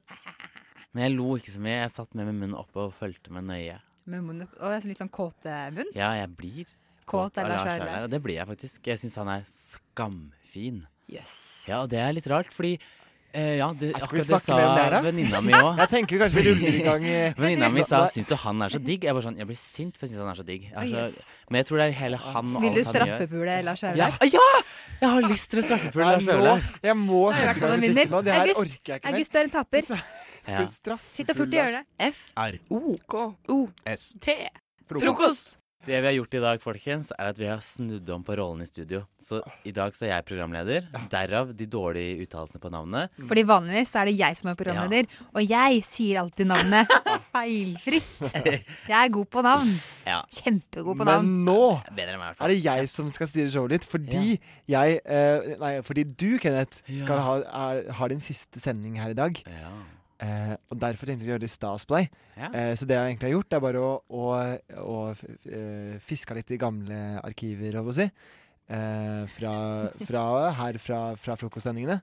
Speaker 11: Men jeg lo ikke så mye. Jeg satt med med munnen oppe og fulgte med nøye.
Speaker 2: med munnen opp- og litt sånn kåtemunn.
Speaker 11: Ja, jeg blir
Speaker 2: Kåt av Lars Vaular.
Speaker 11: Vaular, Og det blir jeg faktisk. Jeg syns han er skamfin.
Speaker 2: Yes.
Speaker 11: Ja, og det er litt rart, fordi eh, ja, det,
Speaker 16: Skal vi
Speaker 11: akkurat det
Speaker 16: snakke
Speaker 11: sa
Speaker 16: mer om det her, da?
Speaker 11: venninna mi òg.
Speaker 16: <laughs> Jeg tenker vi kanskje ruller i gang
Speaker 11: <laughs>
Speaker 16: eh. i-
Speaker 11: Venninna mi sa
Speaker 16: Da-
Speaker 11: 'syns du han er så digg'? Jeg var sånn, jeg blir sint for jeg syns han er så digg. Jeg
Speaker 2: Oh,
Speaker 11: er så,
Speaker 2: yes.
Speaker 11: men jeg tror det er hele han og
Speaker 2: Vil du
Speaker 11: alt han gjør.
Speaker 2: straffepule Lars
Speaker 11: Ja,
Speaker 2: Vaular?
Speaker 11: ja! Jeg har lyst til å straffepule
Speaker 16: Nei,
Speaker 11: Lars
Speaker 16: nå-
Speaker 11: Vaular.
Speaker 16: Jeg må
Speaker 2: Da er det i hvert
Speaker 16: sette i gang
Speaker 2: fall en
Speaker 16: musikken nå.
Speaker 2: vinner.
Speaker 16: Det her
Speaker 2: August,
Speaker 16: orker jeg ikke mer.
Speaker 2: August, du er en
Speaker 16: <laughs>
Speaker 2: taper.
Speaker 11: Ja.
Speaker 16: vi straffe
Speaker 2: Sitt og fort i
Speaker 16: Lars?
Speaker 2: hjørnet.
Speaker 27: F.
Speaker 11: R.
Speaker 27: O. K. O.
Speaker 11: S.
Speaker 27: T.
Speaker 11: Det vi har gjort i dag, folkens, er at vi har snudd om på rollen i studio. Så i dag så er jeg programleder, derav de dårlige uttalelsene på navnet.
Speaker 16: Mm.
Speaker 2: Fordi vanligvis så er det jeg som er programleder, og jeg sier alltid
Speaker 11: <laughs>
Speaker 2: navnet feilfritt. Jeg er god på navn.
Speaker 11: Ja.
Speaker 2: Kjempegod på navn.
Speaker 16: Men nå
Speaker 11: Bedre enn meg, i hvert fall.
Speaker 16: er det jeg som skal styre showet litt, fordi jeg eh, Nei, fordi du, Kenneth, skal ha, er, har din siste sending her i dag. Eh, og derfor tenkte vi å gjøre litt stas på deg.
Speaker 11: Ja.
Speaker 16: Eh, så det jeg egentlig har gjort, er bare å, å, å eh, fiske litt i gamle arkiver, holdt jeg på å si. Eh, fra,
Speaker 11: <laughs>
Speaker 16: fra her fra, fra frokostsendingene.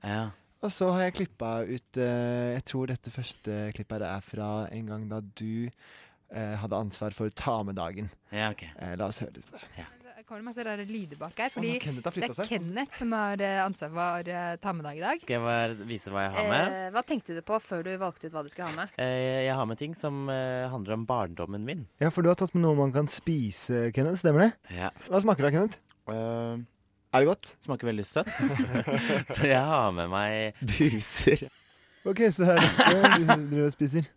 Speaker 16: Og så har jeg klippa ut eh, Jeg tror dette første klippet her er fra en gang da du eh, hadde ansvar for ta med dagen.
Speaker 11: Ja, ok.
Speaker 16: Eh, la oss høre litt på det.
Speaker 2: kommer det masse rare lyder bak her. Fordi
Speaker 11: nå, Kenneth
Speaker 2: det
Speaker 11: har flyttet
Speaker 2: er
Speaker 11: seg.
Speaker 2: Kenneth som har eh, ansvar for eh, ta med deg i dag.
Speaker 11: Skal jeg bare vise hva jeg har med?
Speaker 2: Eh, hva tenkte du på før du valgte ut hva du skulle ha med?
Speaker 11: Eh, jeg har med ting som eh, handler om barndommen min.
Speaker 16: Ja, for du har tatt med noe man kan spise, Kenneth. Stemmer det?
Speaker 11: Ja.
Speaker 16: Hva smaker det, Kenneth? Eh, er det godt?
Speaker 11: Smaker veldig
Speaker 16: <laughs>
Speaker 11: søtt. <laughs> så jeg har med meg buser.
Speaker 16: OK, så her er det du driver og spiser.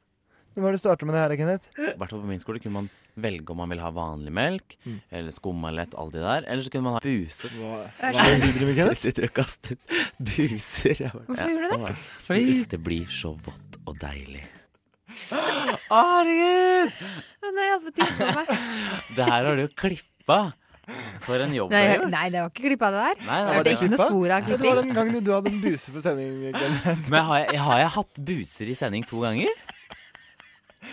Speaker 16: Men Hva er det du starter med det her, Kenneth?
Speaker 11: I hvert fall på min skole kunne man velge om man ville ha vanlig melk
Speaker 16: Mm.
Speaker 11: eller skummalett, alle de der. Eller så kunne man ha buser. Hva,
Speaker 16: hva er det du driver med, Kenneth?
Speaker 11: Sitter og kaster buser. Jeg bare-
Speaker 15: Hvorfor gjorde du det?
Speaker 11: Fordi det blir så vått og deilig. Ah,
Speaker 15: Herregud!
Speaker 2: Nei, jeg har fått tiss på meg.
Speaker 11: Det her har du jo klippa. For en <laughs> jobb du
Speaker 2: Nei,
Speaker 11: har
Speaker 2: jeg-
Speaker 11: gjort.
Speaker 2: nei, det var ikke klipp av det der.
Speaker 11: Nei, det var
Speaker 2: det er
Speaker 11: det.
Speaker 2: ikke noe spor av
Speaker 16: Det var
Speaker 2: klipping.
Speaker 16: den gangen du hadde en buse på sending, Kenneth.
Speaker 11: Men har jeg, har jeg hatt buser i sending to ganger?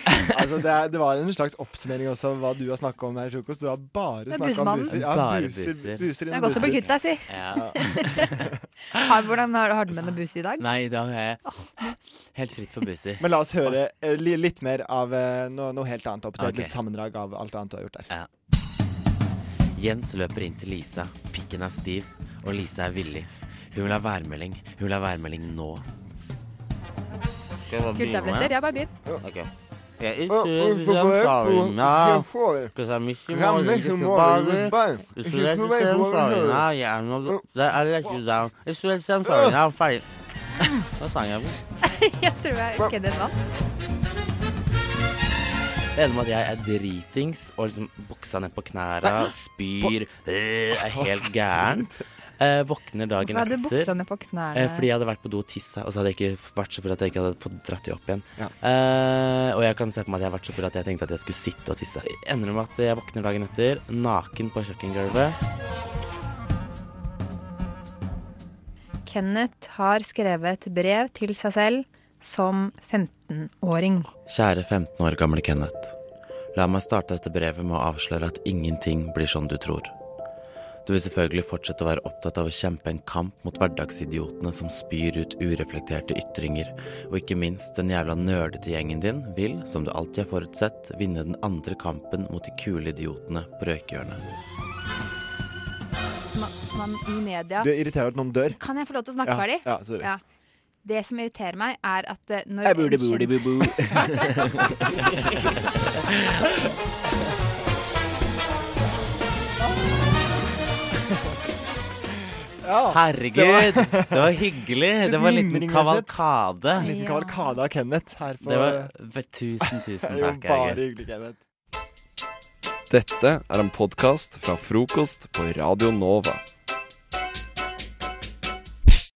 Speaker 16: Altså, det, er, det var en slags oppsummering også av hva du har snakka om her i frokost. Du har bare
Speaker 2: Det er
Speaker 16: snakka om
Speaker 2: busemannen.
Speaker 16: buser. Ja,
Speaker 11: Bare
Speaker 16: buser,
Speaker 11: buser.
Speaker 16: buser
Speaker 2: Det
Speaker 16: innom
Speaker 2: er godt å bli
Speaker 16: buser.
Speaker 2: kvitt deg, si. <laughs> Har- Hvordan har, har du med noe bus i dag?
Speaker 11: Nei, i dag er jeg helt fritt for buser.
Speaker 16: Men la oss høre eh, li- litt mer av eh, noe, noe helt annet. Opp til
Speaker 11: Ok.
Speaker 16: Et litt sammendrag av alt annet du har gjort der.
Speaker 11: Jens løper inn til Lisa. Pikken er stiv, og Lisa er villig. Hun vil ha værmelding. Hun vil ha værmelding nå. Skal jeg bare begynne med?
Speaker 2: Gulltabletter. Ja, bare begynn.
Speaker 11: Ok. Jeg
Speaker 15: Å, å,
Speaker 11: utøver
Speaker 15: hvorfor
Speaker 11: den
Speaker 15: er-
Speaker 11: fargen
Speaker 15: hvorfor-
Speaker 11: av
Speaker 15: hvorfor er-
Speaker 11: Skal jeg mikke
Speaker 15: Ramme
Speaker 11: morgen,
Speaker 15: ikke
Speaker 11: ikke
Speaker 15: morgen,
Speaker 11: bare.
Speaker 15: bare.
Speaker 11: Jeg
Speaker 15: Ikke
Speaker 11: skulle ikke
Speaker 15: noe
Speaker 11: se den
Speaker 15: morgen,
Speaker 11: fargen
Speaker 15: hører.
Speaker 11: av hjernen, og det er lett ut av- Jeg skulle ikke se den fargen av feil. Da sang jeg vel.
Speaker 2: <laughs> Jeg tror jeg Kenneth vant.
Speaker 11: Jeg er enig med at jeg er dritings og liksom buksa ned på knæra, spyr, øh, er helt gæren. Eh, våkner dagen
Speaker 2: Hvorfor hadde du buksa
Speaker 11: etter.
Speaker 2: ned på knærne?
Speaker 11: Eh, fordi jeg hadde vært på do og tissa, og så hadde jeg ikke f- vært så full at jeg ikke hadde fått dratt de opp igjen.
Speaker 16: Ja.
Speaker 11: Eh, og jeg kan se for meg at jeg har vært så full at jeg tenkte at jeg skulle sitte og tisse. Jeg Ender med at jeg våkner dagen etter, naken på kjøkkengulvet.
Speaker 2: Kenneth har skrevet brev til seg selv som 15-åring.
Speaker 11: Kjære 15 år gamle Kenneth. La meg starte dette brevet med å avsløre at ingenting blir sånn du tror. Du vil selvfølgelig fortsette å være opptatt av å kjempe en kamp mot hverdagsidiotene som spyr ut ureflekterte ytringer, og ikke minst den jævla nerdete gjengen din vil, som du alltid har forutsett, vinne den andre kampen mot de kule idiotene på røykehjørnet.
Speaker 2: Man, man i media
Speaker 16: Du er irritert over at noen dør.
Speaker 2: Kan jeg få lov til å snakke
Speaker 16: Ja,
Speaker 2: ferdig?
Speaker 16: ja, sorry.
Speaker 2: Det som irriterer meg, er at eh, når
Speaker 16: Jeg burde,
Speaker 2: en
Speaker 16: burde,
Speaker 2: kjen- <laughs>
Speaker 16: <laughs>
Speaker 11: Herregud, det
Speaker 16: <laughs>
Speaker 11: var hyggelig.
Speaker 16: Et
Speaker 11: Det var en liten
Speaker 16: mimring, rett og slett.
Speaker 11: kavalkade.
Speaker 16: En liten kavalkade av Kenneth her på
Speaker 11: Det var vel, Tusen, tusen
Speaker 16: <laughs> Jo,
Speaker 11: takk.
Speaker 16: Bare
Speaker 11: August.
Speaker 16: hyggelig, Kenneth.
Speaker 1: Dette er en podkast fra frokost på Radio Nova.